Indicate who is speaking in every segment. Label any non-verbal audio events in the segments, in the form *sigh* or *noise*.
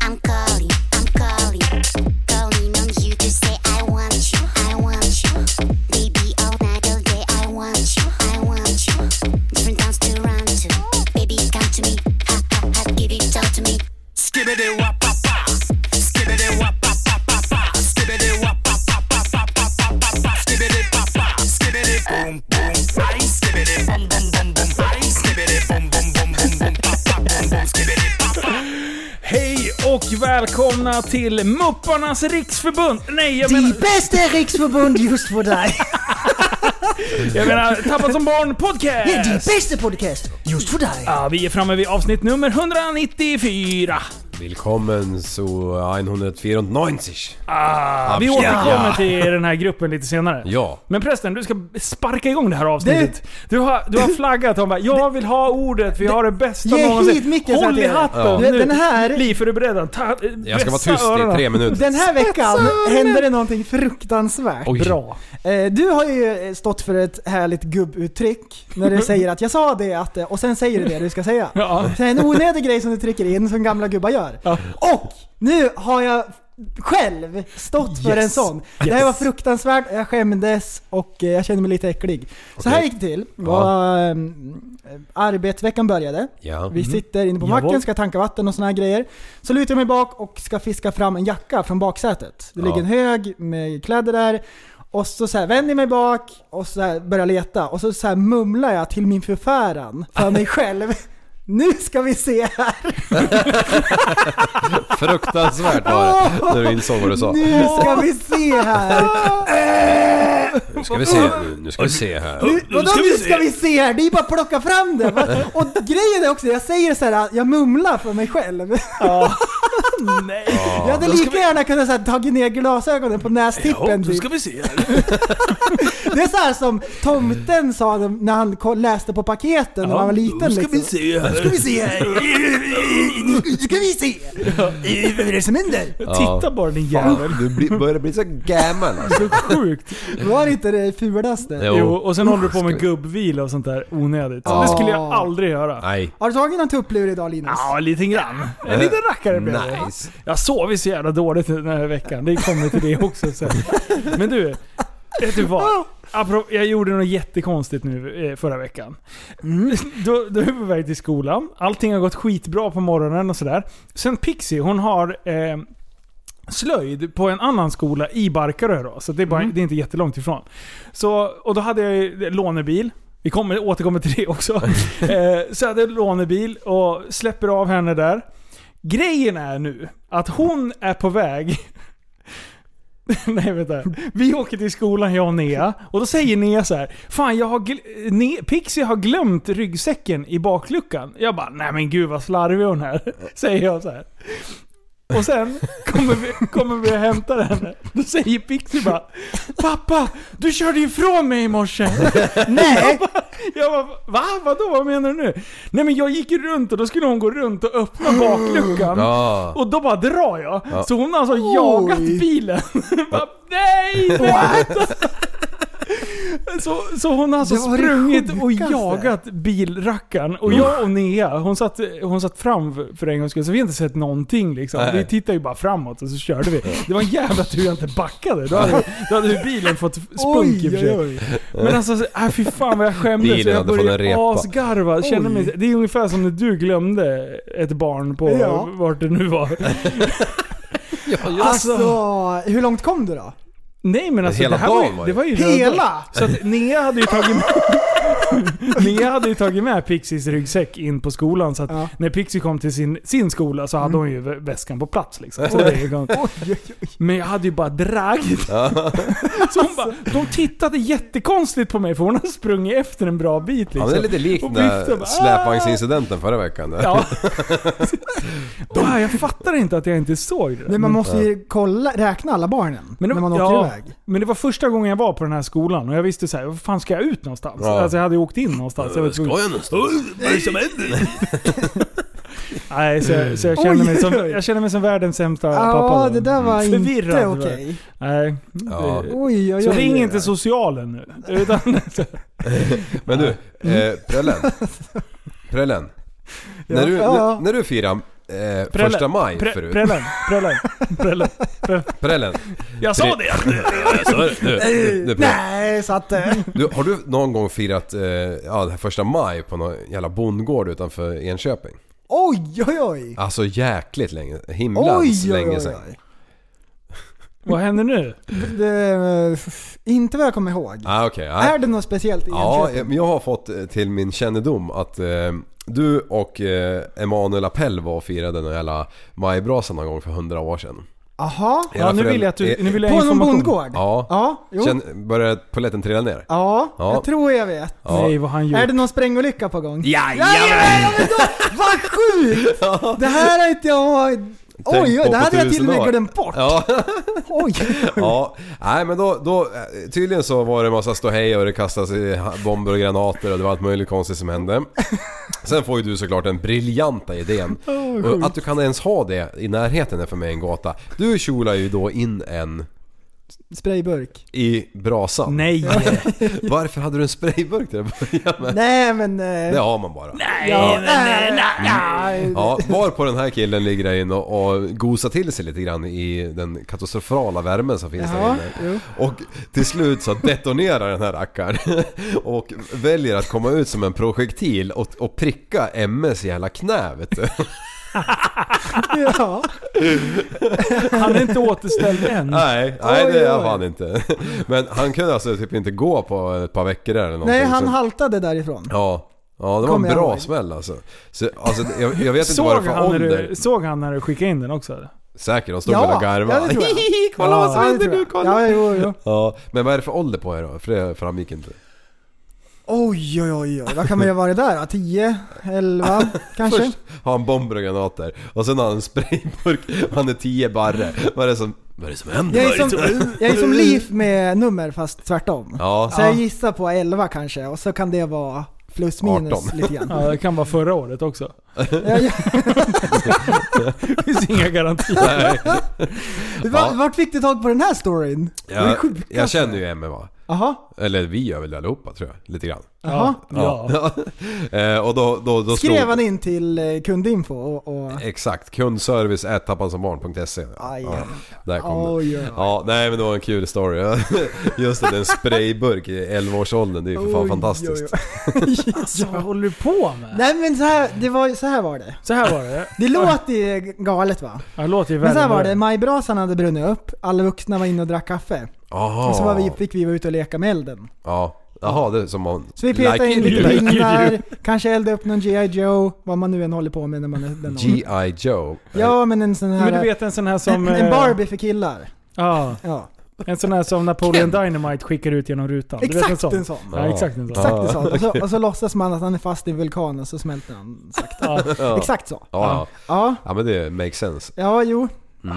Speaker 1: I'm calling, I'm calling, calling on you to say I want you, I want you, baby all night all day I want you, I want you, different towns to run to, baby come to me, ha ha ha, give it all to me.
Speaker 2: Skibbidi wap pa pa Skibbidi wap pa pa pa pa Skibbidi wap pa pa pa pa pa pa pa pa Skibbidi pa pa Skibbidi boom boom bang Skibbidi boom boom boom boom bang Skibbidi boom boom boom boom boom pa pa boom boom Skibbidi pa pa
Speaker 3: Hej och välkomna till Mupparnas Riksförbund! Nej, jag menar,
Speaker 4: Die bästa riksförbund just för dig!
Speaker 3: jag menar Tappat som barn
Speaker 4: Det är die
Speaker 3: podcast!
Speaker 4: bästa podcast just för dig!
Speaker 3: Ja, vi är framme vid avsnitt nummer 194.
Speaker 5: Willkommen zu 194.
Speaker 3: Ah, vi
Speaker 5: Ja.
Speaker 3: återkommer till den här gruppen lite senare.
Speaker 5: Ja.
Speaker 3: Men prästen, du ska sparka igång det här avsnittet. Du har, du har flaggat om bara, jag vill ha ordet, vi har det bästa
Speaker 4: Ge
Speaker 3: någonsin.
Speaker 4: hit micken så
Speaker 3: Håll
Speaker 4: att
Speaker 3: i
Speaker 4: jag-
Speaker 3: hatten
Speaker 5: Ja.
Speaker 3: nu.
Speaker 4: Den här-
Speaker 3: Bli förberedd. Ta,
Speaker 5: Jag ska vara
Speaker 3: vässa
Speaker 5: tyst
Speaker 3: öronen.
Speaker 5: i tre minuter.
Speaker 4: Den här veckan hände det någonting fruktansvärt
Speaker 5: Oj.
Speaker 4: bra. Eh, Du har ju eh, stått för ett härligt gubbuttryck när du säger att jag sa det att, eh," och sen säger du det du ska säga.
Speaker 3: Ja.
Speaker 4: Det är en onödig grej som du trycker in som gamla gubbar gör.
Speaker 3: Ja.
Speaker 4: Och nu har jag själv stått för
Speaker 3: Yes.
Speaker 4: en sån. Det här
Speaker 3: Yes.
Speaker 4: var fruktansvärt, jag skämdes och eh, jag kände mig lite äcklig. Så
Speaker 5: Okej.
Speaker 4: här gick det till. Var, ehm, arbetsveckan började.
Speaker 3: *laughs*
Speaker 5: Ja. Mm.
Speaker 4: Vi sitter inne på
Speaker 3: Jawohl.
Speaker 4: macken, ska tanka vatten och såna här grejer. Så lutar jag mig bak och ska fiska fram en jacka från baksätet. Det
Speaker 5: Ja.
Speaker 4: ligger en hög med kläder där. Och så, så här vänder jag mig bak och så här börjar leta. Och så, så här mumlar jag till min förfäran
Speaker 5: *laughs*
Speaker 4: för mig själv. Nu ska vi se här!
Speaker 5: Fruktansvärt var det när du insåg vad du sa.
Speaker 4: Nu ska vi se
Speaker 5: *laughs*
Speaker 4: här!
Speaker 5: Nu ska vi se, nu, nu ska vi se här.
Speaker 4: Nu, vadå nu ska vi se här? Det är bara att plocka fram
Speaker 5: *laughs*
Speaker 4: det! Va? Och grejen är också, jag säger så här, jag mumlar för mig själv.
Speaker 3: Nej.
Speaker 4: *laughs* Jag hade lika gärna kunnat så här, tagit ner glasögonen på nästippen typ.
Speaker 5: *laughs*
Speaker 3: vi se.
Speaker 4: Det är så här som tomten sa när han ko- läste på paketen när han var liten. liksom.
Speaker 3: se här.
Speaker 4: ska vi se här. Nu ska vi se. Vad är det som händer?
Speaker 3: Titta bara din jävel.
Speaker 5: Du blir- börjar bli så gammal alltså.
Speaker 3: Så sjukt.
Speaker 4: Var inte det fulaste?
Speaker 3: Jo, och sen håller du på med
Speaker 5: ska vi-
Speaker 3: gubbvila och sånt där onödigt.
Speaker 5: Ja.
Speaker 3: Det skulle jag aldrig göra.
Speaker 5: Nej.
Speaker 4: Har du tagit någon tupplur idag Linus?
Speaker 3: Ja, lite grann. Eh, En liten rackare blev det.
Speaker 5: Nice.
Speaker 3: Jag sov ju så jävla dåligt den här veckan. Det kommer till det också sen. Men du, vet du vad? Apro- Jag gjorde något jättekonstigt nu eh, förra veckan. Mm, Då, då är vi på väg till skolan. Allting har gått skitbra på morgonen och sådär. Sen Pixie, hon har eh, slöjd på en annan skola i Barkarö då. Så det är, bara, det är inte jättelångt ifrån. Så, och då hade jag ju lånebil. Vi kommer, återkommer till det också. *laughs* eh, så jag hade lånebil och släpper av henne där. Grejen är nu att hon är på väg... *laughs* Nej vänta. Vi åker till skolan jag och Nea. Och då säger Nea så här. Fan jag har gl- ne- Pixie har glömt ryggsäcken i bakluckan. Jag bara nej men gud vad slarvig hon är. *laughs* Säger jag så här. Och sen kommer vi, kommer vi och hämtar henne. Då säger Pixie bara Pappa, du körde ifrån mig i morse.
Speaker 4: Nej!
Speaker 3: Jag bara, va? Vadå? Vad menar du nu? Nej men jag gick ju runt och då skulle hon gå runt och öppna bakluckan.
Speaker 5: Ja.
Speaker 3: Och då bara drar jag.
Speaker 5: Ja.
Speaker 3: Så hon har alltså jagat bilen. *laughs* bara, nej, nej! *laughs* Så, så hon har alltså
Speaker 4: Det var det
Speaker 3: sprungit och
Speaker 4: sjukaste.
Speaker 3: jagat bilrackaren. Och jag och Nea, hon satt, hon satt fram för en gångs skull, så vi har inte sett någonting liksom.
Speaker 5: Nej.
Speaker 3: Vi tittade ju bara framåt och så körde vi. Det var en jävla tur jag inte backade. Då hade, då hade ju bilen fått spunk i och för sig. Men alltså, så- äh, fy fan vad jag skämdes.
Speaker 5: Bilen
Speaker 3: jag
Speaker 5: hade fått en
Speaker 3: började
Speaker 5: repa.
Speaker 3: asgarva. Kände mig, det är ungefär som när du glömde ett barn på
Speaker 5: *laughs*
Speaker 4: Ja.
Speaker 3: vart det nu var.
Speaker 5: Ja, just
Speaker 4: Alltså, hur långt kom du då?
Speaker 3: Nej men alltså
Speaker 5: Hela
Speaker 3: det här var ju,
Speaker 5: dagen var
Speaker 3: det
Speaker 5: det.
Speaker 3: var ju
Speaker 4: Hela?
Speaker 3: Så att Nea hade ju tagit med, *laughs* Nea hade ju tagit med Pixies ryggsäck in på skolan så att
Speaker 4: Ja.
Speaker 3: när Pixie kom till sin, sin skola så hade hon ju vä- väskan på plats liksom. Så det är ju gott. Men jag hade ju bara dragit. *laughs* Så hon bara, de tittade jättekonstigt på mig för hon har sprungit efter en bra bit liksom.
Speaker 5: Ja, men det är lite likt
Speaker 3: Och
Speaker 5: den
Speaker 3: viftar bara,
Speaker 5: där släpvagnsincidenten förra veckan. där. *laughs*
Speaker 3: Ja. *laughs* Ah, jag fattar inte att jag inte såg det. där.
Speaker 4: Nej, man måste ju kolla, räkna alla barnen
Speaker 3: det-
Speaker 4: när man åker
Speaker 3: ja,
Speaker 4: iväg.
Speaker 3: Men det var första gången jag var på den här skolan och jag visste så här, vad fan ska jag ut någonstans?
Speaker 5: Ja.
Speaker 3: Alltså jag hade ju åkt in någonstans. Jag var tvungen-
Speaker 5: jag någonstans? Vad är det som händer?
Speaker 3: Nej, så, jag- så jag,
Speaker 4: Oj,
Speaker 3: känner mig som,
Speaker 4: oj, oj.
Speaker 3: jag känner mig som världens sämsta
Speaker 4: Ja,
Speaker 3: pappa.
Speaker 4: det där var inte
Speaker 3: Förvirrad,
Speaker 4: okej.
Speaker 3: Nej.
Speaker 5: Ja.
Speaker 3: Det-
Speaker 4: Oj, oj,
Speaker 3: Så
Speaker 4: oj.
Speaker 3: ring inte socialen nu. *laughs* Utan,
Speaker 5: Men du,
Speaker 3: Mm.
Speaker 5: eh, prällen. Prällen. När, du,
Speaker 4: Ja.
Speaker 5: n- när du firar eh, första maj
Speaker 3: Pre-
Speaker 5: förut.
Speaker 3: Prällen, prällen, prällen.
Speaker 5: Prällen.
Speaker 3: Jag sa
Speaker 5: *laughs*
Speaker 3: det!
Speaker 5: Du, du, du, du, prällen.
Speaker 4: Nej, så att... eh,
Speaker 5: du, har du någon gång firat eh, ja, det här första maj på någon jävla bondgård utanför Enköping?
Speaker 4: Oj, oj, oj.
Speaker 5: Alltså jäkligt länge. Himlans
Speaker 4: Oj, oj,
Speaker 5: länge
Speaker 4: oj,
Speaker 5: sedan.
Speaker 4: oj.
Speaker 3: Vad händer nu?
Speaker 4: Det, eh, f- inte vad jag kommer ihåg.
Speaker 5: Ah, okej. ah.
Speaker 4: Är det något speciellt i
Speaker 5: Ja,
Speaker 4: Enköping?
Speaker 5: men jag har fått eh, till min kännedom att eh, du och eh, Emanuel Appell var och firade den jävla majbrasan någon gång för hundra år sedan.
Speaker 4: Jaha?
Speaker 3: Ja, nu vill jag att du... Nu vill jag
Speaker 4: På någon
Speaker 3: information.
Speaker 4: bondgård?
Speaker 5: Ja.
Speaker 4: Ja, jo.
Speaker 5: Känn, började polletten trilla ner?
Speaker 4: ja,
Speaker 5: Ja.
Speaker 4: jag tror jag vet.
Speaker 5: Ja.
Speaker 3: Nej, vad han gjort.
Speaker 4: Är det någon sprängolycka på gång?
Speaker 5: Jajamän!
Speaker 4: Vad
Speaker 5: *laughs*
Speaker 4: sjukt! Det här har inte jag... Oj,
Speaker 5: Tänk
Speaker 4: oj,
Speaker 5: på
Speaker 4: det
Speaker 5: på
Speaker 4: hade jag till och
Speaker 5: tusen
Speaker 4: med
Speaker 5: år.
Speaker 4: glömt bort.
Speaker 5: Ja,
Speaker 4: *laughs* Oj.
Speaker 5: ja. Nej men då, då, eh, tydligen så var det massa ståhej och det kastades eh, bomber och granater och det var allt möjligt konstigt som hände. Sen får ju du såklart den briljanta idén. och att du kan ens ha det i närheten är för mig en gåta. Du kjolar ju då in en
Speaker 4: Sprayburk.
Speaker 5: i brasan.
Speaker 4: *laughs*
Speaker 3: Nej!
Speaker 5: Varför hade du en sprayburk till att börja med?
Speaker 4: Nej men... eh,
Speaker 5: Det har man bara.
Speaker 4: ja, nej, nej.
Speaker 5: Ja, var på den här killen ligger där inne och, och gosar till sig lite grann i den katastrofala värmen som finns
Speaker 4: Jaha,
Speaker 5: där
Speaker 4: jo.
Speaker 5: inne. Och till slut så detonerar den här rackaren *laughs* och väljer att komma ut som en projektil och, och pricka MS i hela knä vet
Speaker 4: *laughs*
Speaker 5: du.
Speaker 4: Ja.
Speaker 3: Han är inte återställd än.
Speaker 5: Nej, *laughs* nej det
Speaker 4: Oj,
Speaker 5: är
Speaker 4: oj.
Speaker 5: han fan inte. Men han kunde alltså typ inte gå på ett par veckor där eller någonting.
Speaker 4: Nej, han
Speaker 5: så-
Speaker 4: haltade därifrån.
Speaker 5: Ja. Ja det var en
Speaker 4: Kommer jag
Speaker 5: bra
Speaker 4: ihåg.
Speaker 5: smäll alltså. Så, alltså jag, jag vet inte vad det
Speaker 3: Såg
Speaker 5: är för
Speaker 3: han, när
Speaker 5: ålder.
Speaker 3: du, såg han när du skickade in den också? eller?
Speaker 5: Säkert, de stod
Speaker 4: Ja,
Speaker 5: väl och garvade.
Speaker 4: ja, det tror jag.
Speaker 5: Hihi, *laughs* kolla vad som
Speaker 4: Ja, det
Speaker 5: händer
Speaker 4: tror
Speaker 5: nu,
Speaker 4: jag.
Speaker 5: kolla.
Speaker 4: Ja, jo, jo.
Speaker 5: Ja, men vad är det för ålder på er då? För det framgick inte.
Speaker 4: Oj, oj, oj, oj. Vad kan man ju ha varit där då? 10? 11?
Speaker 5: *laughs*
Speaker 4: Kanske?
Speaker 5: Först har han bomber och granater och sen har han en sprayburk och han är tio barre. Vad är det som, vad är det som händer?
Speaker 4: Jag är som, jag är som Liv med nummer fast tvärtom.
Speaker 5: Ja,
Speaker 4: Så jag gissar på 11 kanske och så kan det vara plus minus
Speaker 5: 18. *laughs*
Speaker 4: lite grann.
Speaker 3: Ja, det kan vara förra året också.
Speaker 4: Ja, ja.
Speaker 3: *laughs* Det finns inga garantier.
Speaker 5: nej.
Speaker 4: Va- Vart fick du tag på den här storyn? Det är
Speaker 5: Jag,
Speaker 4: sjukt.
Speaker 5: jag känner ju Emma va?
Speaker 4: Jaha,
Speaker 5: Eller vi gör väl det allihopa tror jag, lite grann.
Speaker 4: jaha.
Speaker 3: Ja.
Speaker 5: *laughs*
Speaker 3: Alltså,
Speaker 5: Eh, och då, då, då
Speaker 4: Skrev
Speaker 5: stod-
Speaker 4: han in till eh, kundinfo och... och
Speaker 5: Exakt, kundservice tappansombarn.se
Speaker 4: Aj,
Speaker 5: ja, Där kom den.
Speaker 4: oj, oj.
Speaker 5: Ja, nej men det var en kul story. *laughs* Just att en sprayburk i 11-årsåldern, det är ju för fan
Speaker 4: Oj,
Speaker 5: fantastiskt.
Speaker 4: oj, oj.
Speaker 3: Så vad håller du på med?
Speaker 4: Nej men så här, det var, ju- så här var det.
Speaker 3: Så här var det.
Speaker 4: Det låter ju galet va?
Speaker 3: Ja, det låter ju
Speaker 4: Men så här
Speaker 3: värre.
Speaker 4: var det, majbrasan hade brunnit upp, alla vuxna var inne och drack kaffe.
Speaker 5: Aha.
Speaker 4: Och så var vi, fick vi vara ute och leka med elden.
Speaker 5: Ja, jaha det är som man...
Speaker 4: Så vi petade in
Speaker 5: it *laughs*
Speaker 4: lite
Speaker 5: you do.
Speaker 4: pinnar, kanske eldade upp någon G.I. Joe, vad man nu än håller på med när man är den åldern.
Speaker 5: G.I. Joe.
Speaker 4: Ja men en sån här...
Speaker 3: Men du vet en sån här som...
Speaker 4: en, en
Speaker 3: eh,
Speaker 4: Barbie för killar.
Speaker 3: Ja,
Speaker 4: Ja.
Speaker 3: en sån här som Napoleon Dynamite skickar ut genom rutan. du vet en
Speaker 4: Exakt
Speaker 3: sån.
Speaker 4: en sån.
Speaker 3: Ja, exakt en sån.
Speaker 4: Exakt en
Speaker 5: Ja,
Speaker 4: sån.
Speaker 5: *laughs*
Speaker 4: Och så, och så låtsas man att han är fast i vulkanen så smälter han sakta.
Speaker 3: Ja.
Speaker 5: Ja.
Speaker 4: Exakt så.
Speaker 5: Ja,
Speaker 4: Ja,
Speaker 5: ja men det makes sense.
Speaker 4: ja jo.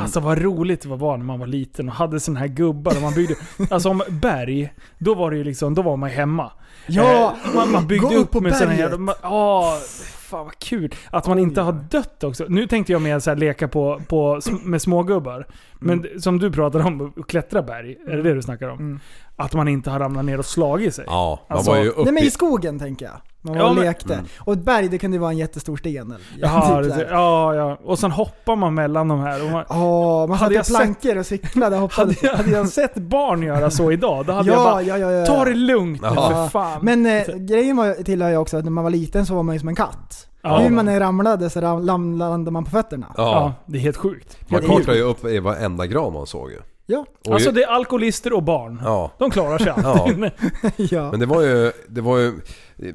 Speaker 3: Alltså vad roligt det var när man var liten och hade såna här gubbar och man byggde... Alltså om berg, då var det ju liksom, då var man ju hemma.
Speaker 4: Ja,
Speaker 3: Eh, man, man byggde
Speaker 4: gå
Speaker 3: upp,
Speaker 4: upp på
Speaker 3: med såna här...
Speaker 4: berget.
Speaker 3: man- Ja, fan vad kul. Att man inte har dött också. Nu tänkte jag mer så här leka på, på, sm- med smågubbar. Men d-
Speaker 4: Mm.
Speaker 3: som du pratade om, att klättra berg. Är det det du snackar om? Att man inte har ramlat ner och slagit sig.
Speaker 5: Ja, man
Speaker 3: Alltså-
Speaker 5: var ju uppe
Speaker 4: Nej men i
Speaker 5: i... Mm.
Speaker 4: skogen tänker jag. Man var
Speaker 3: Ja,
Speaker 4: och
Speaker 3: men-
Speaker 4: lekte. Och ett berg det kunde ju vara en jättestor sten. eller-
Speaker 3: Jaha,
Speaker 4: *laughs* typ
Speaker 3: det,
Speaker 4: där.
Speaker 3: ja, ja. Och sen hoppar man mellan de här. Och man,
Speaker 4: Ja,
Speaker 3: Hade
Speaker 4: man satte
Speaker 3: jag sett-
Speaker 4: plankor och cyklade och hoppade.
Speaker 3: *laughs* hade, jag, hade jag sett barn göra så idag, då hade jag
Speaker 4: ja,
Speaker 3: bara
Speaker 4: ja, ja, ja.
Speaker 3: Ta det lugnt nu
Speaker 5: Ja.
Speaker 3: för fan.
Speaker 5: Alltså-
Speaker 4: Men eh, grejen var, tillhör jag också att när man var liten så var man ju som en katt.
Speaker 3: Ja.
Speaker 4: Hur man än ramlade så ram- lam- landade man på fötterna.
Speaker 3: Ja,
Speaker 5: Ja.
Speaker 3: det är helt sjukt.
Speaker 5: Man
Speaker 4: det är
Speaker 5: kartade ju upp i varenda gran man såg ju.
Speaker 4: Ja. *laughs*
Speaker 5: Och
Speaker 3: Alltså
Speaker 5: ju-
Speaker 3: det är alkoholister och barn.
Speaker 5: *laughs* Ja.
Speaker 3: De klarar sig alltid. *laughs*
Speaker 4: ja.
Speaker 5: Men det var ju, det var ju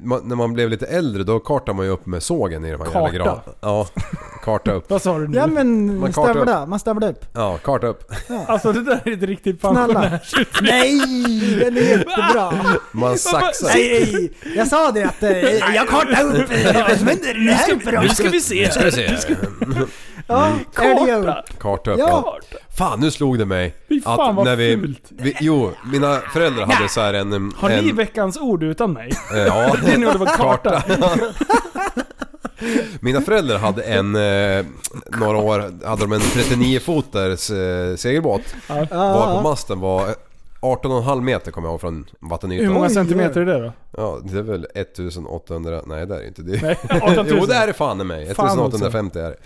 Speaker 5: man, när man blev lite äldre då kartade man ju upp med sågen i de här jävla
Speaker 3: Karta.
Speaker 5: gran. Ja, karta upp.
Speaker 3: Vad sa du nu?
Speaker 4: Ja men
Speaker 5: Man
Speaker 4: man
Speaker 5: kartar
Speaker 4: stövla, man stövlar upp.
Speaker 5: Ja, karta upp.
Speaker 3: Alltså det där är ett riktigt
Speaker 4: Snälla.
Speaker 3: pensionärsuttryck.
Speaker 4: Nej! Den är jättebra.
Speaker 3: *laughs*
Speaker 5: Man saxar.
Speaker 4: Nej! Jag sa det att eh, jag
Speaker 3: *laughs*
Speaker 4: kartar upp eh, vad som händer härifrån.
Speaker 3: Nu ska vi se.
Speaker 5: Ska vi se.
Speaker 4: Ja, är det ju.
Speaker 3: Karta.
Speaker 5: Karta upp. Ja.
Speaker 4: Ja.
Speaker 3: Karta.
Speaker 5: Fan, nu slog det mig.
Speaker 3: Fy fan, vad fult.
Speaker 5: vi, Jo, mina föräldrar hade så här en...
Speaker 3: Har
Speaker 5: en,
Speaker 3: ni veckans ord utan mig?
Speaker 5: eh, *laughs* Ja,
Speaker 3: *laughs* Det är nog det var karta.
Speaker 5: Mina föräldrar hade en, eh, några år, hade de en 39-foters eh, segelbåt. Var på masten var 18,5 meter kommer jag ihåg från
Speaker 3: Hur
Speaker 5: vattenytan.
Speaker 3: många
Speaker 4: Oj,
Speaker 3: centimeter är det då?
Speaker 5: Ja, det är väl 1800, nej det är inte det.
Speaker 3: Nej, 18 000.
Speaker 5: *laughs* Jo det är det fan i mig.
Speaker 3: Fan
Speaker 5: 1850 är det.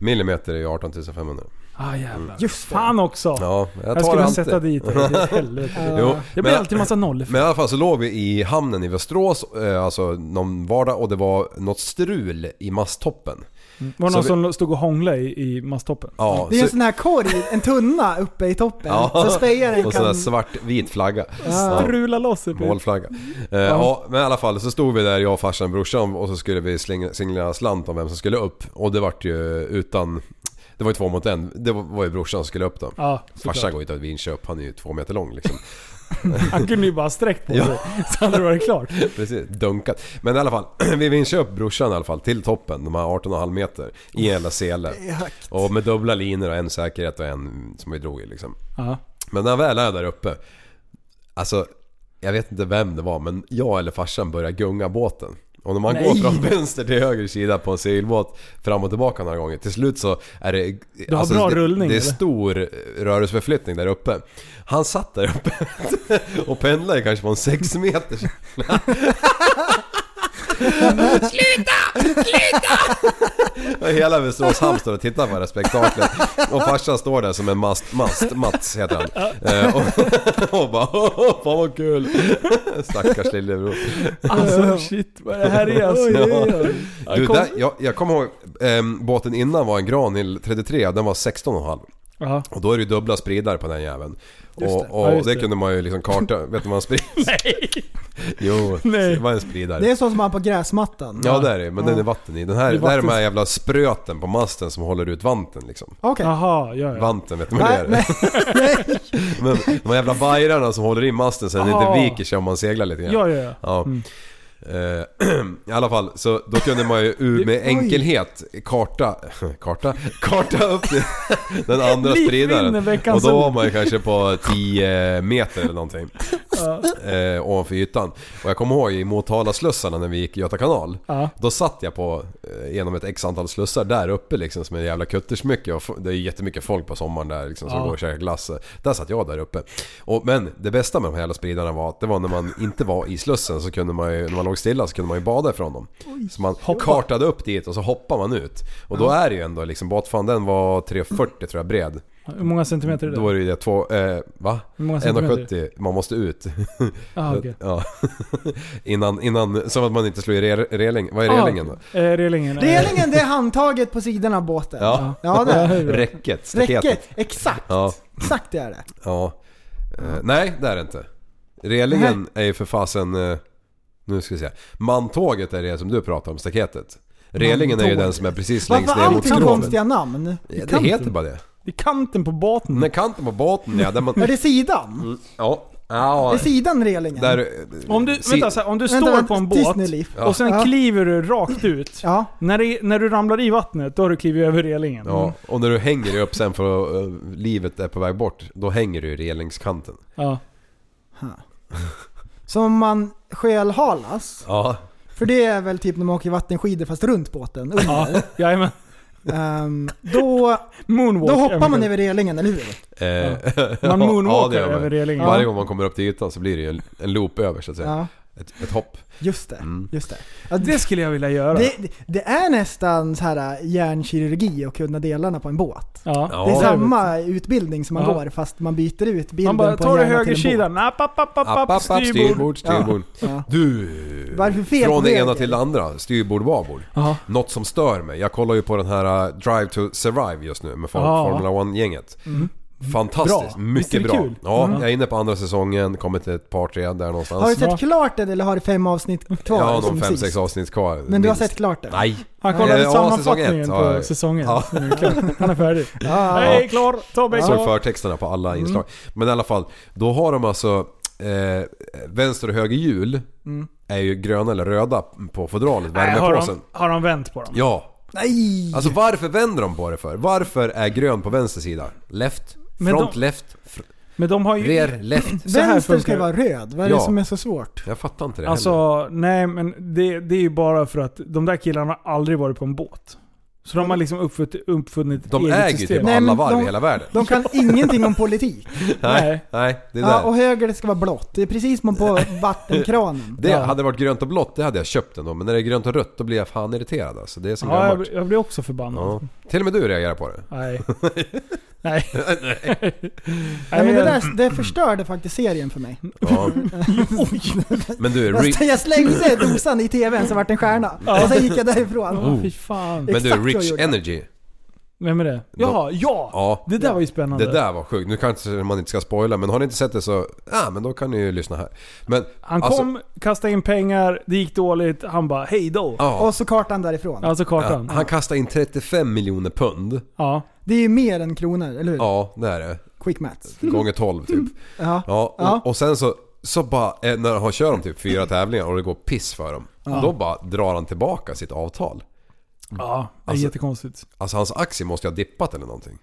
Speaker 5: Millimeter är ju 18 500.
Speaker 3: Ah jävlar.
Speaker 4: Just det.
Speaker 3: Fan också.
Speaker 5: Ja, jag
Speaker 3: Jag
Speaker 5: tar
Speaker 3: skulle
Speaker 5: allt
Speaker 3: sätta
Speaker 5: det.
Speaker 3: dit
Speaker 5: *laughs*
Speaker 3: det. Helvete.
Speaker 5: Jo,
Speaker 3: Det blir
Speaker 5: men,
Speaker 3: alltid massa nollor.
Speaker 5: men i alla fall så låg vi i hamnen i Västerås, eh, alltså någon vardag och det var något strul i masttoppen.
Speaker 3: Var det
Speaker 5: Så
Speaker 3: någon
Speaker 5: vi-
Speaker 3: som stod och hånglade i, i masttoppen?
Speaker 5: Ja,
Speaker 4: Det är en
Speaker 5: så-
Speaker 4: sån här korg, en tunna uppe i toppen.
Speaker 5: Ja.
Speaker 4: Så spejaren
Speaker 5: Och sån där
Speaker 4: kan...
Speaker 5: svart-vit flagga. Ja.
Speaker 3: Strula loss er Pip.
Speaker 5: Målflagga. Eh, ja, men i alla fall så stod vi där jag, farsan och brorsan och så skulle vi slinga- singla slant om vem som skulle upp. Och det vart ju utan... Det var ju två mot en. Det var- var ju brorsan som skulle upp då.
Speaker 3: Ja,
Speaker 5: farsan
Speaker 3: såklart.
Speaker 5: går ju inte att vinköp, han är ju två meter lång liksom. *laughs*
Speaker 3: Han kunde ju bara ha sträckt på sig.
Speaker 5: Ja.
Speaker 3: Så hade det varit
Speaker 5: *laughs*
Speaker 3: klart.
Speaker 5: Precis, dunkat. Men i alla fall, *clears throat* vi vinköp brorsan i alla fall till toppen, de här 18,5 meter. I en jävla sele. Och med dubbla linor och en säkerhet och en som vi drog i liksom.
Speaker 3: Ja.
Speaker 5: Men när han väl är där uppe. Alltså, jag vet inte vem det var men jag eller farsan börjar gunga båten. Och när man går från *laughs* vänster till höger sida på en segelbåt fram och tillbaka några gånger. Till slut så är det...
Speaker 3: har bra
Speaker 5: Alltså, det,
Speaker 3: rullning,
Speaker 5: Det är
Speaker 3: eller?
Speaker 5: stor eh, rörelseförflyttning där uppe. Han satt där uppe *laughs* och pendlade kanske på en 6 meter.
Speaker 3: *laughs*
Speaker 5: *laughs* Och Hela Västerås hamn står och tittar på det här spektaklet. Och farsan står där som en mast, mast, Mats heter han. Eh, Och, *laughs* och bara "Åh, fan vad kul. *laughs* Stackars lillebror.
Speaker 3: Alltså shit vad det här
Speaker 5: *laughs*
Speaker 3: är alltså.
Speaker 5: Du, där, jag, jag kommer ihåg, ehm, båten innan var en Granhill 33, den var 16,5.
Speaker 3: Ja.
Speaker 5: Och då är det ju dubbla spridare på den jäveln. Och,
Speaker 3: Ja,
Speaker 5: och
Speaker 3: just
Speaker 5: det.
Speaker 3: det.
Speaker 5: kunde man ju liksom karta,
Speaker 3: *laughs*
Speaker 5: vet du vad en spridare
Speaker 3: Nej.
Speaker 5: Jo,
Speaker 3: Nej.
Speaker 5: det var en spridare.
Speaker 4: Det är så som man på gräsmattan.
Speaker 5: Ja det är det men den är vatten i. Den här,
Speaker 3: Det
Speaker 5: det
Speaker 3: är
Speaker 5: här är de
Speaker 3: vatten-
Speaker 5: här jävla spröten på masten som håller ut vanten liksom.
Speaker 4: Okej.
Speaker 3: Jaha, ja, ja.
Speaker 5: Vanten, vet du vad det är? *laughs* Men de här jävla vajrarna som håller i masten så den
Speaker 3: Ah.
Speaker 5: inte viker sig om man seglar lite grann.
Speaker 3: Ja, ja, Mm. ja.
Speaker 5: Ja. Eh, *clears throat* I alla fall, så då kunde man
Speaker 3: *laughs*
Speaker 5: ju ur med enkelhet karta, *laughs* karta, karta upp
Speaker 3: *laughs*
Speaker 5: den andra
Speaker 3: Vi vinner
Speaker 5: spridaren.
Speaker 3: veckans
Speaker 5: Och då var
Speaker 3: ord.
Speaker 5: man ju kanske på 10 meter eller någonting. Eh, ovanför ytan. Och jag kommer ihåg i Motala-slussarna när vi gick Göta kanal.
Speaker 3: Ja.
Speaker 5: Då satt jag på, eh, genom ett x antal slussar där uppe liksom som en jävla kuttersmycke. Och f- det är ju jättemycket folk på sommaren där liksom som
Speaker 3: Ja.
Speaker 5: går och käkar glass. Där satt jag där uppe. Och, men det bästa med de här jävla spridarna var att det var när man inte var i slussen så kunde man ju, när man låg stilla så kunde man ju bada ifrån dem. Så man kartade upp dit och så hoppar man ut. Och då är det ju ändå liksom, båtfan den var 3,40 tror jag bred.
Speaker 3: Hur många centimeter är det?
Speaker 5: Då är det ju det två, eh, va?
Speaker 3: Hur många centimeter?
Speaker 5: 1,70, man måste ut. *laughs*
Speaker 3: Ah, okej.
Speaker 5: Ja. *laughs* innan, innan, som att man inte slår i re- reling. Vad är
Speaker 3: Ah,
Speaker 5: relingen då?
Speaker 3: eh, relingen. eh,
Speaker 4: Relingen det är handtaget på sidan av båten.
Speaker 5: Ja.
Speaker 4: ja det är det.
Speaker 5: Räcket, staketet.
Speaker 4: Räcket, exakt.
Speaker 5: Ja.
Speaker 4: Exakt det är det.
Speaker 5: ja. Eh, nej, det är det inte. Relingen är ju för fasen... eh, nu ska vi se. Mantåget är det som du pratar om, staketet. Relingen är ju
Speaker 3: Mantåget.
Speaker 5: den som är precis längst
Speaker 4: Varför
Speaker 5: ner mot
Speaker 4: alltid har
Speaker 5: skroven.
Speaker 4: konstiga namn?
Speaker 5: Ja, det
Speaker 3: kanten?
Speaker 5: heter bara det.
Speaker 3: I kanten på båten.
Speaker 5: Den där kanten på båten ja, där man...
Speaker 4: Är det sidan?
Speaker 5: Ja. Ja.
Speaker 4: Är sidan relingen?
Speaker 5: Där...
Speaker 3: Om du,
Speaker 5: si-
Speaker 3: vänta, så här, om du
Speaker 4: Vänta,
Speaker 3: står
Speaker 4: vänta,
Speaker 3: på en
Speaker 4: tyst
Speaker 3: båt
Speaker 4: nu, Liv.
Speaker 3: och sen
Speaker 4: Ja.
Speaker 3: kliver du rakt ut.
Speaker 4: Ja.
Speaker 3: När, det, när du ramlar i vattnet, då har du klivit över relingen.
Speaker 5: Ja, och när du hänger dig upp sen för att eh, livet är på väg bort, då hänger du i relingskanten.
Speaker 3: Ja.
Speaker 4: Som om man skälhalas.
Speaker 5: Ja.
Speaker 4: För det är väl typ när man åker vattenskidor fast runt båten. under.
Speaker 3: ja. Jajamän.
Speaker 4: Ehm, då,
Speaker 3: Moonwalk.
Speaker 4: då hoppar man över relingen, eller hur?
Speaker 5: Eh,
Speaker 3: Man
Speaker 5: *laughs* Ja,
Speaker 3: moonwalkar
Speaker 5: det gör man.
Speaker 3: över relingen.
Speaker 5: Varje
Speaker 3: Ja.
Speaker 5: gång man kommer upp till ytan så blir det ju en, en loop över så att säga.
Speaker 4: Ja.
Speaker 5: Ett, ett hopp.
Speaker 4: Just det.
Speaker 5: Mm.
Speaker 4: Just det. Ja,
Speaker 3: Det skulle jag vilja göra.
Speaker 4: Det, det- det är nästan så här äh, hjärnkirurgi att kunna delarna på en båt.
Speaker 3: ja.
Speaker 5: Ja.
Speaker 4: Det är samma utbildning som man
Speaker 3: Ja.
Speaker 4: går fast man byter ut bilden
Speaker 3: Man bara
Speaker 4: på en
Speaker 3: tar det
Speaker 4: hjärna till en båt.
Speaker 3: högersidan, app, app, app, app,
Speaker 5: App, app,
Speaker 3: app,
Speaker 5: app, styrbord,
Speaker 3: styrbord.
Speaker 5: styrbord.
Speaker 4: Ja.
Speaker 5: Du!
Speaker 4: Varför fel
Speaker 5: Från det
Speaker 4: väg?
Speaker 5: ena till det andra. Styrbord, babord.
Speaker 3: Ja.
Speaker 5: Något som stör mig. Jag kollar ju på den här eh, Drive to Survive just nu med Form-
Speaker 3: Ja.
Speaker 5: Formula 1-gänget. Fantastiskt.
Speaker 3: Bra. Visst är
Speaker 5: Mycket
Speaker 3: det
Speaker 5: bra.
Speaker 3: kul?
Speaker 5: Ja,
Speaker 3: Mm.
Speaker 5: jag är inne på andra säsongen, kommit till ett par, tre där någonstans.
Speaker 4: Har du sett
Speaker 3: Ja.
Speaker 4: klart den eller har du fem avsnitt kvar?
Speaker 5: jag har nog
Speaker 4: som
Speaker 5: fem,
Speaker 4: sist?
Speaker 5: sex avsnitt kvar.
Speaker 4: Men du har
Speaker 5: minst.
Speaker 4: sett klart den?
Speaker 5: Nej.
Speaker 3: Han kollade
Speaker 5: Eh, ja, säsong
Speaker 3: sammanfattningen
Speaker 5: ett.
Speaker 3: på
Speaker 5: Ja.
Speaker 3: säsongen.
Speaker 5: Ja.
Speaker 3: Nu är det klart. Han är färdig.
Speaker 4: *laughs* Ja.
Speaker 3: Jag är klar, Tobbe är
Speaker 5: Jag såg
Speaker 3: klar.
Speaker 5: förtexterna på alla
Speaker 3: Mm.
Speaker 5: inslag. Men i alla fall, då har de alltså eh, vänster och höger hjul är ju gröna eller röda på fodralet,
Speaker 3: Mm. Nej, har,
Speaker 5: värmepåsen.
Speaker 3: de, har de vänt på dem?
Speaker 5: Ja.
Speaker 4: Nej!
Speaker 5: Alltså varför vänder de på det för? Varför är grön på vänster sida? Left,
Speaker 3: Men
Speaker 5: front,
Speaker 3: de-
Speaker 5: left, fr-
Speaker 3: Men de har ju...
Speaker 5: rear, left.
Speaker 3: så här
Speaker 4: Vänster ska
Speaker 3: funkar
Speaker 4: ju
Speaker 3: det.
Speaker 4: vara röd, vad är det
Speaker 5: Ja.
Speaker 4: som är så svårt?
Speaker 5: Jag fattar inte det heller.
Speaker 3: Alltså, nej men det, det är ju bara för att de där killarna har aldrig varit på en båt. Så de har liksom uppfunnit, uppfunnit ett
Speaker 5: De
Speaker 3: eget
Speaker 5: äger ju
Speaker 3: system.
Speaker 5: typ
Speaker 4: Nej,
Speaker 5: alla
Speaker 4: men
Speaker 5: varv i
Speaker 4: de-
Speaker 5: hela
Speaker 3: *laughs*
Speaker 5: världen.
Speaker 4: De kan ingenting om politik.
Speaker 3: Nej.
Speaker 5: Nej, det är
Speaker 4: Ja, och
Speaker 5: där.
Speaker 4: höger det ska vara blått. Det är precis
Speaker 3: *laughs*
Speaker 4: som på vattenkranen.
Speaker 5: Det
Speaker 3: Ja.
Speaker 5: hade varit grönt och blått, det hade jag köpt ändå. Men när det är grönt och rött, då blir jag fan irriterad alltså. Det är som
Speaker 3: Ja, jag,
Speaker 5: gammalt.
Speaker 3: blir- jag blir också förbannad.
Speaker 5: Ja. Till och med du reagerar på det. *laughs*
Speaker 3: Nej. nej.
Speaker 4: Nej, men det,
Speaker 3: jag-
Speaker 4: där, det förstörde faktiskt serien för mig.
Speaker 3: *laughs*
Speaker 5: Ja. Men du, re-
Speaker 4: Fast Jag slängde dosan i tvn så vart det en stjärna.
Speaker 3: Ja.
Speaker 4: Och sen gick jag därifrån.
Speaker 3: Ja, fy fan.
Speaker 5: men du
Speaker 4: Exakt vad jag
Speaker 5: Rich
Speaker 4: gjorde.
Speaker 5: Energy.
Speaker 3: Vem är det? Jaha, ja!
Speaker 5: Ja.
Speaker 3: Det där var ju spännande.
Speaker 5: Det där var sjukt. Nu kanske man inte ska spoila, men har ni inte sett det så... Ja, men då kan ni ju lyssna här. Men...
Speaker 3: Han
Speaker 5: alltså,
Speaker 3: kom, kastade in pengar, det gick dåligt, han bara hej då.
Speaker 5: Ja.
Speaker 4: Och så kartan därifrån.
Speaker 3: Alltså kartan.
Speaker 5: Ja, han kastade in 35 miljoner pund.
Speaker 3: Ja.
Speaker 4: Det är ju mer än kronor, eller hur?
Speaker 5: Ja, det är det.
Speaker 4: Quick maths.
Speaker 5: Gånger 12 typ.
Speaker 4: Ja.
Speaker 5: Ja, och,
Speaker 4: Ja.
Speaker 5: och sen så, så bara, eh, när han kör dem typ fyra tävlingar och det går piss för dem. Då bara drar han tillbaka sitt avtal.
Speaker 3: Ja, det är
Speaker 5: Alltså-
Speaker 3: jättekonstigt.
Speaker 5: Alltså hans aktie måste ju ha dippat eller någonting.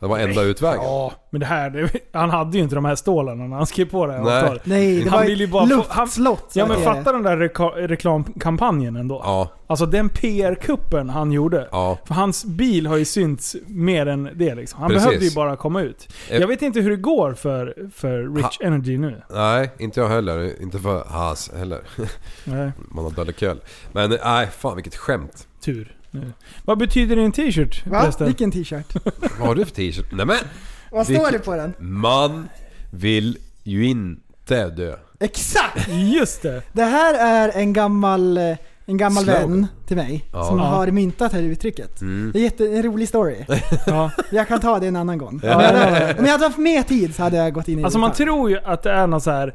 Speaker 5: Det var enda utvägen.
Speaker 3: Ja, men det här, det, han hade ju inte de här stålarna när han skrev på det här
Speaker 5: Nej.
Speaker 3: avtalet.
Speaker 4: Nej, det
Speaker 3: Han
Speaker 4: var
Speaker 3: vill ju
Speaker 4: ju
Speaker 3: bara få-
Speaker 4: luftslott.
Speaker 3: Ja
Speaker 4: så
Speaker 3: men
Speaker 4: är
Speaker 3: fatta
Speaker 4: det.
Speaker 3: den där reka- reklamkampanjen ändå.
Speaker 5: Ja,
Speaker 3: Alltså den PR-kuppen han gjorde.
Speaker 5: ja.
Speaker 3: För hans bil har ju synts mer än det liksom. Han
Speaker 5: Precis.
Speaker 3: behövde ju bara komma ut.
Speaker 5: Eh.
Speaker 3: Jag vet inte hur det går för, för Rich Energy nu.
Speaker 5: Nej, inte jag heller. Inte för Haas heller.
Speaker 3: *laughs* Nej,
Speaker 5: Man har dålig kväll. Men nej, fan vilket skämt.
Speaker 3: tur. Nu. Vad betyder din t-shirt
Speaker 4: Va?
Speaker 3: förresten?
Speaker 4: Vilken t-shirt?
Speaker 5: Vad har du för t-shirt? Nej men!
Speaker 4: Vad står det på den?
Speaker 5: Man vill ju inte dö.
Speaker 3: *laughs*
Speaker 4: Exakt!
Speaker 3: Just det!
Speaker 4: Det här är en gammal, eh, en gammal
Speaker 5: Slogan.
Speaker 4: vän till mig
Speaker 5: Ja. Mm.
Speaker 4: som
Speaker 3: Ja.
Speaker 4: har myntat det här uttrycket. Det är jätte, en
Speaker 5: *laughs*
Speaker 4: rolig story.
Speaker 3: Ja.
Speaker 4: Jag kan ta det en annan gång.
Speaker 3: Ja,
Speaker 4: Om jag
Speaker 3: ja,
Speaker 4: hade- Om jag hade haft mer tid så hade jag gått in i
Speaker 3: Alltså man
Speaker 4: detalj.
Speaker 3: tror ju att det är något så här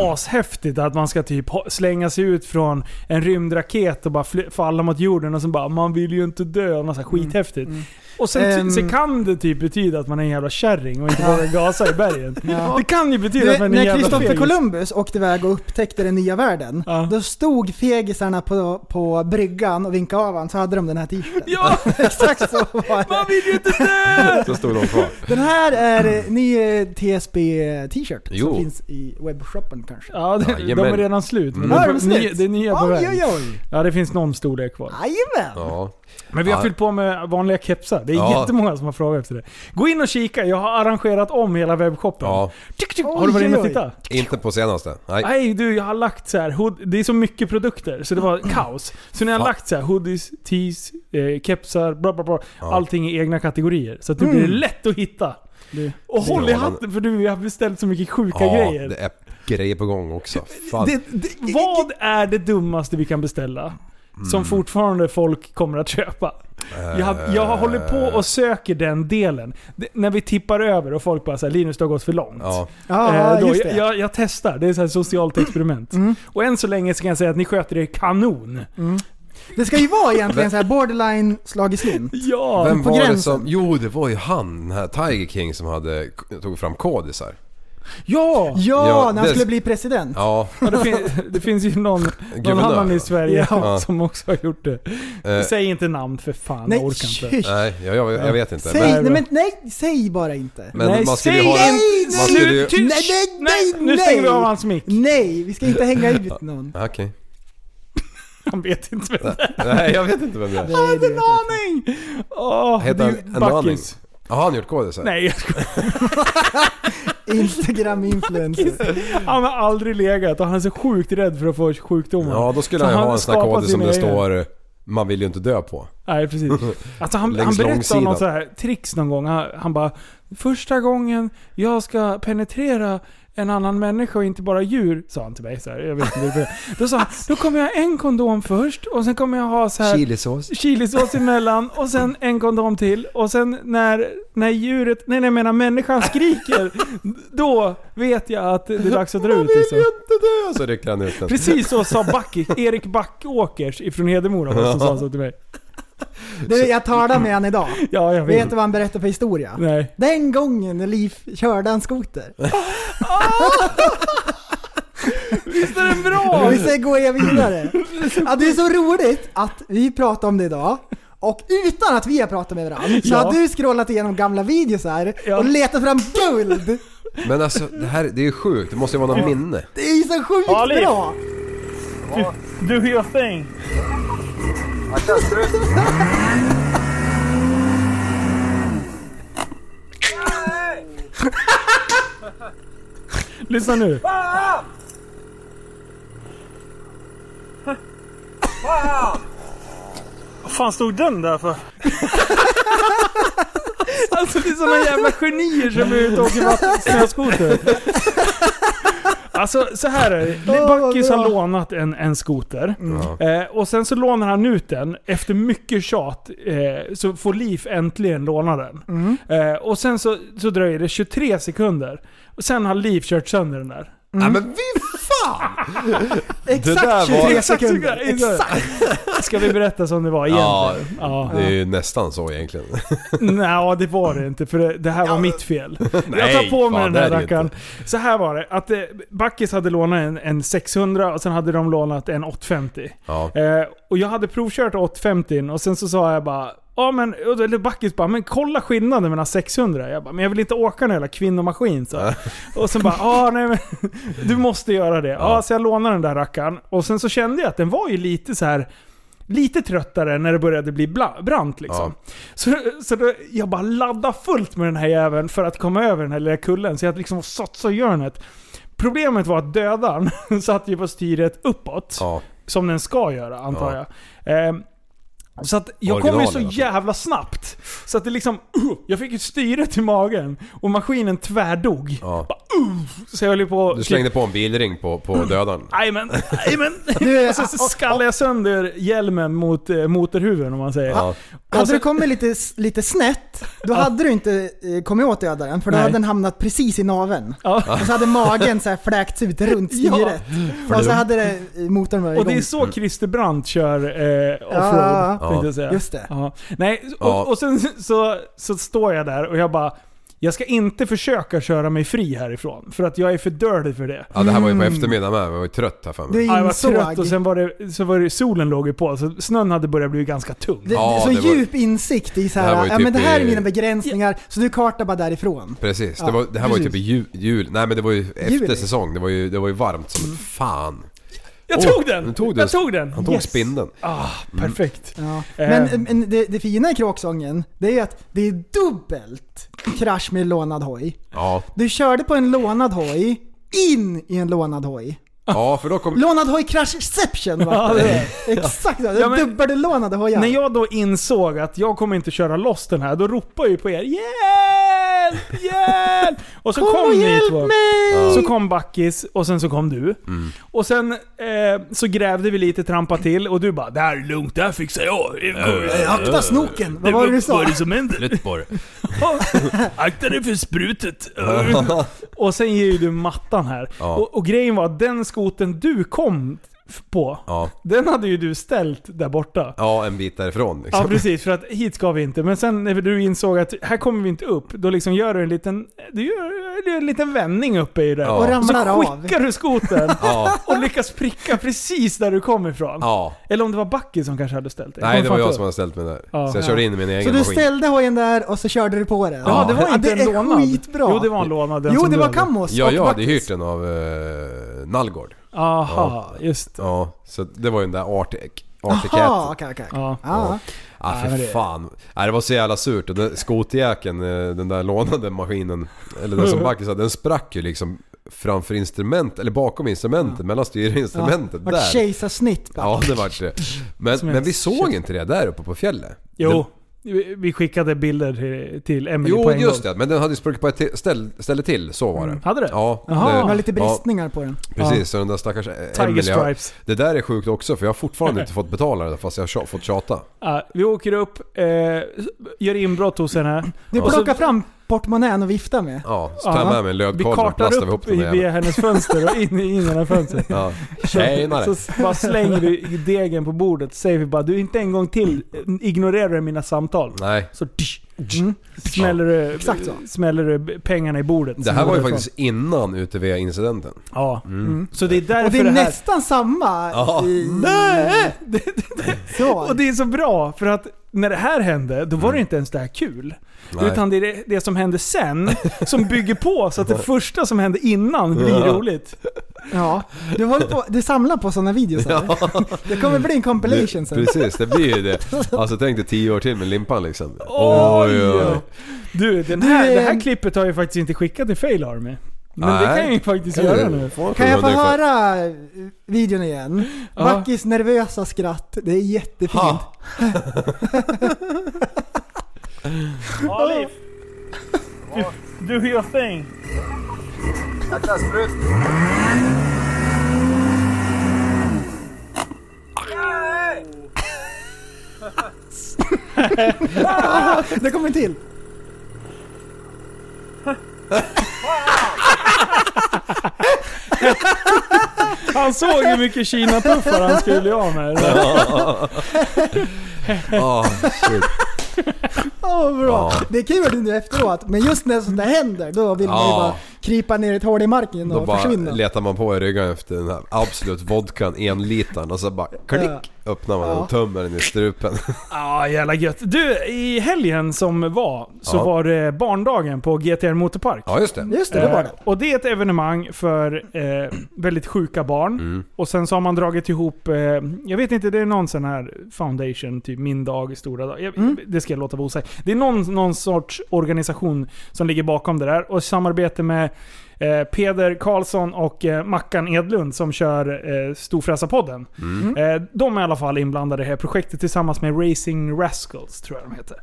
Speaker 3: ashäftigt att man ska typ ho- slänga sig ut från en rymdraket och bara fly- falla mot jorden och sen bara man vill ju inte dö. Något så här skithäftigt. Och sen,
Speaker 4: Mm, Ehm.
Speaker 3: sen kan det typ betyda att man är en jävla kärring och inte vågar gasa i bergen.
Speaker 4: Ja.
Speaker 3: Det kan ju betyda att
Speaker 4: Du,
Speaker 3: man är en
Speaker 4: när
Speaker 3: jävla
Speaker 4: Kristoffer
Speaker 3: fegis.
Speaker 4: Columbus åkte iväg och upptäckte den nya världen,
Speaker 3: Ja.
Speaker 4: då stod fegisarna på, på bryggan och vinkade av honom, så hade de den här t-shirten.
Speaker 3: Ja!
Speaker 4: *laughs* Exakt så var det.
Speaker 3: Man vill ju inte
Speaker 4: *laughs*
Speaker 3: dö!
Speaker 5: Så stod de kvar.
Speaker 4: Den här är eh, ny eh, TSB t-shirt
Speaker 5: Jo.
Speaker 4: som finns i webbshoppen kanske.
Speaker 3: Ja, det, de
Speaker 5: Jajamän.
Speaker 3: är redan slut. Men
Speaker 5: Mm.
Speaker 3: de
Speaker 4: Ja,
Speaker 3: får-
Speaker 4: är de slut?
Speaker 3: ny- det är nya på
Speaker 4: Oj,
Speaker 3: väg.
Speaker 4: oj, oj.
Speaker 3: Ja, det finns någon storlek kvar.
Speaker 4: Jajamän!
Speaker 5: Ja.
Speaker 3: Men vi har
Speaker 5: Ja.
Speaker 3: fyllt på med vanliga kepsar. Det är
Speaker 5: Ja.
Speaker 3: jättemånga som har frågat efter det. Gå in och kika, jag har arrangerat om hela webbshoppen.
Speaker 5: ja.
Speaker 3: Tjuk, tjuk. Har du varit
Speaker 4: Oj,
Speaker 3: inne och
Speaker 4: oj, oj.
Speaker 3: tittat?
Speaker 5: Inte på senaste. Nej.
Speaker 3: Nej du, jag har lagt så här. hood- Det är så mycket produkter så det var kaos. Så nu har jag
Speaker 5: Fan.
Speaker 3: lagt så här hoodies, tees, eh, kepsar, bla bla bla.
Speaker 5: Ja.
Speaker 3: Allting i egna kategorier. Så att nu blir det lätt att hitta.
Speaker 4: Du.
Speaker 3: Och håll i
Speaker 5: Strålande.
Speaker 3: hatten för du har beställt så mycket sjuka
Speaker 5: Ja,
Speaker 3: grejer.
Speaker 5: det är grejer på gång också. Fan.
Speaker 3: Det, det, vad är det dummaste vi kan beställa? Som fortfarande folk kommer att köpa. Jag, har- jag har håller på och söker den delen. Det, när vi tippar över och folk bara säger Linus du har gått för långt.
Speaker 5: Ja.
Speaker 4: Ja,
Speaker 3: Eh, då,
Speaker 4: just det.
Speaker 3: jag, jag, jag testar, det är ett socialt experiment. Och än så länge så kan jag säga att ni sköter er kanon.
Speaker 4: Det ska ju vara egentligen så här borderline slag i slint.
Speaker 3: Ja!
Speaker 5: Vem
Speaker 4: på
Speaker 5: var det
Speaker 4: gränsen.
Speaker 5: som... Jo, det var ju han, den här Tiger King som hade, tog fram kodisar.
Speaker 3: Ja!
Speaker 4: Ja,
Speaker 5: Ja,
Speaker 4: när
Speaker 5: det-
Speaker 4: han skulle bli president.
Speaker 3: *laughs*
Speaker 5: Ja,
Speaker 3: ja det, fin, det finns ju någon, någon
Speaker 5: Guvernör.
Speaker 3: annan i Sverige
Speaker 5: Ja.
Speaker 3: *laughs* som också har gjort det.
Speaker 5: eh,
Speaker 3: Säg inte namn för fan,
Speaker 4: Nej,
Speaker 3: jag orkar inte.
Speaker 4: tjus.
Speaker 5: nej, jag, jag, jag vet inte.
Speaker 4: Säg,
Speaker 5: Men,
Speaker 3: Nej,
Speaker 4: nej, men, nej, säg bara inte.
Speaker 5: men
Speaker 3: Nej,
Speaker 5: man skulle ju
Speaker 3: säg
Speaker 5: ha
Speaker 3: inte-
Speaker 5: den... Man skulle ju...
Speaker 3: Nu, tyst!
Speaker 4: Nej, nej, nej,
Speaker 3: Nu stänger vi av
Speaker 4: nej.
Speaker 3: hans mick.
Speaker 4: Nej, vi ska inte
Speaker 3: *laughs*
Speaker 4: hänga ut någon.
Speaker 5: Ah, Okej.
Speaker 3: Han vet inte vem det är.
Speaker 5: Nej, jag vet inte vem det är.
Speaker 3: Jag har inte en aning! Åh,
Speaker 5: Heter
Speaker 3: det är
Speaker 5: han
Speaker 3: ju
Speaker 5: en aning?
Speaker 3: Backis.
Speaker 5: Har han gjort kodisar?
Speaker 3: Nej, jag skojar. *laughs*
Speaker 4: Instagram-influencer.
Speaker 3: Han har aldrig legat och han är så sjukt rädd för att få sjukdomar.
Speaker 5: Ja, då skulle
Speaker 3: Så
Speaker 5: han ju ha en sån här
Speaker 3: skapar
Speaker 5: kod som
Speaker 3: sina
Speaker 5: det
Speaker 3: egna.
Speaker 5: står “Man vill ju inte dö på”.
Speaker 3: Nej, precis. Alltså han,
Speaker 5: Längs
Speaker 3: han berättade om
Speaker 5: långsidan.
Speaker 3: något så här tricks någon gång. Han, han bara Första gången jag ska penetrera en annan människa och inte bara djur, sa han till mig. Så här, jag vet inte det. Då sa han, då kommer jag ha en kondom först och sen kommer jag ha så här
Speaker 6: Chilisås.
Speaker 3: chilisås emellan och sen en kondom till. Och sen när, när djuret, nej nej jag menar människan skriker, då vet jag att det är dags att dra ut liksom.
Speaker 5: Och så rycker han ut den.
Speaker 3: Precis så sa Back, Erik Backåkers ifrån Hedemora var det som sa så till mig.
Speaker 4: Du, jag talade med han idag.
Speaker 3: Ja, jag
Speaker 4: Vet
Speaker 3: vet.
Speaker 4: du vad han berättade för historia?
Speaker 3: Nej.
Speaker 4: Den gången när Liv körde en skoter.
Speaker 3: *laughs* Visst är den bra?
Speaker 4: Och sen går jag
Speaker 3: *laughs*
Speaker 4: vidare. Ja, det är så roligt att vi pratar om det idag. Och utan att vi har pratat med varandra så
Speaker 3: Ja.
Speaker 4: har du scrollat igenom gamla videos här
Speaker 3: Ja.
Speaker 4: och letat fram guld.
Speaker 5: Men alltså det här det är ju sjukt. Det måste ju vara något minne.
Speaker 4: Det är ju så sjukt
Speaker 3: Ali.
Speaker 4: bra.
Speaker 3: Do your thing. Lyssna nu.
Speaker 7: Vad fan stod den där för?
Speaker 3: *laughs* Alltså det är såna jävla genier som är ute och åker vatten- snöskoter. Alltså så här är det.
Speaker 4: Åh, vad
Speaker 3: Backis har
Speaker 4: bra.
Speaker 3: lånat en, en skoter.
Speaker 5: Ja.
Speaker 3: Eh, och sen så lånar han ut den. Efter mycket tjat eh, så får Liv äntligen låna den. Eh, och sen så, så dröjer det 23 sekunder. Och sen har Liv kört sönder den där.
Speaker 5: Nej men vi där var-
Speaker 4: Exakt 23
Speaker 3: Exakt så
Speaker 4: sekunder.
Speaker 3: där, exakt. Ska vi berätta som det var
Speaker 5: Ja,
Speaker 3: egentligen? Ja.
Speaker 5: Det är ju nästan så egentligen.
Speaker 3: Nej, det var det inte. För det, det här var mitt fel.
Speaker 5: *laughs*
Speaker 3: jag tar på
Speaker 5: fan,
Speaker 3: mig den
Speaker 5: det
Speaker 3: här
Speaker 5: är det
Speaker 3: rackaren.
Speaker 5: inte.
Speaker 3: Så här var det. Att eh, Backis hade lånat en, en 600 och sen hade de lånat en 850.
Speaker 5: Ja.
Speaker 3: Eh, och jag hade provkört 850 och sen så sa jag bara Ja men, och då- eller Backis bara, men kolla skillnaden mellan 600. Jag bara, men jag vill inte åka en jävla kvinnomaskin. Så. och sen bara, ah, nej men
Speaker 5: *laughs*
Speaker 3: du måste göra det. Ja. så jag lånade den där rackaren. Och sen så kände jag att den var ju lite så här lite tröttare när det började bli bla- brant liksom. Så, så då, jag bara laddade fullt med den här jäveln för att komma över den här lilla kullen. Så jag liksom satsade i hörnet. Problemet var att dödaren *laughs* satt ju på styret uppåt.
Speaker 5: Ja.
Speaker 3: Som den ska göra antar
Speaker 5: Ja.
Speaker 3: jag. Ehm, så att jag kom ju
Speaker 5: Originalen,
Speaker 3: så
Speaker 5: alltså.
Speaker 3: jävla snabbt. Så att det liksom... *clears throat* Uh, jag fick ju styret i magen och maskinen tvärdog.
Speaker 5: Ja.
Speaker 3: Så jag höll ju på...
Speaker 5: Du slängde på en bilring på, på
Speaker 3: Mm.
Speaker 5: dödaren.
Speaker 3: Jajamän, jajamän.
Speaker 4: Du, alltså,
Speaker 3: Och *laughs* så skallade jag sönder hjälmen mot eh, motorhuven om man säger. Alltså-
Speaker 5: Ja.
Speaker 3: Och
Speaker 4: Hade
Speaker 3: så-
Speaker 4: du kommit lite, lite snett, då hade du inte eh, kommit åt dödaren för då
Speaker 3: Nej.
Speaker 4: hade den hamnat precis i naveln.
Speaker 3: Ja.
Speaker 4: Och så hade magen så här fläkts ut
Speaker 3: *laughs*
Speaker 4: runt
Speaker 3: Ja.
Speaker 4: styret. Och så hade det, eh, motorn varit
Speaker 3: Och det
Speaker 4: igång.
Speaker 3: är så Christer Brandt kör eh,
Speaker 4: Ja,
Speaker 3: offroad,
Speaker 5: Mm. ja.
Speaker 3: tänkte jag säga.
Speaker 4: Just det.
Speaker 3: Ja. Nej, och,
Speaker 5: Ja.
Speaker 3: och sen så, så står jag där och jag bara jag ska inte försöka köra mig fri härifrån, för att jag är för dirty för det.
Speaker 5: ja, det här var ju
Speaker 3: Mm.
Speaker 5: på eftermiddagen med. Jag var ju trött här för
Speaker 4: Du
Speaker 5: mig.
Speaker 3: Ja, Jag var
Speaker 4: insåg.
Speaker 3: trött och sen var det, så var det solen låg ju på, så snön hade börjat bli ganska tung.
Speaker 4: Det,
Speaker 5: Ja,
Speaker 4: så
Speaker 5: det var-
Speaker 4: djup insikt i så
Speaker 5: Det här
Speaker 4: här,
Speaker 5: var ju
Speaker 4: ja
Speaker 5: typ
Speaker 4: men det här är
Speaker 5: i-
Speaker 4: mina begränsningar, så du kartar bara därifrån.
Speaker 5: Precis. Det,
Speaker 4: Ja,
Speaker 5: var, det här var ju typ i ju- jul. Nej men det var ju efter
Speaker 4: Juli.
Speaker 5: säsong. Det var ju, det var ju varmt som fan.
Speaker 3: Mm. Jag
Speaker 5: Åh,
Speaker 3: tog den!
Speaker 5: du tog den.
Speaker 3: jag tog den!
Speaker 5: Han tog Mm.
Speaker 3: Yes.
Speaker 5: spindeln.
Speaker 3: Ah, perfekt.
Speaker 4: Ja.
Speaker 3: Eh.
Speaker 4: Men, men det, det fina i kråksången, det är ju att det är dubbelt krasch med lånad hoj.
Speaker 5: Ja.
Speaker 4: Du körde på en lånad hoj, in i en lånad hoj.
Speaker 5: ja, för då kom...
Speaker 4: Lånad hoj crashception
Speaker 3: Ja,
Speaker 4: var
Speaker 3: det
Speaker 4: det.
Speaker 3: är
Speaker 4: *laughs* Exakt, ja,
Speaker 3: Ja, men-
Speaker 4: dubbellånade hojar.
Speaker 3: När jag då insåg att jag kommer inte köra loss den här, då ropade jag ju på er Hjälp! Hjälp! Och så
Speaker 4: Kom
Speaker 3: kom,
Speaker 4: och
Speaker 3: ni
Speaker 4: hjälp
Speaker 3: två.
Speaker 4: mig!
Speaker 3: Så kom Backis och sen så kom du.
Speaker 5: Mm.
Speaker 3: Och sen eh, så grävde vi lite, trampade till och du bara 'Det här är lugnt, det här fixar jag'
Speaker 4: Nej, Akta snoken, vad var det du sa?
Speaker 3: som
Speaker 4: *laughs*
Speaker 3: hände?
Speaker 5: Lyteborg.
Speaker 3: Akta dig för sprutet. *laughs* och sen ger ju du mattan här.
Speaker 5: Ja.
Speaker 3: Och, och grejen var att den skoten du kom f- på,
Speaker 5: Ja.
Speaker 3: den hade ju du ställt där borta.
Speaker 5: Ja, en bit därifrån liksom.
Speaker 3: Ja precis, för att hit ska vi inte. Men sen när du insåg att här kommer vi inte upp, då liksom gör du en liten, du gör, du gör en liten vändning uppe i det.
Speaker 5: Ja.
Speaker 3: Och
Speaker 4: Och ramlar
Speaker 3: så
Speaker 4: av.
Speaker 3: skickar du skoten
Speaker 5: Ja.
Speaker 3: och lyckas pricka precis där du kom ifrån.
Speaker 5: ja.
Speaker 3: Eller om det var Bucky som kanske hade ställt det.
Speaker 5: Nej, det var jag som
Speaker 3: hade
Speaker 5: hade ställt mig där.
Speaker 3: Ja.
Speaker 5: så jag körde in i min egen
Speaker 4: Så du
Speaker 5: maskin.
Speaker 4: ställde hojen där och så körde du på den?
Speaker 3: Ja, det var inte
Speaker 4: det
Speaker 3: en lånad.
Speaker 4: är skitbra.
Speaker 3: Jo, det var en lånad. den
Speaker 4: Jo,
Speaker 3: som
Speaker 4: det
Speaker 3: du
Speaker 4: var
Speaker 3: hade.
Speaker 4: Cammos
Speaker 5: Ja,
Speaker 4: och
Speaker 5: jag hade
Speaker 4: Backis.
Speaker 5: hyrt den av eh, Nallgård.
Speaker 3: Aha, just det.
Speaker 5: Ja, så det var ju den där Artec.
Speaker 4: Jaha,
Speaker 5: artikett.
Speaker 4: okej okej.
Speaker 3: Ja.
Speaker 4: Ja.
Speaker 5: Ah,
Speaker 3: Ja, men
Speaker 5: för
Speaker 3: det-
Speaker 5: fan. Nej, det var så jävla surt. Den där skotjäkeln, eh, den där lånade maskinen, eller den
Speaker 3: *laughs*
Speaker 5: som Backe sa, den sprack ju liksom framför instrument, eller bakom instrumentet, mellan styrinstrumentet
Speaker 4: Vart
Speaker 5: där.
Speaker 4: kejsarsnitt bara.
Speaker 5: Ja, det var det. Men,
Speaker 3: Som en
Speaker 5: men vi såg inte det där uppe på fjället.
Speaker 3: Jo,
Speaker 5: Den,
Speaker 3: vi- vi skickade bilder till, till Emily på
Speaker 5: jo,
Speaker 3: en
Speaker 5: just
Speaker 3: gång. Mm.
Speaker 5: det. Men den hade ju spruckit på ett till- ställ, ställe till, så var det.
Speaker 3: Hade det?
Speaker 5: Ja.
Speaker 3: Jaha.
Speaker 4: Det var lite
Speaker 5: ja,
Speaker 4: bristningar på den.
Speaker 5: Precis, så den där stackars eh,
Speaker 3: Tiger
Speaker 5: Emily, jag-
Speaker 3: Stripes.
Speaker 5: Det där är sjukt också för jag har fortfarande
Speaker 3: *laughs*
Speaker 5: inte fått betala det fast jag har tja- fått tjata.
Speaker 3: Ja, vi åker upp, eh, gör inbrott hos henne.
Speaker 4: Du
Speaker 3: Och så-
Speaker 4: plockar fram portmonnän och viftar med.
Speaker 5: Ja, så tar jag
Speaker 3: Ja.
Speaker 5: med mig en
Speaker 3: Vi
Speaker 5: lödkolv och
Speaker 3: kartar
Speaker 5: plastar vi ihop
Speaker 3: upp
Speaker 5: den
Speaker 3: i,
Speaker 5: där
Speaker 3: via
Speaker 5: jäveln.
Speaker 3: hennes fönster och in, in genom fönstret.
Speaker 5: Ja.
Speaker 3: *laughs* Så-
Speaker 5: *laughs* Tjenare.
Speaker 3: Så s- bara slänger vi degen på bordet säger vi bara du inte en gång till ignorerar du mina samtal.
Speaker 5: Nej.
Speaker 3: Så tsch, tsch, smäller, du,
Speaker 4: Exakt så.
Speaker 3: smäller du pengarna i bordet.
Speaker 5: Det här var ju faktiskt innan UTV-incidenten.
Speaker 3: Ja. Mm. Så det är
Speaker 4: Mm. Och
Speaker 3: därför
Speaker 4: det är
Speaker 3: här...
Speaker 4: nästan samma
Speaker 5: Ja.
Speaker 4: i...
Speaker 3: Nej!
Speaker 4: Så.
Speaker 3: Och det är så bra för att när det här hände, då var det inte ens det här kul.
Speaker 5: Mm. Nej.
Speaker 3: Utan det är det, det som hände sen *laughs* som bygger på så att det första som hände innan blir roligt.
Speaker 4: Ja. Du, håller på, du samlar på sådana videos eller? Det kommer bli en compilation sen.
Speaker 5: Precis, det blir ju
Speaker 3: *laughs*
Speaker 5: det. Alltså tänk dig tio år till med limpan liksom.
Speaker 3: Oj,
Speaker 5: Oj, oj.
Speaker 3: ja. Du, den här,
Speaker 4: Du,
Speaker 3: det
Speaker 4: ehm,
Speaker 3: här klippet har jag faktiskt inte skickat till Fail Army. Men det
Speaker 5: Nej.
Speaker 3: kan jag ju faktiskt
Speaker 5: Kan
Speaker 3: göra
Speaker 5: du?
Speaker 3: nu.
Speaker 4: Kan jag få
Speaker 5: Det är klart.
Speaker 4: höra eh, videon igen?
Speaker 3: Ja.
Speaker 4: Backis nervösa skratt, det är jättefint.
Speaker 5: Ha.
Speaker 7: Ja, Liv. Do, do your thing.
Speaker 4: Det kommer till.
Speaker 3: Han såg hur mycket Kina-puffar han skulle bli av med.
Speaker 5: Ah, shit.
Speaker 4: Åh bra.
Speaker 5: Ja.
Speaker 4: Det är kul nu efteråt, men just när sånt där händer, då vill man ju
Speaker 5: Ja.
Speaker 4: bara krypa ner i ett hål i marken
Speaker 5: Då
Speaker 4: och
Speaker 5: bara
Speaker 4: försvinna.
Speaker 5: letar man på i ryggen efter den här Absolut Vodkan, enlitaren och så bara klick öppnar man den och tömmer den i
Speaker 3: *laughs*
Speaker 5: strupen.
Speaker 3: Ja, jävla gött. Du, i helgen som var så
Speaker 5: Ja.
Speaker 3: var det barndagen på GTR Motorpark.
Speaker 5: Ja just det.
Speaker 4: Just det, det var det.
Speaker 3: Eh, Och det är ett evenemang för eh, väldigt sjuka barn. Och sen så har man dragit ihop, eh, jag vet inte, det är någon sån här foundation, typ Min Dag, Stora Dag. Jag, Det ska jag låta vara osagt. Det är någon, någon sorts organisation som ligger bakom det där. Och i samarbete med eh, Peder Karlsson och eh, Mackan Edlund som kör eh, Storfräsarpodden. Eh, de är i alla fall inblandade i det här projektet tillsammans med Racing Rascals, tror jag de heter.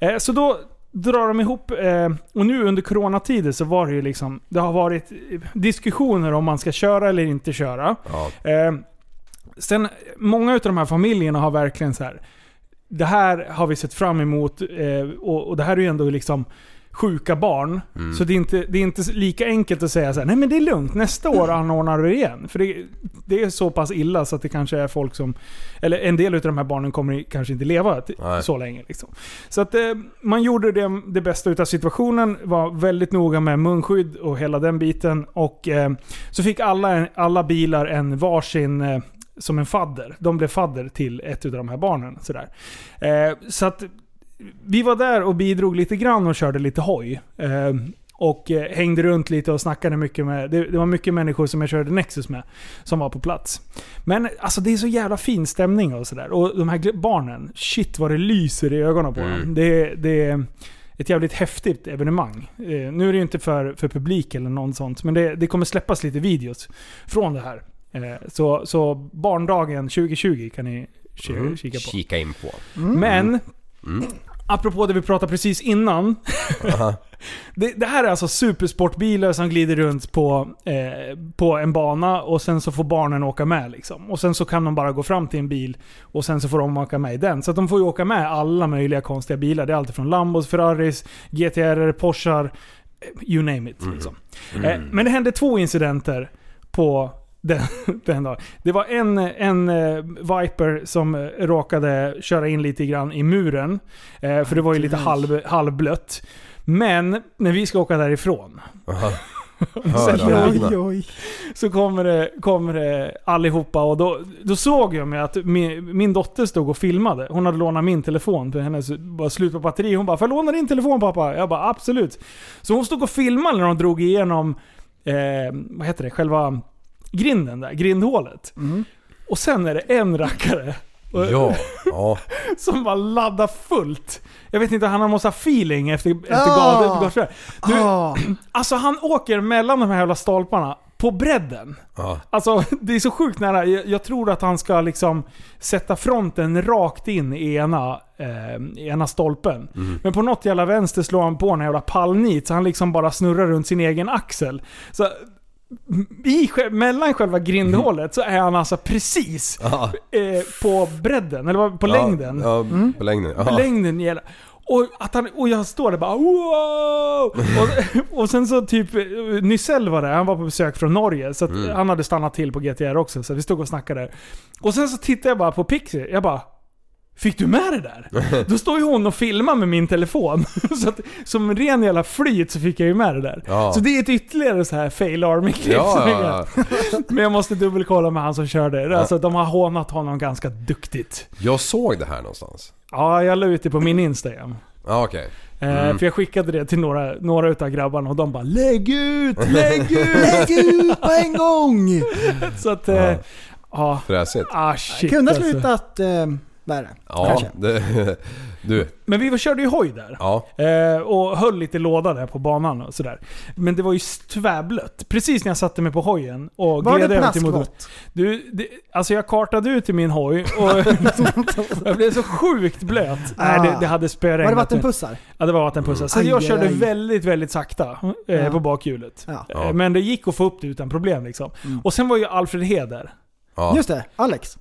Speaker 3: Eh, så då drar de ihop, eh, och nu under coronatider så var det ju liksom, det har varit eh, diskussioner om man ska köra eller inte köra.
Speaker 5: Ja.
Speaker 3: Eh, sen, många av de här familjerna har verkligen så här. det här har vi sett fram emot eh, och, och det här är ju ändå liksom sjuka barn. Så det är, inte, det är inte lika enkelt att säga så här, nej men det är lugnt, nästa år anordnar vi igen. För det, det är så pass illa så att det kanske är folk som, eller en del av de här barnen kommer i- kanske inte leva t-
Speaker 5: Nej.
Speaker 3: så länge. Liksom. Så att eh, man gjorde det, det bästa utav situationen, var väldigt noga med munskydd och hela den biten. Och eh, så fick alla, en- alla bilar en varsin eh, som en fadder. De blev fadder till ett av de här barnen. Sådär. Eh, så att vi var där och bidrog lite grann och körde lite hoj. Eh, och eh, hängde runt lite och snackade mycket med... Det, det var mycket människor som jag körde Nexus med som var på plats. Men alltså det är så jävla fin stämning och sådär. Och de här gl- barnen, shit vad det lyser i ögonen på dem. Det, det är ett jävligt häftigt evenemang. Eh, nu är det ju inte för, för publik eller något sånt, men det, det kommer släppas lite videos från det här. Eh, så, så barndagen 2020 kan ni ki-
Speaker 5: Mm.
Speaker 3: kika på.
Speaker 5: Kika in
Speaker 3: *laughs*
Speaker 5: på.
Speaker 3: Men, apropå det vi pratade precis innan. *laughs* det, det här är alltså supersportbilar som glider runt på, eh, på en bana och sen så får barnen åka med. Liksom. Och sen så kan de bara gå fram till en bil och sen så får de åka med i den. Så att de får ju åka med alla möjliga konstiga bilar. Det är allt från Lambos, Ferraris, GTR, Porschar, eh, you name it. Liksom. Eh, men det hände två incidenter på den, *laughs* den dagen. Det var en, en eh, Viper som eh, råkade köra in lite grann i muren. Eh, för det var ju lite halv, halvblött. Men när vi ska åka därifrån
Speaker 5: Aha.
Speaker 3: Sen-
Speaker 5: Hör
Speaker 4: Oj,
Speaker 5: ögonen.
Speaker 4: oj.
Speaker 3: så kommer det, kommer det allihopa och då, då såg jag mig att min, min dotter stod och filmade. Hon hade lånat min telefon för hennes var slut på batteri. Hon bara “Får jag låna din telefon pappa?” Jag bara “Absolut”. Så hon stod och filmade när de drog igenom, eh, vad heter det, själva grinden där, grindhålet. Och sen är det en rackare Och-
Speaker 5: Ja, ja.
Speaker 3: Som bara laddar fullt. Jag vet inte, han måste ha feeling efter, efter
Speaker 4: Ja.
Speaker 3: gator- gator. Du,
Speaker 4: Ah,
Speaker 3: Alltså han åker mellan de här jävla stolparna på bredden.
Speaker 5: ja.
Speaker 3: Alltså *laughs* det är så sjukt nära. Jag, jag tror att han ska liksom sätta fronten rakt in i ena, eh, i ena stolpen.
Speaker 5: Mm.
Speaker 3: Men på något jävla vänster slår han på en jävla pallnit så han liksom bara snurrar runt sin egen axel. Så, i, sj- mellan själva grindhålet så är han alltså precis
Speaker 5: ja.
Speaker 3: eh, på bredden, eller vad- på längden. Mm.
Speaker 5: Ja, på längden. Ja.
Speaker 3: Längden gäller. Och, att han, och jag står där bara wow! Och, *laughs* och sen så typ, eh, Nysell var där, han var på besök från Norge. Så att
Speaker 5: Mm.
Speaker 3: han hade stannat till på GTR också, så vi stod och snackade. Och sen så tittade jag bara på Pixie, jag bara Fick du med det där? Då står ju hon och filmar *laughs* med min telefon. Så att, som ren jävla flyt så fick jag ju med det där.
Speaker 5: Ja.
Speaker 3: Så det är ett ytterligare så här fail army-klipp
Speaker 5: Ja,
Speaker 3: som jag
Speaker 5: ja,
Speaker 3: gör.
Speaker 5: ja.
Speaker 3: *laughs* Men jag måste dubbelkolla med han som körde. Alltså de har hånat honom ganska duktigt.
Speaker 5: Jag såg det här någonstans.
Speaker 3: Ja, jag la ut det på min Instagram.
Speaker 5: Ja, okej.
Speaker 3: Eh, För jag skickade det till några, några utav grabbarna och de bara Lägg ut! Lägg ut!
Speaker 4: lägg ut på en gång!
Speaker 3: så att... eh, Ja.
Speaker 5: Fräsigt.
Speaker 3: Ah shit
Speaker 4: Kunde ha
Speaker 3: alltså.
Speaker 4: slutat eh, värre.
Speaker 5: Ja,
Speaker 4: Kanske.
Speaker 5: det, *laughs* du.
Speaker 3: Men vi var- körde ju hoj där.
Speaker 5: Ja.
Speaker 3: Eh, och höll lite låda där på banan och sådär. Men det var ju tvärblött. Precis när jag satte mig på hojen och
Speaker 4: Var
Speaker 3: gled
Speaker 4: det
Speaker 3: över till motorn.
Speaker 4: plaskvått?
Speaker 3: Du, det, alltså jag kartade ut i min hoj
Speaker 4: *laughs*
Speaker 3: och *laughs* jag blev så sjukt blöt. Nej, det, det hade spöregnat.
Speaker 4: Ah. Var
Speaker 3: mig.
Speaker 4: det vattenpussar?
Speaker 3: Ja, det var vattenpussar. Så
Speaker 4: Aj,
Speaker 3: jag
Speaker 4: Mm. aj,
Speaker 3: körde
Speaker 4: aj.
Speaker 3: väldigt, väldigt sakta eh,
Speaker 4: Ja.
Speaker 3: på bakhjulet.
Speaker 4: Ja. Mm.
Speaker 3: Eh, Men det gick att få upp det utan problem liksom. Och sen var ju Alfred Heder.
Speaker 5: Ja.
Speaker 4: Just det, Alex.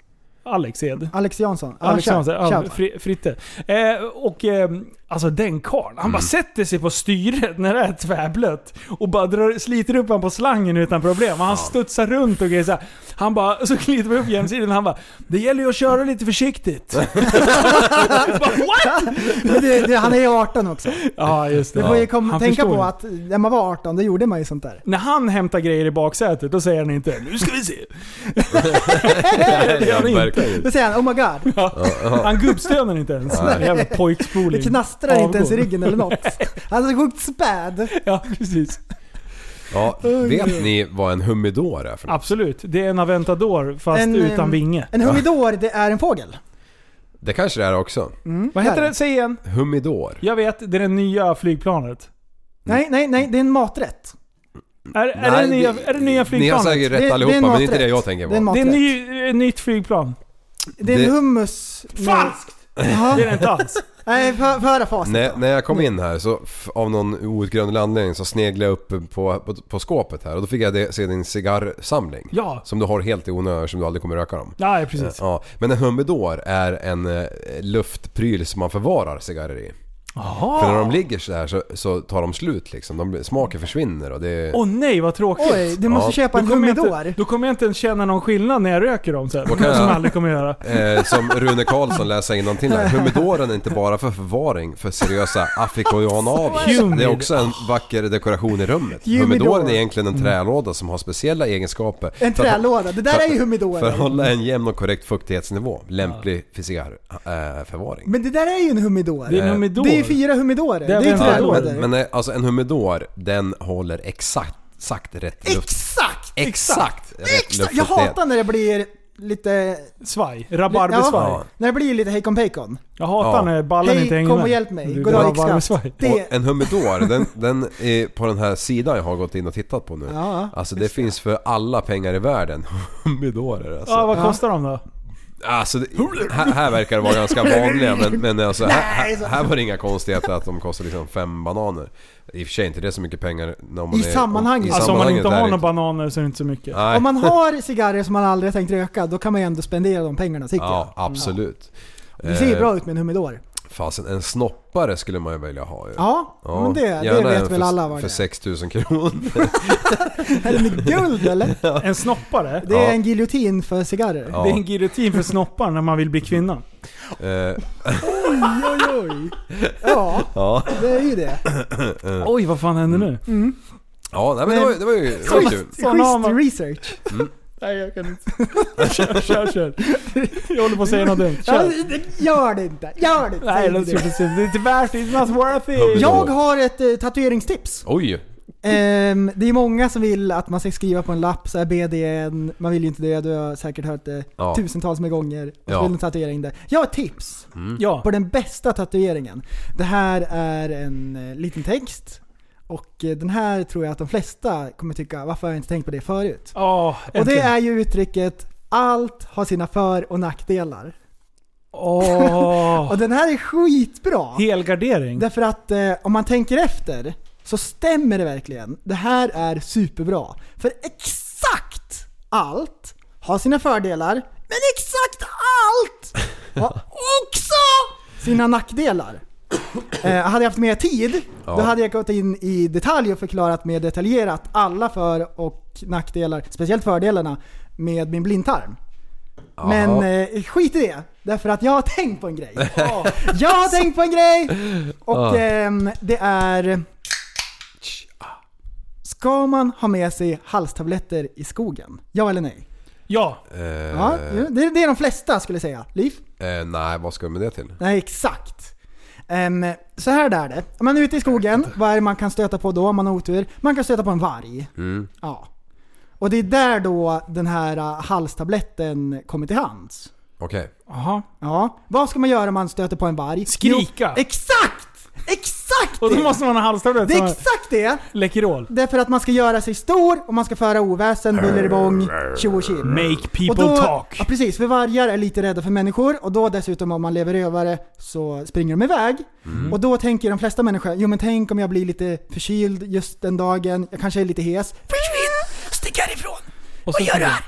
Speaker 3: Alex Hed.
Speaker 4: Alex Jansson. Ja,
Speaker 3: Alex
Speaker 4: tja.
Speaker 3: Jansson, ja,
Speaker 4: Tja.
Speaker 3: fri, Fritte. Eh, och eh, alltså den karln, han bara sätter sig på styret när det är tvärblött och bara drar, sliter upp han på slangen utan problem. Och han studsar runt och grejer så här. Han bara, så glider man upp jämsides och han bara Det gäller ju att köra lite försiktigt. *laughs* Jag bara,
Speaker 4: *laughs*
Speaker 3: What?
Speaker 4: Men det, det, han är ju 18 också.
Speaker 3: Ja just det.
Speaker 4: Du får ju
Speaker 3: Ja,
Speaker 4: kom,
Speaker 3: han
Speaker 4: tänka
Speaker 3: förstår
Speaker 4: på
Speaker 3: ju.
Speaker 4: att när man var 18 då gjorde man ju sånt där.
Speaker 3: När han hämtar grejer i baksätet då säger han inte Nu ska vi se.
Speaker 5: Nej,
Speaker 3: det gör
Speaker 5: *laughs*
Speaker 3: det
Speaker 5: verkligen.
Speaker 4: Då säger han oh my god.
Speaker 3: Han gubbstönar inte ens.
Speaker 5: Nej.
Speaker 3: Jävla pojkspoling.
Speaker 4: Det knastrar inte ens i
Speaker 3: Avgår.
Speaker 4: ryggen
Speaker 3: *laughs*
Speaker 4: eller något. Han är så sjukt späd.
Speaker 3: Ja, precis.
Speaker 5: Ja, vet ni vad en humidor är för något?
Speaker 3: Absolut. Det är en Aventador fast
Speaker 4: En,
Speaker 3: utan
Speaker 4: ehm,
Speaker 3: vinge.
Speaker 4: En humidor, det är en
Speaker 3: Mm.
Speaker 4: fågel.
Speaker 5: Det kanske det är också.
Speaker 3: Vad heter
Speaker 4: mm, där.
Speaker 3: det? Säg igen.
Speaker 5: Humidor.
Speaker 3: Jag vet, det är det nya flygplanet.
Speaker 4: Nej, nej, nej, det är en maträtt.
Speaker 3: Är, är, det, nya, är det nya
Speaker 5: Ni har
Speaker 3: flygplanet?
Speaker 5: säkert
Speaker 4: Det-
Speaker 5: rätt
Speaker 4: det är
Speaker 5: allihopa,
Speaker 4: en
Speaker 5: men det är inte
Speaker 4: maträtt.
Speaker 5: det jag tänker
Speaker 4: Det är en
Speaker 5: på.
Speaker 3: det är
Speaker 4: maträtt.
Speaker 3: ny, ett nytt flygplan.
Speaker 4: Det är
Speaker 5: det-
Speaker 4: en hummus. med-
Speaker 3: Falskt!
Speaker 4: Jaha.
Speaker 3: Det är det inte alls.
Speaker 4: Nej, för, för höra facit
Speaker 5: När,
Speaker 4: då.
Speaker 5: när jag kom in här så, f- av någon outgrundlig anledning, så sneglade jag upp på, på, på skåpet här och då fick jag det, se din cigarrsamling.
Speaker 3: Ja.
Speaker 5: Som du har helt i onödan, som du aldrig kommer röka dem. Eh,
Speaker 3: Nej, precis.
Speaker 5: Ja, men en humidor är en eh, luftpryl som man förvarar cigarrer i. För när de ligger så här så, så tar de slut liksom. De, blir- smaken försvinner och det...
Speaker 3: Åh nej, vad tråkigt.
Speaker 4: Oj, du måste
Speaker 5: Ja.
Speaker 4: köpa
Speaker 3: Då
Speaker 4: en
Speaker 3: kommer, jag
Speaker 4: humidor.
Speaker 3: inte, då kommer jag inte ens känna någon skillnad när jag röker dem sen. Något
Speaker 5: kan jag-
Speaker 3: som jag aldrig kommer göra.
Speaker 5: Eh, som Rune Karlsson läser innantill här. Humidoren är inte bara för förvaring för seriösa afrikanaver.
Speaker 3: Humid.
Speaker 5: Det är också en vacker dekoration i rummet.
Speaker 4: Humidor.
Speaker 5: Humidoren är egentligen en trälåda som har speciella egenskaper.
Speaker 4: En
Speaker 5: för att-
Speaker 4: trälåda. Det där är ju humidorer.
Speaker 5: För att hålla en jämn och korrekt fuktighetsnivå. Lämplig för eh, cigarrförvaring.
Speaker 4: Men det där är ju en humidor.
Speaker 5: Eh.
Speaker 3: Det är en humidor.
Speaker 4: Det är ju fyra humidorer.
Speaker 3: Det
Speaker 4: Det
Speaker 3: är
Speaker 4: är ju
Speaker 3: väl en humidor.
Speaker 5: Ja,
Speaker 4: trälådor.
Speaker 5: men, men eh, alltså en humidor, den håller exakt, exakt rätt luft.
Speaker 4: Exakt!
Speaker 5: Exakt! Rätt
Speaker 4: Exakt! Jag
Speaker 5: luftfuktighet.
Speaker 4: hatar när det blir lite...
Speaker 3: Svaj. Rabarbersvaj.
Speaker 5: Ja.
Speaker 4: När det blir lite hejkon pejkon.
Speaker 3: Jag hatar
Speaker 5: Ja.
Speaker 3: när ballen
Speaker 4: Hej,
Speaker 3: inte hänger
Speaker 4: kom
Speaker 3: med.
Speaker 4: och hjälp mig.
Speaker 3: Det är
Speaker 4: Goddag
Speaker 3: rabarbersvaj.
Speaker 4: yxskaft. Det...
Speaker 5: Och en humidor, den, den är på den här sidan jag har gått in och tittat på nu.
Speaker 4: Ja,
Speaker 5: alltså det finns för alla pengar i världen. *laughs* Humidorer alltså.
Speaker 3: Ja, vad kostar de då?
Speaker 5: alltså det, här, här verkar det vara ganska vanliga men, men alltså, här, här, här var det inga konstigheter att de kostar liksom fem bananer. I och för sig inte det är så mycket pengar. När man
Speaker 4: I
Speaker 5: är,
Speaker 4: sammanhanget.
Speaker 3: Alltså om man inte
Speaker 5: är det
Speaker 3: har några bananer så är det inte så mycket.
Speaker 5: Nej.
Speaker 4: Om man har cigarrer som man aldrig har tänkt röka, då kan man ju ändå spendera de pengarna tycker
Speaker 5: Ja, absolut.
Speaker 4: jag. Det ser ju
Speaker 5: Eh,
Speaker 4: bra ut med en humidor.
Speaker 5: Fasen, en snoppare skulle man ju vilja ha ju.
Speaker 4: Ja, men det, det
Speaker 5: gärna en
Speaker 4: vet väl
Speaker 5: för,
Speaker 4: alla vad
Speaker 5: För
Speaker 4: det
Speaker 5: 6000 kronor.
Speaker 4: är. Är den i
Speaker 5: *laughs*
Speaker 4: guld eller?
Speaker 3: En snoppare?
Speaker 4: Det är
Speaker 5: Ja.
Speaker 4: en giljotin för cigarrer.
Speaker 5: Ja.
Speaker 3: Det är en giljotin för snoppar när man vill bli kvinna.
Speaker 5: Eh,
Speaker 4: Oj, oj, oj. Ja,
Speaker 5: ja.
Speaker 4: det är ju det.
Speaker 3: Oj, vad fan händer nu?
Speaker 5: Ja, nej, men det var, ju- det var ju det var ju kul.
Speaker 4: Schysst
Speaker 3: Såna har man-
Speaker 4: schysst research.
Speaker 3: Nej, jag kan inte. kör, kör, kör. Jag håller på att säga något dumt.
Speaker 4: Ja,
Speaker 3: Kör.
Speaker 4: det- Gör det inte. Gör det inte.
Speaker 3: Nej,
Speaker 4: säger
Speaker 3: det
Speaker 4: du.
Speaker 3: är inte värt det. It's not worth it.
Speaker 5: Ja.
Speaker 4: Jag har ett eh, tatueringstips.
Speaker 5: Oj!
Speaker 4: Ehm, det är många som vill att man ska skriva på en lapp så här BDN, man vill ju inte det, du har säkert hört det
Speaker 5: Ja.
Speaker 4: tusentals med gånger. Och
Speaker 5: Ja. Mm.
Speaker 4: så vill en tatuering där. Jag har ett tips
Speaker 3: Ja.
Speaker 4: på den bästa tatueringen. Det här är en eh, liten text och eh, den här tror jag att de flesta kommer tycka, varför har jag inte tänkt på det förut?
Speaker 3: Ja,
Speaker 4: Och det
Speaker 3: äntligen.
Speaker 4: är ju uttrycket allt har sina för och nackdelar.
Speaker 3: Åh.
Speaker 4: Och den här är skitbra!
Speaker 3: Helgardering.
Speaker 4: Därför att eh, om man tänker efter så stämmer det verkligen. Det här är superbra. För exakt allt har sina fördelar, men exakt allt har också sina nackdelar. Eh, hade jag haft mer tid, då
Speaker 5: Ja.
Speaker 4: hade jag gått in i detalj och förklarat mer detaljerat alla för och nackdelar, speciellt fördelarna, med min blindtarm. Men
Speaker 5: Jaha.
Speaker 4: eh, skit i det, därför att jag har tänkt på en grej. Jag har tänkt på en grej! Och ehm, det är... Ska man ha med sig halstabletter i skogen? Ja eller nej?
Speaker 3: Ja.
Speaker 4: Ja, det är, det är de flesta skulle jag säga. Liv?
Speaker 5: Eh, nej, vad ska vi med det till?
Speaker 4: Nej, exakt. Ehm, så här där är det. Om man är ute i skogen, vad är det man kan stöta på då om man har otur? Man kan stöta på en varg. Ja. Och det är där då den här eh, halstabletten kommer till hands.
Speaker 5: Okej.
Speaker 3: Aha.
Speaker 4: Ja, vad ska man göra om man stöter på en varg?
Speaker 3: Skrika.
Speaker 4: Jo, exakt! Exakt
Speaker 3: Och då
Speaker 4: det!
Speaker 3: måste man ha halstablett
Speaker 4: Det är
Speaker 3: som
Speaker 4: exakt det!
Speaker 3: Läkerol.
Speaker 4: Därför att man ska göra sig stor och man ska föra oväsen, buller i bång, tjo och tjim.
Speaker 3: Make people
Speaker 4: Och då-
Speaker 3: talk.
Speaker 4: Ja, precis, för vargar är lite rädda för människor och då dessutom om man lever rövare så springer de iväg.
Speaker 3: Mm.
Speaker 4: Och då tänker de flesta människor, jo men tänk om jag blir lite förkyld just den dagen, jag kanske är lite hes. Försvinn! Stick härifrån!
Speaker 3: Och så,
Speaker 4: Vad gör du här?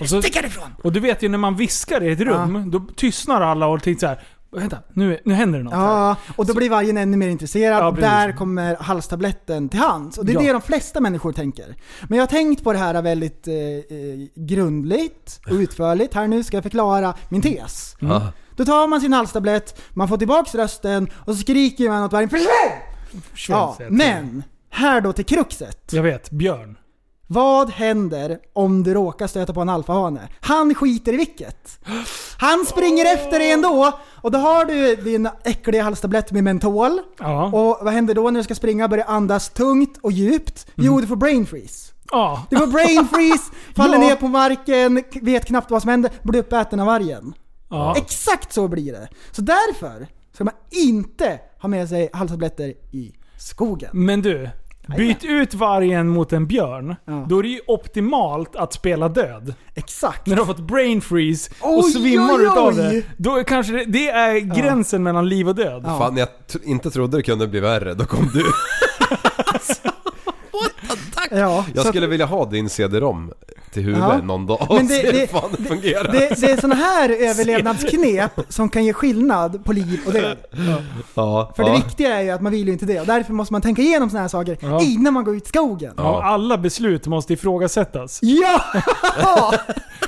Speaker 3: och, så,
Speaker 4: Stick härifrån!
Speaker 3: och du vet ju när man viskar i ett rum, då tystnar alla och tänker så här. Vänta, nu, nu händer det något här.
Speaker 4: Ja, och då blir vargen ännu mer intresserad
Speaker 3: Ja,
Speaker 4: och
Speaker 3: precis.
Speaker 4: där kommer halstabletten till hands. Och det är
Speaker 3: Ja.
Speaker 4: det de flesta människor tänker. Men jag har tänkt på det här väldigt eh, eh, grundligt och utförligt. Här nu ska jag förklara min
Speaker 3: Mm.
Speaker 4: tes.
Speaker 5: Ah.
Speaker 4: Då tar man sin halstablett, man får tillbaks rösten och så skriker man åt vargen FÖRSVINN! Ja,
Speaker 3: Schweiz, jag tror.
Speaker 4: men här då till kruxet.
Speaker 3: Jag vet, björn.
Speaker 4: Vad händer om du råkar stöta på en alfahane? Han skiter i vilket. Han springer efter dig ändå och då har du din äckliga halstablett med mentol.
Speaker 3: Ja.
Speaker 4: Och vad händer då när du ska springa? Börjar andas tungt och djupt?
Speaker 3: Mm.
Speaker 4: Jo, du får brain freeze.
Speaker 3: ja.
Speaker 4: Du får brain
Speaker 3: *laughs*
Speaker 4: freeze, faller
Speaker 3: Ja.
Speaker 4: ner på marken, k- vet knappt vad som händer, blir uppäten av vargen.
Speaker 3: ja.
Speaker 4: Exakt så blir det. Så därför ska man inte ha med sig halstabletter i skogen.
Speaker 3: Men du, byt ut vargen mot en björn.
Speaker 4: Ja.
Speaker 3: Då är det ju optimalt att spela död.
Speaker 4: Exakt.
Speaker 3: När du har fått brain freeze och
Speaker 4: Oj,
Speaker 3: svimmar
Speaker 4: oj,
Speaker 3: utav
Speaker 4: oj.
Speaker 3: det. Då är kanske det, det är gränsen mellan liv och död.
Speaker 4: Ja.
Speaker 5: Fan, jag tr- inte trodde det kunde bli värre. Då kom
Speaker 4: *laughs*
Speaker 5: du.
Speaker 4: Ja,
Speaker 5: Jag
Speaker 4: så att-
Speaker 5: skulle vilja ha din CD-ROM till huvudet
Speaker 4: Ja.
Speaker 5: någon dag och
Speaker 4: Men det-
Speaker 5: *laughs* se hur
Speaker 4: det-
Speaker 5: fan det fungerar.
Speaker 4: Det, det är
Speaker 5: *laughs*
Speaker 4: sådana här överlevnadsknep som kan ge skillnad på liv och död.
Speaker 5: ja,
Speaker 4: För
Speaker 5: ja.
Speaker 4: det viktiga är ju att man vill ju inte det. Och därför måste man tänka igenom sådana här saker
Speaker 3: Ja.
Speaker 4: innan man går ut i skogen.
Speaker 5: Ja.
Speaker 3: Och alla beslut måste ifrågasättas.
Speaker 4: Ja!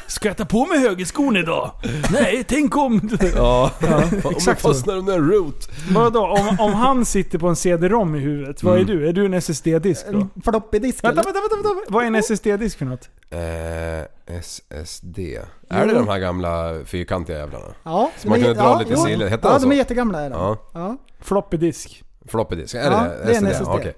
Speaker 3: Ska jag ta på mig högerskon
Speaker 4: *laughs*
Speaker 3: idag? Nej, tänk om...
Speaker 5: Ja, *laughs* om vi
Speaker 3: exakt så.
Speaker 5: fastnar under en root.
Speaker 3: Vadå? Om, om han sitter på en CD-ROM i huvudet, vad är
Speaker 5: Mm.
Speaker 3: du? Är du en SSD-disk då?
Speaker 4: En Flopp i disken.
Speaker 3: Vänta, vänta, vänta, vänta. Vad är
Speaker 4: Mm.
Speaker 3: en SSD-disk för något?
Speaker 5: Eh, SSD. Är det de här gamla fyrkantiga jävlarna?
Speaker 4: Ja,
Speaker 5: Så man
Speaker 4: det-
Speaker 5: kunde dra lite
Speaker 4: jo.
Speaker 5: sill. Hette
Speaker 4: Ja,
Speaker 5: den så?
Speaker 4: de är jättegamla. Är de.
Speaker 5: Ja.
Speaker 4: Ja.
Speaker 3: Floppy disk.
Speaker 5: Floppy disk, är
Speaker 4: Ja,
Speaker 5: det,
Speaker 4: det är en
Speaker 5: SSD?
Speaker 4: SSD.
Speaker 5: Okej.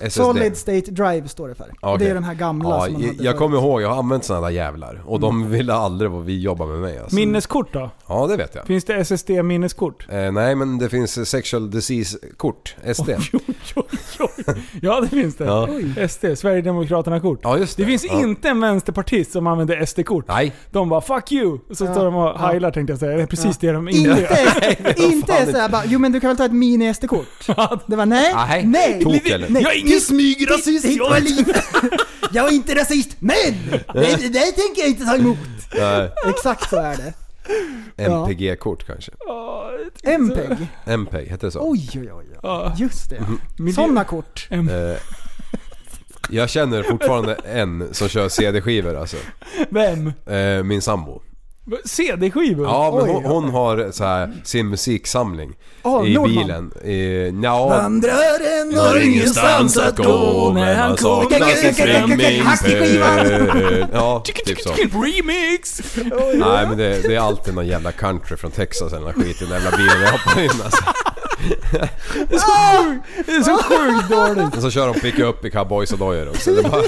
Speaker 5: SSD.
Speaker 4: Solid State Drive står det för.
Speaker 5: Ja,
Speaker 4: Och Det
Speaker 5: okej.
Speaker 4: är de här gamla
Speaker 5: Ja,
Speaker 4: som man
Speaker 5: jag,
Speaker 4: hade
Speaker 5: jag
Speaker 4: förut. Mm.
Speaker 5: kommer ihåg, jag har använt sådana där jävlar. Och de ville aldrig vad vi jobbar med mig alltså.
Speaker 3: Minneskort då?
Speaker 5: Ja, det vet jag.
Speaker 3: Finns det SSD-minneskort?
Speaker 5: *laughs* Eh, nej, men det finns sexual disease-kort, SD.
Speaker 3: Oj, oj, oj. Ja, det finns det.
Speaker 5: Ja.
Speaker 3: SD, Sverigedemokraterna-kort.
Speaker 5: Ja, just det.
Speaker 3: Det finns
Speaker 5: ja.
Speaker 3: inte en vänsterpartist som använder SD-kort.
Speaker 5: Nej.
Speaker 3: De bara 'fuck you' så står de och heilar tänkte jag säga. Det är precis det
Speaker 5: *laughs*
Speaker 3: de inte gör.
Speaker 4: *laughs* Inte,
Speaker 5: fan
Speaker 4: inte
Speaker 5: inte.
Speaker 4: såhär bara, jo men du kan väl ta
Speaker 5: *laughs*
Speaker 4: ett mini-SD-kort? Det var nej,
Speaker 5: Nej.
Speaker 4: nej,
Speaker 5: Tok, Ah, eller?
Speaker 4: nej.
Speaker 3: Jag är ingen
Speaker 4: Du-
Speaker 3: smygrasist,
Speaker 4: du-
Speaker 3: jag är-
Speaker 4: lite- *laughs* jag är inte rasist,
Speaker 5: *laughs*
Speaker 4: men! Det, det där tänker jag inte ta emot.
Speaker 5: Nej.
Speaker 4: Exakt så är det.
Speaker 5: MPG-kort kanske.
Speaker 4: MPEG.
Speaker 5: MPEG, heter det så?
Speaker 4: Oj, oj, oj.
Speaker 3: Ja.
Speaker 4: Just det.
Speaker 5: Mhm.
Speaker 3: Miljö-
Speaker 4: Sådana kort.
Speaker 5: Eh, jag känner fortfarande en som kör CD-skivor alltså.
Speaker 3: Vem?
Speaker 5: Eh, min sambo.
Speaker 3: CD-skivor?
Speaker 5: Ja, men
Speaker 4: Oj.
Speaker 5: hon, hon har så här, sin musiksamling
Speaker 4: Åh,
Speaker 5: i
Speaker 4: Nordman.
Speaker 5: bilen. I, nja,
Speaker 4: Vandraren
Speaker 3: när han kommer.
Speaker 5: Ja, typ så.
Speaker 3: Remix!
Speaker 5: Nej men det, det är alltid någon jävla country från Texas eller någon skit i den jävla bilen jag hoppar in alltså.
Speaker 3: Det är så *laughs* sjukt dåligt.
Speaker 5: Och så kör de picka upp i cowboys och dojor också. Det är
Speaker 4: *laughs*
Speaker 5: bara,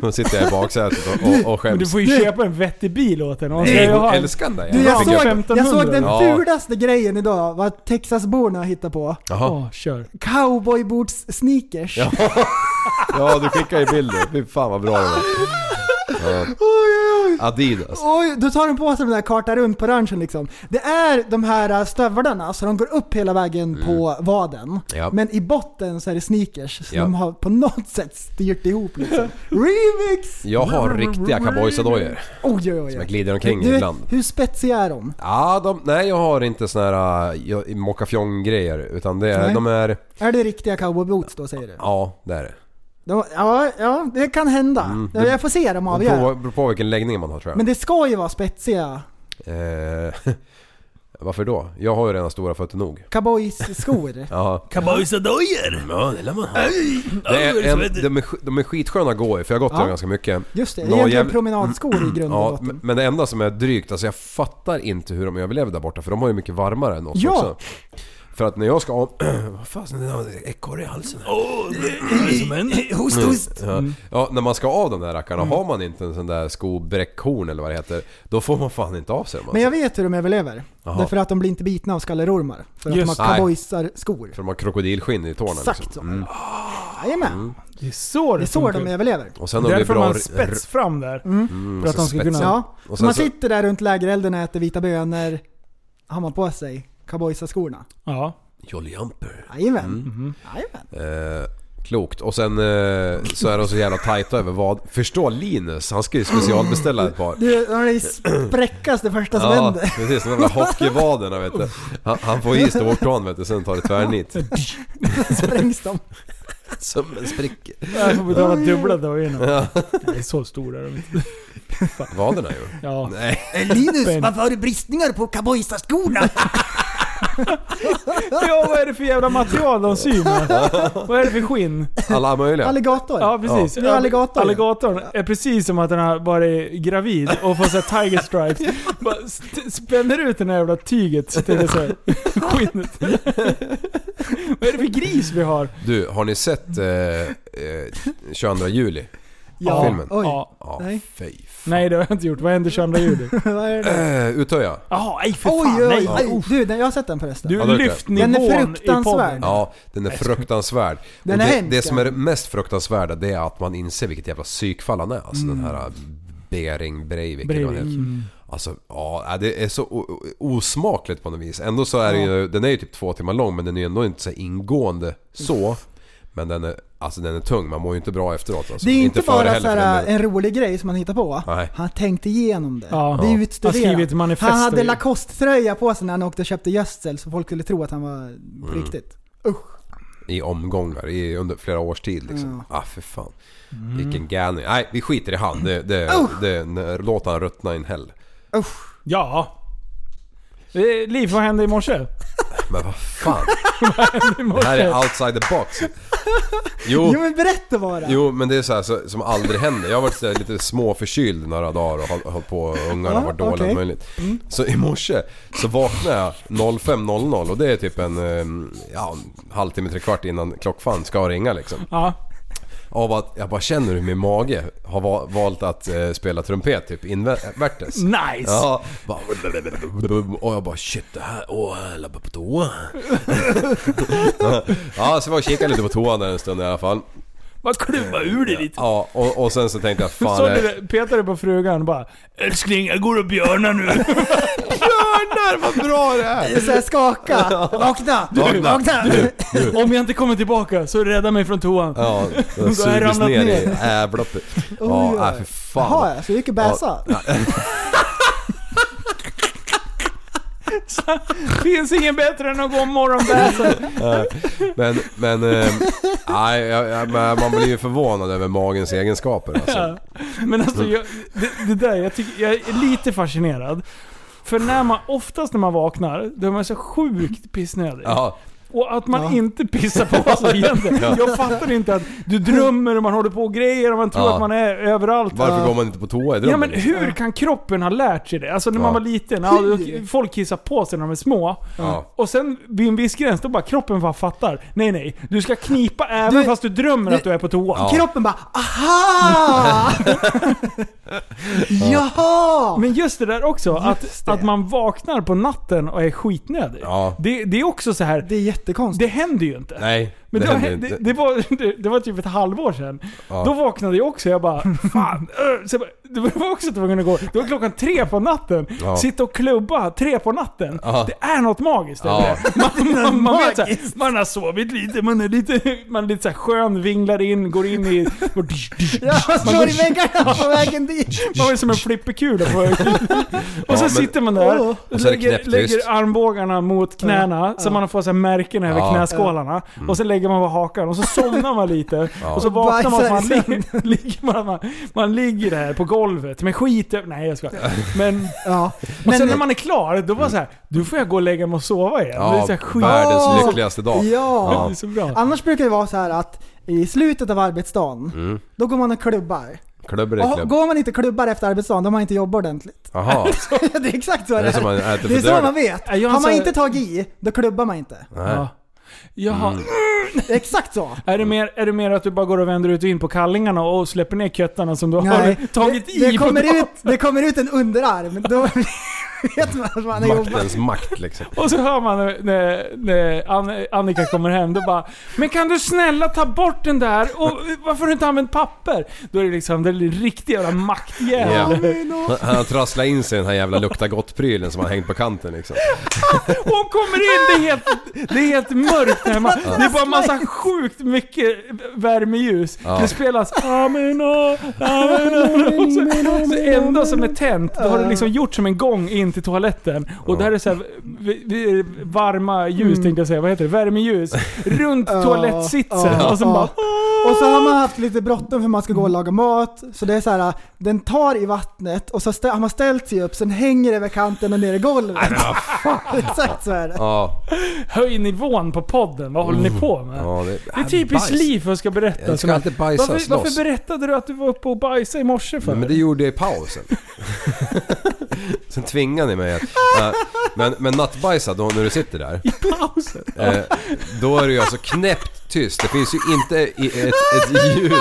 Speaker 5: de sitter jag i baksätet och, och, och
Speaker 3: Men du
Speaker 5: skäms.
Speaker 3: får ju köpa en vettig bil åt henne. Hon ska
Speaker 5: Nej,
Speaker 3: ju
Speaker 5: hon
Speaker 3: ha en-
Speaker 5: älskar den där
Speaker 4: Du,
Speaker 5: jävla
Speaker 4: jag,
Speaker 3: fick upp
Speaker 4: såg, jag såg
Speaker 3: 1500.
Speaker 4: den
Speaker 5: Ja.
Speaker 4: fulaste grejen idag, vad Texasborna hittar på.
Speaker 5: Jaha.
Speaker 3: Ja, kör.
Speaker 4: Cowboybords-sneakers.
Speaker 5: Ja. Ja, du skickar ju bilder. Fy fan vad bra det var. Ja. Adidas.
Speaker 4: Oj, då tar de på sig de där karta runt på ranchen liksom. Det är de här äh, stövlarna, så de går upp hela vägen på vaden.
Speaker 5: Mm. Ja.
Speaker 4: Men i botten så är det sneakers som
Speaker 5: Ja.
Speaker 4: de har på något sätt styrt ihop liksom. Remix!
Speaker 5: Jag har riktiga cowboys och dojor.
Speaker 4: Oj, oj, oj.
Speaker 5: Jag glider omkring
Speaker 4: Du,
Speaker 5: ibland.
Speaker 4: hur spetsiga är de?
Speaker 5: Ja, de, nej jag har inte såna här äh, jag- mockafjong-grejer utan det är,
Speaker 4: Nej.
Speaker 5: de är...
Speaker 4: Är det riktiga cowboyboots då säger du?
Speaker 5: Ja, det är det.
Speaker 4: De, ja, ja, det kan hända.
Speaker 5: Mm, det-
Speaker 4: jag får se dem
Speaker 5: Det
Speaker 4: avgöra.
Speaker 5: beror på, beror på vilken läggning man har tror jag.
Speaker 4: Men det ska ju vara spetsiga
Speaker 5: Eh, *laughs* varför då? Jag har ju redan stora fötter nog. *laughs*
Speaker 4: cowboyskor.
Speaker 5: Ja.
Speaker 2: Cowboys och dojor!
Speaker 5: Ja, det lär man ha. Det är en, de, är, sk- de är skitsköna att gå i för jag har gått i
Speaker 4: Ja.
Speaker 5: dem ganska mycket.
Speaker 4: Just det, det är
Speaker 5: Nå,
Speaker 4: egentligen
Speaker 5: jäv-
Speaker 4: promenadskor i grund och
Speaker 5: Mm, Ja,
Speaker 4: botten.
Speaker 5: men- men det enda som är drygt, alltså jag fattar inte hur de överlever där borta för de har ju mycket varmare än oss
Speaker 4: Ja.
Speaker 5: också. För att när jag ska... *clears throat* Vad fasen, det är ekorre i halsen. Mm.
Speaker 2: Host, host!
Speaker 5: Ja.
Speaker 4: Mm.
Speaker 5: ja, när man ska av de där rackarna, har man inte en sån där skobräckhorn eller vad det heter, då får man fan inte av sig dem.
Speaker 4: Men
Speaker 5: alltså.
Speaker 4: jag vet hur de överlever.
Speaker 5: Jaha.
Speaker 4: Därför att de blir inte bitna av skallerormar. För att
Speaker 3: Just
Speaker 4: de har
Speaker 5: det.
Speaker 4: cowboysarskor.
Speaker 5: För de har krokodilskinn i tårna
Speaker 4: Exakt så. Ah,
Speaker 5: liksom. Mm.
Speaker 4: Jajamän.
Speaker 3: Det är så det,
Speaker 4: Det är så
Speaker 3: funkar.
Speaker 4: de överlever.
Speaker 5: Och sen har vi
Speaker 3: Därför
Speaker 5: bra...
Speaker 3: man
Speaker 5: r-
Speaker 3: spets fram där.
Speaker 5: mm,
Speaker 3: för att
Speaker 5: så
Speaker 3: de ska kunna-
Speaker 5: spets-
Speaker 4: Ja.
Speaker 5: Och
Speaker 4: Så
Speaker 5: sen
Speaker 4: man
Speaker 5: så,
Speaker 4: sitter där runt lägerelden och äter vita bönor. Har man på sig cowboysaskorna?
Speaker 3: Ja.
Speaker 5: Jolly Jumper.
Speaker 4: Jajamän.
Speaker 5: Mm.
Speaker 4: Jajamän.
Speaker 5: Eh, klokt. Och sen eh, så är de så jävla tajta över vad... Förstå Linus, han ska ju specialbeställa ett
Speaker 4: *laughs*
Speaker 5: par.
Speaker 4: Du, de är spräckas det första som
Speaker 5: Ja,
Speaker 4: händer. *laughs*
Speaker 5: precis. De jävla hockeyvaderna vet du. Han, han får is till vårt plan vet du, sen tar det tvärnit.
Speaker 4: Sprängs de.
Speaker 5: Som en spricka.
Speaker 3: Jag får betala dubbla dojorna. Det är så stora de inte.
Speaker 5: Vaderna ju.
Speaker 3: Ja.
Speaker 5: Nej.
Speaker 4: Linus,
Speaker 3: varför
Speaker 4: har du bristningar på cowboysaskorna?
Speaker 3: ja, vad är det för jävla material de
Speaker 5: *laughs*
Speaker 3: syr med? Vad är det för skinn?
Speaker 5: Alla möjliga.
Speaker 4: *laughs* Alligator.
Speaker 3: Ja, precis.
Speaker 4: Ja. Det är alligator.
Speaker 3: Alligatorn är precis som att den har varit gravid och får såhär tiger stripes.
Speaker 4: *laughs*
Speaker 3: Bara st- spänner ut det här jävla tyget till det så här *laughs* skinnet. Vad är det för gris vi har?
Speaker 5: Du, har ni sett eh, eh, 22 juli?
Speaker 3: Ja.
Speaker 5: Filmen?
Speaker 4: Oj.
Speaker 3: Ja.
Speaker 5: Ja,
Speaker 4: Nej.
Speaker 5: fy fan.
Speaker 3: Nej det har jag inte gjort. Vad händer 22 juli?
Speaker 4: Vad är det?
Speaker 5: Eh, Uttöja.
Speaker 3: Jaha, nej för fan.
Speaker 4: Oj, oj,
Speaker 3: nej.
Speaker 4: oj. Du, den- jag har sett den förresten.
Speaker 3: Du
Speaker 5: Ja, det är
Speaker 3: lyft
Speaker 5: klart.
Speaker 3: nivån
Speaker 4: Den är
Speaker 3: i
Speaker 4: fruktansvärd.
Speaker 3: podden.
Speaker 5: Ja, den är fruktansvärd.
Speaker 4: Den
Speaker 5: Och
Speaker 4: är
Speaker 5: det,
Speaker 4: hemsk,
Speaker 5: det som är
Speaker 4: ja.
Speaker 5: det mest fruktansvärda det är att man inser vilket jävla psykfall han är. Alltså
Speaker 4: Mm.
Speaker 5: den här Bering Breivik. eller vad han
Speaker 3: Breivik.
Speaker 5: heter. Alltså, ja, det är så o- o- osmakligt på något vis. Ändå så är den ju, den är ju typ två timmar lång men den är ju ändå inte så här ingående så. Men den är, alltså den är tung, man mår ju inte bra efteråt alltså.
Speaker 4: Det är inte,
Speaker 5: före
Speaker 4: bara
Speaker 5: heller, för
Speaker 4: såhär,
Speaker 5: den delen.
Speaker 4: en rolig grej som han hittar på.
Speaker 5: Nej.
Speaker 4: Han har tänkt igenom det.
Speaker 3: Ja.
Speaker 4: Det
Speaker 3: Ja.
Speaker 4: är
Speaker 3: Han har skrivit
Speaker 4: utstuderat.
Speaker 3: ett manifest
Speaker 4: Han hade
Speaker 3: och-
Speaker 4: Lacoste-tröja på sig när han åkte och köpte gödsel så folk skulle tro att han var på
Speaker 3: Mm.
Speaker 4: riktigt. Usch.
Speaker 5: I omgångar, i, under flera års tid liksom. Ah för fan.
Speaker 4: Mm.
Speaker 5: Vilken galning. Nej, vi skiter i han. Det, det,
Speaker 4: Oh!
Speaker 5: det, låt han ruttna in hell.
Speaker 3: Ja. Eh, Liv, vad hände i morse?
Speaker 5: Men vad
Speaker 4: *laughs*
Speaker 5: fan.
Speaker 3: I
Speaker 5: Det här
Speaker 3: morse?
Speaker 5: är outside the box. Jo,
Speaker 4: Jo men berätta bara!
Speaker 5: jo men det är så här så, som aldrig händer. Jag har varit så här lite småförkyld några dagar och håll- hållit på och ungarna har varit
Speaker 4: Ja,
Speaker 5: dåliga
Speaker 4: Ah, okej. Mm.
Speaker 5: och möjligt. Så i morse så vaknade jag 05.00 och det är typ en eh, ja, en halvtimme, trekvart innan klockfan ska ringa liksom.
Speaker 3: Ja.
Speaker 5: Av att jag bara känner hur min mage har va- valt att eh, spela trumpet typ invärtes.
Speaker 3: Nice!
Speaker 5: Ja, bara, och jag bara shit det här, åh jag lappar på toa. *laughs* ja, så var jag och kikade lite på toan där en stund i alla fall.
Speaker 3: Bara klubba ur dig lite.
Speaker 5: Ja, och, och sen så tänkte jag fan...
Speaker 3: Så
Speaker 5: jag-
Speaker 3: du petade på frugan bara Älskling, jag går och björnar nu.
Speaker 5: Björnar, vad bra det är!
Speaker 4: Såhär
Speaker 3: *laughs*
Speaker 4: skaka! Vakna!
Speaker 5: Vakna.
Speaker 4: Vakna!
Speaker 3: Om jag inte kommer tillbaka så rädda mig från toan.
Speaker 5: Ja, jag har
Speaker 3: jag
Speaker 5: sugits
Speaker 3: ramlat
Speaker 5: ner i
Speaker 3: ner.
Speaker 5: ävloppet.
Speaker 4: Oj,
Speaker 5: Ja,
Speaker 4: oj.
Speaker 5: nej, för fan.
Speaker 4: Jaha ja, så du gick och bäsa?
Speaker 5: Ah.
Speaker 3: Finns ingen bättre än att
Speaker 5: *laughs*
Speaker 3: gå morgonbäsen.
Speaker 5: Men, men... eh, Nej, jag, jag, men man blir ju förvånad över magens egenskaper alltså.
Speaker 3: Ja. Men alltså, jag, det, det där, jag, tycker, jag är lite fascinerad. För när man, oftast när man vaknar, då är man så sjukt pissnödig.
Speaker 5: Ja,
Speaker 3: Och att man
Speaker 4: Ja.
Speaker 3: inte pissar på sig egentligen.
Speaker 5: *laughs* Ja.
Speaker 3: Jag fattar inte att du drömmer och man håller på och grejer och man tror
Speaker 5: Ja.
Speaker 3: att man är överallt.
Speaker 5: Varför går man inte på toa i
Speaker 3: Ja
Speaker 5: drömmen? liksom?
Speaker 3: men hur kan kroppen ha lärt sig det? Alltså när man
Speaker 5: Ja.
Speaker 3: var liten, ja, då- folk kissar på sig när de är små.
Speaker 5: Ja.
Speaker 3: Och sen vid en viss gräns, då bara kroppen bara fattar. Nej nej, du ska knipa även
Speaker 4: Du-
Speaker 3: fast du drömmer att du är på toa.
Speaker 5: Ja.
Speaker 4: Kroppen bara
Speaker 3: *laughs*
Speaker 4: aha! *laughs* Jaha!
Speaker 3: Men just det där också, att,
Speaker 4: Just det.
Speaker 3: att man vaknar på natten och är skitnödig.
Speaker 5: Ja.
Speaker 3: Det, det är också så här.
Speaker 4: Det är
Speaker 3: Det
Speaker 4: jättekonstigt.
Speaker 3: händer ju inte.
Speaker 5: Nej,
Speaker 3: Men
Speaker 5: det
Speaker 3: det,
Speaker 5: händer
Speaker 3: var,
Speaker 5: inte.
Speaker 3: det, det, var, *laughs* det, det var typ ett halvår sedan.
Speaker 5: Ja.
Speaker 3: Då vaknade jag också
Speaker 5: *laughs*
Speaker 3: jag bara fan. ö." Så jag bara, det var också tvungen att gå. Det var klockan tre på natten.
Speaker 5: Ja.
Speaker 3: Sitta och klubba tre på natten.
Speaker 5: Ja.
Speaker 3: Det är något magiskt över
Speaker 5: Ja.
Speaker 3: det. Man, man, man, vet, så här, man har sovit lite, man är lite, man är lite så här skön, vinglar in, går
Speaker 5: *laughs*
Speaker 3: in i... och dysch, dysch, dysch.
Speaker 4: Jag slår i väggarna
Speaker 3: *laughs*
Speaker 4: på vägen dit.
Speaker 3: Man var som en flipperkula på väg ut. Och
Speaker 5: *laughs* Ja,
Speaker 3: så
Speaker 5: men-
Speaker 3: sitter man
Speaker 4: Oh.
Speaker 3: där
Speaker 5: Och
Speaker 3: och
Speaker 5: så är det
Speaker 3: lägger,
Speaker 5: knäpptyst.
Speaker 3: lägger armbågarna mot knäna så man får så här märken över
Speaker 5: Ja. Mm.
Speaker 3: knäskålarna. Och så lägger man på hakan och så somnar man
Speaker 5: *laughs*
Speaker 3: lite. Och så vaknar man
Speaker 4: Bajsar
Speaker 3: att man,
Speaker 4: i
Speaker 3: ligger, *laughs* ligger, man, man, man ligger där på golvet med skit över- Nej jag ska.
Speaker 5: *laughs*
Speaker 3: Men,
Speaker 4: Ja.
Speaker 3: och sen
Speaker 4: Men-
Speaker 3: när man är klar, då var så här, du får jag gå och lägga mig och sova igen. det är
Speaker 5: Ja,
Speaker 3: så här skit.
Speaker 5: världens
Speaker 4: Åh!
Speaker 5: lyckligaste dag.
Speaker 3: *laughs* Det
Speaker 4: Ja.
Speaker 3: är så bra.
Speaker 4: Annars brukar det vara så här att i slutet av arbetsdagen, då går man och klubbar.
Speaker 5: Klubb är Mm. det
Speaker 4: Och
Speaker 5: klubb.
Speaker 4: går man inte och klubbar efter arbetsdagen, då har man inte jobbat ordentligt. *laughs*
Speaker 5: Jaha.
Speaker 3: *laughs*
Speaker 4: det är exakt så
Speaker 5: Är
Speaker 4: det
Speaker 5: det som man
Speaker 4: är.
Speaker 5: äter
Speaker 4: Det är
Speaker 5: för
Speaker 4: så man
Speaker 5: dörren?
Speaker 4: vet.
Speaker 3: Ja, jag
Speaker 4: Har
Speaker 3: sa-
Speaker 4: man inte tagit i, då klubbar man inte.
Speaker 3: Ja. Jaha.
Speaker 5: Mm.
Speaker 4: Det är
Speaker 3: *laughs*
Speaker 4: exakt så.
Speaker 3: Är det, mer, är det mer att du bara går och vänder ut och in på kallingarna och släpper ner köttarna som du har tagit
Speaker 4: det,
Speaker 3: i
Speaker 4: det
Speaker 3: på
Speaker 4: kommer
Speaker 3: dagen?
Speaker 4: ut, Det kommer ut en underarm, då *laughs* vet man att man har jobbat.
Speaker 5: Maktens makt liksom.
Speaker 3: Och så hör man när, när, när An- Annika kommer hem, då bara Men kan du snälla ta bort den där? Och varför har du inte använt papper? Då är det liksom den riktiga jävla maktjävel.
Speaker 5: Ja. Han- Han har trasslat in sig i den här jävla lukta gott-prylen som har hängt på kanten liksom.
Speaker 3: Hon kommer in, det är helt, det är helt mörkt hemma. Det är bara massa sjukt mycket värmeljus. Det spelas oh, Amina, Amina. Och så- så Alltså, Det enda som är tänt, då har det liksom gjort som en gång in till toaletten. Och där är så här, vi- vi- varma ljus
Speaker 4: Mm.
Speaker 3: tänkte jag säga, vad heter det? Värmeljus.
Speaker 4: *laughs*
Speaker 3: Runt toalettsitsen.
Speaker 4: ja,
Speaker 3: Och sen
Speaker 4: ja.
Speaker 3: bara...
Speaker 4: Och så har man haft lite bråttom för man ska gå och laga mat. Så det är så här, den tar i vattnet och så stä- har man ställt sig upp, sen hänger det över kanten och ner i golvet. *laughs* Exakt så är det.
Speaker 5: Ja,
Speaker 3: Höj nivån på podden, vad håller ni på med?
Speaker 5: Oh. ja det,
Speaker 3: Det är typiskt
Speaker 5: bajs.
Speaker 3: liv för att ska berätta.
Speaker 5: Jag ska alltid bajsa och
Speaker 3: varför,
Speaker 5: slåss.
Speaker 3: varför berättade du att du var uppe och bajsade i morse för?
Speaker 5: Nej, men det gjorde jag i
Speaker 3: *laughs*
Speaker 5: pausen. Sen tvingade ni mig att... Äh, men, men nattbajsa då när du sitter där.
Speaker 3: I pausen?
Speaker 5: *laughs* Eh, då är det ju alltså knäppt tyst. Det finns ju inte i-
Speaker 3: *laughs*
Speaker 5: ett, ett ljud.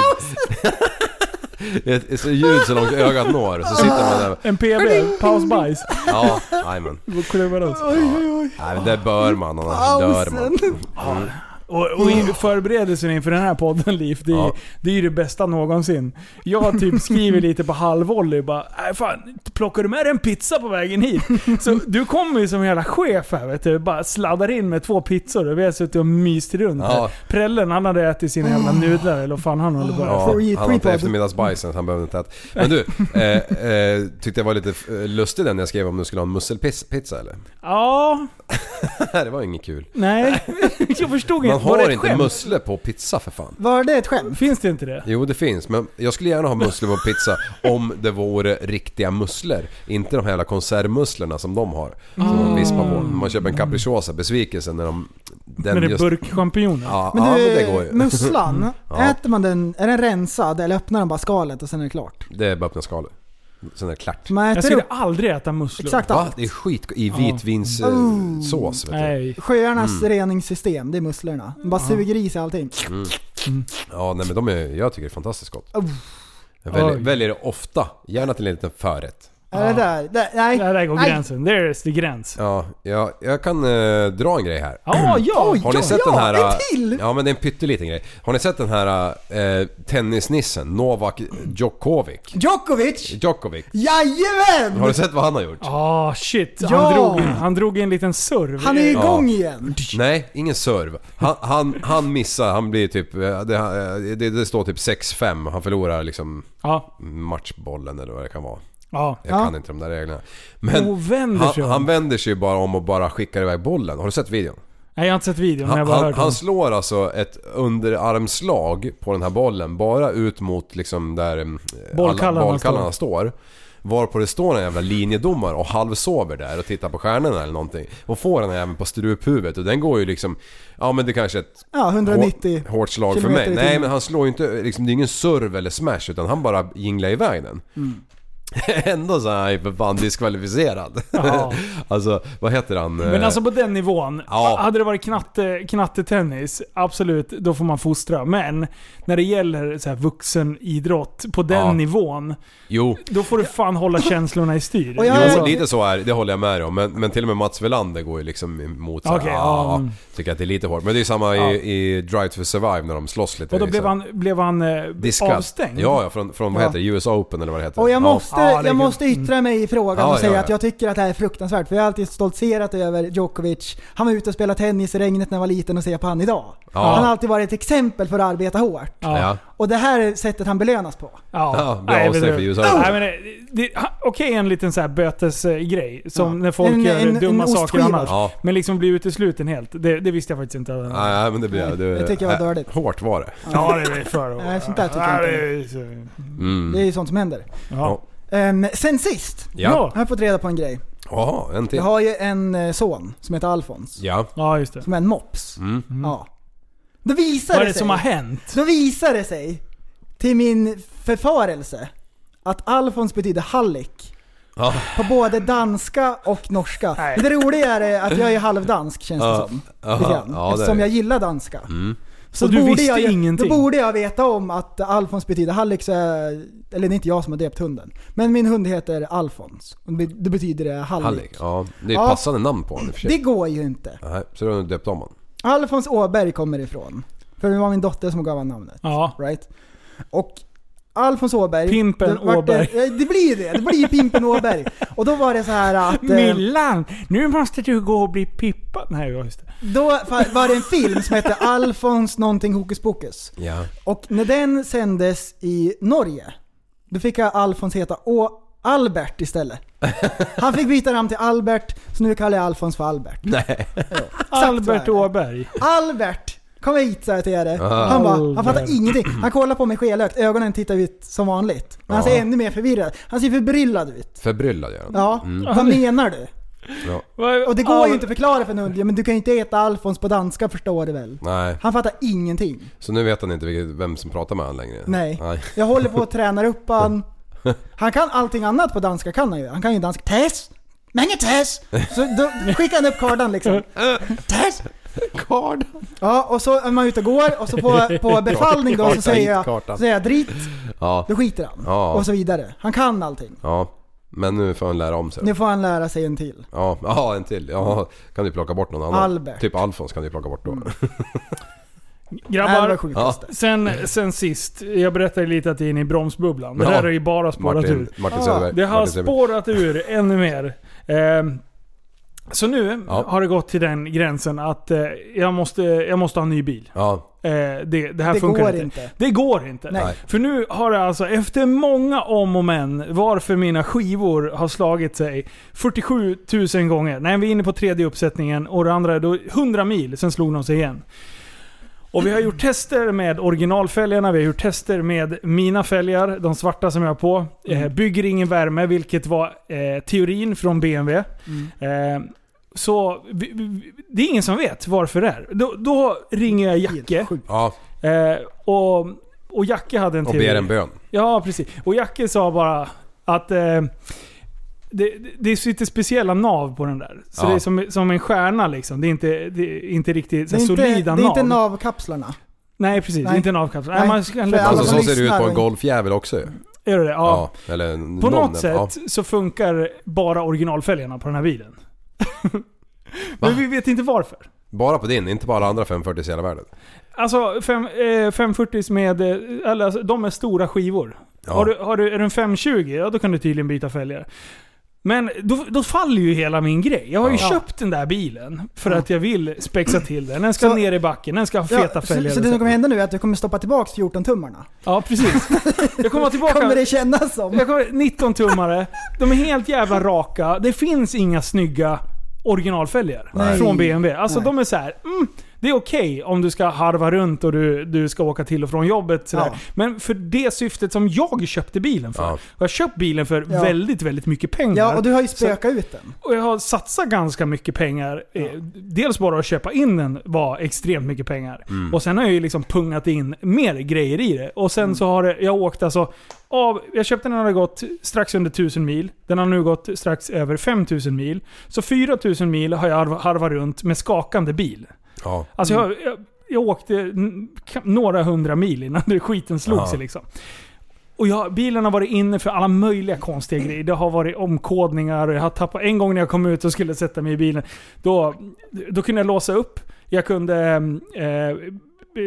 Speaker 5: *laughs* Ett, ett ljud så långt ögat når. Så sitter man
Speaker 3: *laughs*
Speaker 5: där.
Speaker 3: En
Speaker 4: *laughs*
Speaker 3: PB? Pausbajs?
Speaker 5: Ja, jajamän.
Speaker 3: Då klubbar *laughs* oss.
Speaker 5: Nej men det bör man annars dör man.
Speaker 3: Och, och in, förberedelsen inför den här podden Liv, det är,
Speaker 5: Ja.
Speaker 3: det är ju det bästa någonsin. Jag typ skriver lite på halvvolley bara "Äh, fan, plockar du med dig en pizza på vägen hit? Så du kommer ju som en jävla chef här vet du. Bara sladdar in med två pizzor och vi har suttit och myst runt här.
Speaker 5: Ja.
Speaker 3: Prällen han hade ätit sina jävla nudlar eller vad fan han håller på med.
Speaker 5: Ja,
Speaker 4: Free
Speaker 5: han har inte
Speaker 4: pre-pod.
Speaker 5: eftermiddagsbajsen så han behövde inte äta. Men du, eh, eh, tyckte jag var lite eh, lustig den jag skrev om du skulle ha en musselpizza eller? *laughs*
Speaker 3: Ja,
Speaker 5: Nej det var inget kul.
Speaker 3: nej. *laughs* Jag förstod
Speaker 5: Man
Speaker 3: inte. Var det
Speaker 5: har
Speaker 3: ett
Speaker 5: inte
Speaker 3: skämt?
Speaker 5: musslor på pizza för fan.
Speaker 4: Var det ett skämt?
Speaker 3: Finns det inte det?
Speaker 5: Jo det finns, men jag skulle gärna ha musslor på pizza *laughs* om det vore riktiga musslor. Inte de här jävla konservmusslorna som de har. Som de vispar på. Man köper en capricciosa, besvikelsen när de... Den
Speaker 3: Med det
Speaker 5: just,
Speaker 3: burkchampinjoner?
Speaker 5: ja,
Speaker 4: Men
Speaker 5: ja,
Speaker 4: du,
Speaker 5: men det går ju. *laughs*
Speaker 4: musslan, äter man den, är den rensad eller öppnar den bara skalet och sen är det klart?
Speaker 5: Det är bara öppna skalet. Sen är det klart.
Speaker 4: Man
Speaker 3: Jag
Speaker 4: äter
Speaker 3: skulle
Speaker 4: upp
Speaker 3: aldrig äta musslor.
Speaker 4: exakt
Speaker 5: Va?
Speaker 4: allt.
Speaker 5: Det är skit i vitvinssås vet du.
Speaker 3: Nej.
Speaker 4: Sjöarnas
Speaker 5: Mm.
Speaker 4: reningssystem, det är musslorna. De bara suger i sig allting.
Speaker 5: Ja nej men de är, jag tycker det är fantastiskt gott.
Speaker 4: Oh.
Speaker 5: Jag väljer,
Speaker 3: Oj.
Speaker 5: väljer det ofta, gärna till en liten förrätt.
Speaker 4: Är det där? där nej.
Speaker 3: Där, där går
Speaker 4: *laughs* Nej.
Speaker 3: gränsen. Där är det gräns.
Speaker 5: Ja, jag, jag kan eh, dra en grej här.
Speaker 3: Ja, ja!
Speaker 5: Har ni sett
Speaker 4: ja,
Speaker 5: den här...
Speaker 4: en
Speaker 5: äh,
Speaker 4: till!
Speaker 5: Ja men det är en pytteliten grej. Har ni sett den här eh, tennisnissen Novak Djokovic?
Speaker 4: Djokovic!
Speaker 5: Djokovic.
Speaker 4: Jajamän!
Speaker 5: Har ni sett vad han har gjort?
Speaker 3: Ah shit. Han,
Speaker 4: Ja.
Speaker 3: drog, han drog en liten serv.
Speaker 4: Han är igång igen.
Speaker 5: Nej, ingen serv. Han, han, han missar, han blir typ... eh, Det, eh, det, det står typ 6-5, han förlorar liksom
Speaker 3: Ja.
Speaker 5: matchbollen eller vad det kan vara.
Speaker 3: ja.
Speaker 5: Jag
Speaker 4: Ja.
Speaker 5: kan inte de där reglerna. Men
Speaker 3: Och vänder
Speaker 5: han,
Speaker 3: sig om.
Speaker 5: han vänder sig ju bara om och bara skickar iväg bollen. Har du sett videon?
Speaker 3: Nej, jag har inte sett videon, men jag
Speaker 5: Han,
Speaker 3: har bara
Speaker 5: han,
Speaker 3: hört om
Speaker 5: han slår alltså ett underarmslag på den här bollen bara ut mot liksom där eh, alla
Speaker 3: Bollkallarna
Speaker 5: bollkallarna står. Varpå det står en jävla linjedomare och halvsover där och tittar på stjärnorna eller någonting. Och får den även på struphuvudet och den går ju liksom... Ja men det kanske är ett
Speaker 4: Ja, 190
Speaker 5: hårt, hårt slag för
Speaker 4: kilometer
Speaker 5: mig.
Speaker 4: i
Speaker 5: Nej
Speaker 4: timmen.
Speaker 5: men han slår ju inte... Liksom, det är ingen serve eller smash utan han bara jinglar iväg den. *laughs* Ändå så är han ju för fan diskvalificerad.
Speaker 3: Ja.
Speaker 5: *laughs* alltså vad heter han?
Speaker 3: Men
Speaker 5: Eh,
Speaker 3: alltså på den nivån,
Speaker 5: Ja.
Speaker 3: hade det varit knatte, knattetennis, absolut, då får man fostra. Men när det gäller så här vuxenidrott på den
Speaker 5: Ja.
Speaker 3: nivån,
Speaker 5: Eh, Jo.
Speaker 3: då får du fan hålla känslorna i styr.
Speaker 4: Och jag-
Speaker 5: Jo,
Speaker 4: Alltså-
Speaker 5: lite så är det, det håller jag med om. Men, men till och med Mats Welander går ju liksom emot såhär,
Speaker 3: Okej,
Speaker 5: ah,
Speaker 3: ja, mm.
Speaker 5: Tycker att det är lite hårt. Men det är ju samma
Speaker 3: Ja.
Speaker 5: i, i Drive to Survive när de slåss lite.
Speaker 3: Och då
Speaker 5: liksom.
Speaker 3: blev han, blev han eh,
Speaker 5: Diskad.
Speaker 3: avstängd.
Speaker 5: Ja, ja från, från vad
Speaker 4: Ja.
Speaker 5: heter det? US Open eller vad det heter.
Speaker 4: Och jag
Speaker 5: Ja.
Speaker 4: måste,
Speaker 3: Ja, det är
Speaker 4: jag
Speaker 3: kul.
Speaker 4: måste yttra mig i frågan
Speaker 5: Ja,
Speaker 4: och
Speaker 5: ja,
Speaker 4: säga
Speaker 5: ja.
Speaker 4: att jag tycker att det här är fruktansvärt. För jag har alltid stoltserat över Djokovic. Han var ute och spelade tennis i regnet när jag var liten och ser på han idag.
Speaker 5: Ja.
Speaker 4: Han har alltid varit ett exempel för att arbeta hårt.
Speaker 3: Ja.
Speaker 5: Ja.
Speaker 4: Och det här är sättet han belönas på.
Speaker 3: Ja,
Speaker 5: Ja, bra avsteg
Speaker 3: men
Speaker 5: för
Speaker 3: det-
Speaker 5: USA.
Speaker 3: Nej, men det, det, ha- Okej en liten så här bötesgrej, som
Speaker 4: Ja.
Speaker 3: när folk
Speaker 4: En-
Speaker 3: gör
Speaker 4: en-
Speaker 3: dumma
Speaker 4: en
Speaker 3: saker
Speaker 4: ostskiva.
Speaker 3: annars.
Speaker 5: Ja.
Speaker 3: Men liksom bli utesluten helt, det, det visste jag faktiskt inte.
Speaker 5: Nej, nej, men det blir... Det,
Speaker 4: Det tycker jag
Speaker 5: äh,
Speaker 4: var dåligt.
Speaker 5: Hårt var det.
Speaker 3: Ja, det är för
Speaker 4: Nej, sånt där tycker jag
Speaker 3: Ja,
Speaker 4: inte.
Speaker 3: det är så-
Speaker 5: Mm.
Speaker 4: Det är ju sånt som händer.
Speaker 3: Ja.
Speaker 4: Ehm, sen sist
Speaker 5: Ja.
Speaker 4: har jag fått reda på en grej.
Speaker 5: Jaha, en till.
Speaker 4: Jag har ju en eh, son som heter Alfons.
Speaker 5: Ja.
Speaker 3: ja, just det.
Speaker 4: Som är en mops.
Speaker 5: Mm.
Speaker 4: Ja. Då visar
Speaker 3: Vad är
Speaker 4: det
Speaker 3: det
Speaker 4: sig.
Speaker 3: som har hänt?
Speaker 4: Då visar det sig, till min förfarelse, att Alfons betyder hallick.
Speaker 5: Ja.
Speaker 4: På både danska och norska.
Speaker 3: Nej.
Speaker 4: Men det roliga är att jag är halvdansk känns det
Speaker 5: Ja.
Speaker 4: som.
Speaker 5: Ja,
Speaker 4: Lite grann,
Speaker 5: ja, det är
Speaker 4: eftersom
Speaker 5: det.
Speaker 4: jag gillar danska.
Speaker 5: Mm.
Speaker 4: Så
Speaker 3: Och du
Speaker 4: borde
Speaker 3: visste
Speaker 4: jag, ju-
Speaker 3: ingenting?
Speaker 4: Då borde jag veta om att Alfons betyder hallick, så jag, eller det är inte jag som har döpt hunden. Men min hund heter Alfons. Och det- Då betyder det hallick.
Speaker 5: Hallig. Ja. Det är
Speaker 4: Ja.
Speaker 5: ett passande namn på honom i och för
Speaker 4: Det
Speaker 5: sig.
Speaker 4: går ju inte.
Speaker 5: Nej, så då har du döpt om honom.
Speaker 4: Alfons Åberg kommer ifrån. För det var min dotter som gav honom namnet.
Speaker 3: Ja.
Speaker 4: Right? Och Alfons Åberg.
Speaker 3: Pimpen
Speaker 4: det vart
Speaker 3: Åberg.
Speaker 4: Det, ja, det blir ju det. Det blir ju Pimpen Åberg. Och då var det så här att... eh,
Speaker 3: Millan, nu måste du gå och bli pippa. Nej, ja, just det.
Speaker 4: Då fa- var det en film som hette Alfons någonting hokus pokus.
Speaker 5: Ja.
Speaker 4: Och när den sändes i Norge, då fick jag Alfons heta Å Albert istället. Han fick byta namn till Albert, så nu kallar jag Alfons för Albert.
Speaker 5: Nej.
Speaker 3: Albert
Speaker 4: så är det.
Speaker 3: Åberg.
Speaker 4: Albert! Kom hit sa jag till er.
Speaker 5: Ah.
Speaker 4: Han bara, han
Speaker 3: Albert.
Speaker 4: fattar ingenting. Han kollar på mig skelögt, ögonen tittar ut som vanligt. Men han
Speaker 5: Ja.
Speaker 4: ser ännu mer förvirrad Han ser förbryllad ut.
Speaker 5: Förbryllad gör han.
Speaker 4: Ja,
Speaker 5: Mm.
Speaker 4: vad menar du?
Speaker 5: Ja.
Speaker 4: Och det går ju inte att förklara för en hund. Ja, men du kan ju inte heta Alfons på danska förstår du väl?
Speaker 5: Nej.
Speaker 4: Han fattar ingenting.
Speaker 5: Så nu vet han inte vilket, vem som pratar med honom längre.
Speaker 4: Nej. Jag håller på att träna upp
Speaker 5: *laughs*
Speaker 4: han. Han kan allting annat på danska kan han ju. Han kan ju danska. Tess! Mange tess! Så då skickar han upp
Speaker 5: *laughs*
Speaker 4: kardan liksom. Tess!
Speaker 5: Kard.
Speaker 4: Ja, och så är man ute och går och så på,
Speaker 5: *laughs*
Speaker 4: på befallning då så
Speaker 5: Kartan,
Speaker 4: säger jag,
Speaker 5: kartan.
Speaker 4: så säger jag drit,
Speaker 5: Ja.
Speaker 4: då skiter han.
Speaker 5: Ja.
Speaker 4: Och så vidare. Han kan allting.
Speaker 5: Ja. Men nu får han lära om sig.
Speaker 4: Nu får han lära sig en till.
Speaker 5: Ja, ja, en till. Ja, kan du plocka bort någon annan?
Speaker 4: Albert. Mm.
Speaker 5: Typ Alfons kan du plocka bort då. *laughs*
Speaker 4: Det här var
Speaker 3: Grabbar,
Speaker 4: det sjukaste.
Speaker 3: sen, sen sist, jag berättade lite att det är inne i bromsbubblan. Det
Speaker 5: Ja.
Speaker 3: där har ju bara spårat
Speaker 5: Martin,
Speaker 3: ur.
Speaker 5: Martin Söderberg.
Speaker 3: Det har
Speaker 5: Martin Söderberg.
Speaker 3: spårat ur ännu mer. Ehm, Så nu
Speaker 5: Ja.
Speaker 3: har det gått till den gränsen att eh, jag måste, jag måste ha en ny bil.
Speaker 5: Ja,
Speaker 3: Eh, Det, det här
Speaker 4: Det
Speaker 3: funkar
Speaker 4: går
Speaker 3: inte.
Speaker 4: inte.
Speaker 3: Det går inte.
Speaker 4: Nej.
Speaker 3: För nu har jag alltså efter många om och men varför mina skivor har slagit sig 47 000 gånger. Nej, vi är inne på tredje uppsättningen och det andra är då 100 mil, sen slog de sig igen. Och vi har gjort tester med originalfälgarna, vi har gjort tester med mina fälgar, de svarta som jag har på. Eh,
Speaker 4: Mm.
Speaker 3: bygger ingen värme, vilket var eh, teorin från BMW.
Speaker 4: Mm.
Speaker 3: Eh, så vi, vi, det är ingen som vet varför det är. Då, då ringer jag Jacke.
Speaker 4: Helt sjukt.
Speaker 5: ja,
Speaker 3: Eh, och, och Jacke hade en
Speaker 5: och
Speaker 3: teori.
Speaker 5: ber en bön.
Speaker 3: Ja, precis. Och Jacke sa bara att eh, det, det sitter speciella nav på den där. Så
Speaker 5: Ja.
Speaker 3: det är som, som en stjärna liksom. Det är inte, det är inte riktigt
Speaker 4: Det
Speaker 3: så
Speaker 4: är
Speaker 3: här
Speaker 4: inte, det
Speaker 3: solida
Speaker 4: är inte
Speaker 3: nav.
Speaker 4: navkapslarna.
Speaker 3: Nej, precis.
Speaker 4: Nej.
Speaker 3: Inte navkapsel. Nej,
Speaker 4: Nej,
Speaker 3: man kan
Speaker 4: för
Speaker 3: lätt
Speaker 4: alla
Speaker 5: Alltså
Speaker 4: som
Speaker 5: så ser det ut på
Speaker 4: lyssnar.
Speaker 5: en golfjävel också ju.
Speaker 3: Gör det? Ja.
Speaker 5: Ja. Eller någon,
Speaker 3: På något
Speaker 5: ja.
Speaker 3: sätt så funkar bara originalfälgarna på den
Speaker 5: *laughs*
Speaker 3: här bilen. Men vi vet inte varför.
Speaker 5: Bara på din, inte på alla andra 540 i hela världen.
Speaker 3: Alltså fem, eh, 540 med, eh, eller alltså, de är stora skivor.
Speaker 5: Ja.
Speaker 3: Har du, har du, är du en 520, ja då kan du tydligen byta fälgar. Men då, då faller ju hela min grej. Jag har ju
Speaker 5: Ja.
Speaker 3: köpt den där bilen för att jag vill spexa till den. Den ska
Speaker 4: Så-
Speaker 3: ner i backen, den ska ha feta
Speaker 4: Ja, så,
Speaker 3: fälgar.
Speaker 4: så det som kommer hända nu är att du kommer stoppa tillbaka 14-tummarna.
Speaker 3: Ja, precis. Jag
Speaker 4: *laughs*
Speaker 3: kommer tillbaka...
Speaker 4: Kommer det kännas som.
Speaker 3: jag kommer, 19-tummare, de är helt jävla raka. Det finns inga snygga originalfälgar
Speaker 4: Nej.
Speaker 3: från BMW. Alltså
Speaker 4: Nej.
Speaker 3: de är så här. Mm, Det är okej om du ska harva runt och du, du ska åka till och från jobbet. Sådär.
Speaker 4: Ja.
Speaker 3: Men för det syftet som jag köpte bilen för.
Speaker 5: Ja.
Speaker 3: Och jag har köpt bilen för
Speaker 4: Ja.
Speaker 3: väldigt, väldigt mycket pengar.
Speaker 4: Ja, och du har ju spökat ut den.
Speaker 3: Och jag har satsat ganska mycket pengar. Eh, Dels bara att köpa in den var extremt mycket pengar. Och sen har jag ju liksom pungat in mer grejer i det. Och sen så har det, jag åkt alltså... Av, jag köpte den när det gått strax under 1000 mil. Den har nu gått strax över 5000 mil. Så 4000 mil har jag harv- harvat runt med skakande bil.
Speaker 5: Ja.
Speaker 3: Alltså jag, jag, jag åkte n- ka- några hundra mil innan det skiten slog
Speaker 5: Ja.
Speaker 3: sig liksom. Och jag, bilen har varit inne för alla möjliga konstiga grejer. Det har varit omkodningar och jag har tappat... En gång när jag kom ut och skulle sätta mig i bilen, då, då kunde jag låsa upp. Jag kunde... ehm, Eh,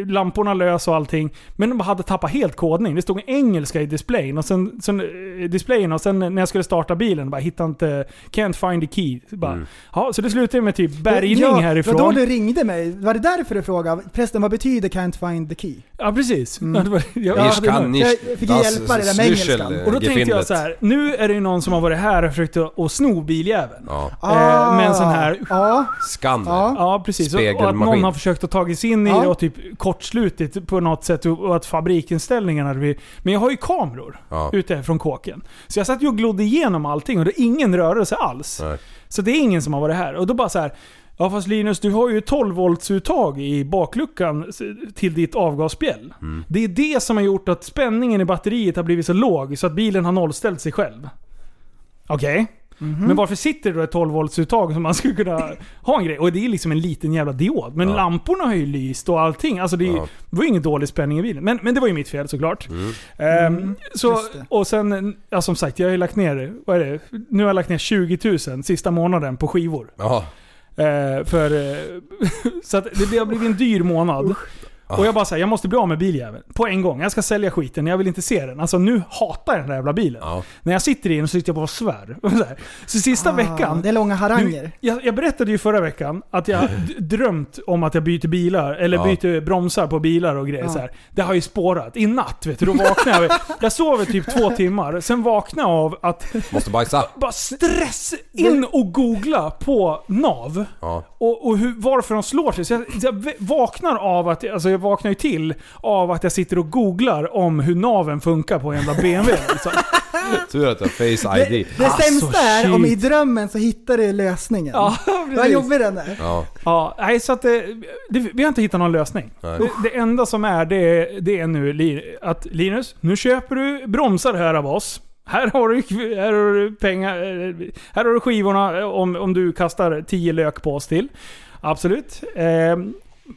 Speaker 3: lamporna lös och allting. Men de hade tappat helt kodning. Det stod engelska i displayen och sen, sen, eh, displayen och sen när jag skulle starta bilen bara hittade inte... Can't find the key. Bara, ja, så det slutade med typ bärgning
Speaker 4: ja,
Speaker 3: härifrån.
Speaker 4: Det var då du ringde mig. Var det därför du frågade? Prästen, vad betyder can't find the key?
Speaker 3: Ja, precis. Ja, det var- jag-
Speaker 5: Ich
Speaker 3: jag hade
Speaker 5: kann
Speaker 3: hört.
Speaker 5: nicht.
Speaker 4: Jag fick ju
Speaker 5: das
Speaker 4: hjälpa dig där med
Speaker 5: Slyschel,
Speaker 4: engelskan.
Speaker 5: eh,
Speaker 3: Och då tänkte jag
Speaker 5: gefindet.
Speaker 3: så här. nu är det ju någon som har varit här och försökt att att sno biljäveln.
Speaker 5: Ja.
Speaker 3: Eh, med en sån här-
Speaker 4: Ah. Ja,
Speaker 5: Skandal.
Speaker 4: ja.
Speaker 3: Ja, precis. Och, och att
Speaker 5: Spegelmaskin.
Speaker 3: någon har försökt att ta sig in i
Speaker 4: Ja.
Speaker 3: det och typ kortslutit på något sätt och och att fabrikinställningarna hade blivit... Men jag har ju kameror
Speaker 5: Ja.
Speaker 3: ute från kåken. Så jag satt ju och glodde igenom allting och det är ingen rörelse alls.
Speaker 5: Nej.
Speaker 3: Så det är ingen som har varit här. Och då bara så här. Ja fast Linus, du har ju 12 volts uttag i bakluckan s- till ditt avgasspjäll. Det är det som har gjort att spänningen i batteriet har blivit så låg så att bilen har nollställt sig själv. Okej. Mm-hmm.
Speaker 4: Mm.
Speaker 3: Men varför sitter det då ett 12 volts uttag som man skulle
Speaker 4: *laughs*
Speaker 3: kunna ha en grej? Och det är liksom en liten jävla diod. Men
Speaker 5: Ja.
Speaker 3: lamporna har ju lyst och allting. Alltså det, är ju-
Speaker 5: Ja. Mm.
Speaker 3: det var ju ingen dålig spänning i bilen. Men, men det var ju mitt fel såklart. Ehm, så,
Speaker 4: Mm, just det.
Speaker 3: och sen, ja, som sagt, jag har ju lagt ner, vad är det? Nu har jag lagt ner 20 000 sista månaden på skivor.
Speaker 5: Ja.
Speaker 3: Eh, för, eh, *laughs* så att det, det har blivit en dyr månad. Och jag bara säger jag måste bli av med biljäveln. På en gång. Jag ska sälja skiten, jag vill inte se den. Alltså nu hatar jag den där jävla bilen.
Speaker 5: Ja.
Speaker 3: När jag sitter i den så sitter jag bara och svär. *laughs* Så, här. så sista veckan...
Speaker 4: Ah, Det är långa
Speaker 3: Du,
Speaker 4: haranger.
Speaker 3: jag, jag berättade ju förra veckan att jag d- drömt om att jag byter bilar, eller
Speaker 5: Ja.
Speaker 3: byter bromsar på bilar och grejer
Speaker 4: Ja.
Speaker 3: så här. Det har ju spårat. I natt vet du, då vaknade jag. Jag sov i typ två timmar, sen vaknade jag av att
Speaker 5: Måste bajsa.
Speaker 3: bara stress in och googla på NAV.
Speaker 5: Ja.
Speaker 3: Och, och hur, varför de slår sig. Så jag, så jag vaknar av att, alltså jag vaknar ju till av att jag sitter och googlar om hur naven funkar på en jävla BMW. Liksom.
Speaker 5: Tur att jag har face
Speaker 4: Det,
Speaker 5: ID.
Speaker 4: det sämsta är om
Speaker 3: Ah, shit.
Speaker 4: i drömmen så hittar du lösningen.
Speaker 3: Ja,
Speaker 4: Vad
Speaker 3: precis.
Speaker 4: jobbig den är.
Speaker 5: Ja.
Speaker 3: Ja, nej, så att det, det, vi har inte hittat någon lösning.
Speaker 5: Nej.
Speaker 3: Det, det enda som är, det, är- det är nu Li- att Linus, nu köper du bromsar här av oss. Här har du, här har du pengar, eh, här har du skivorna eh, om, om du kastar 10 lök på oss till. Absolut. Eh,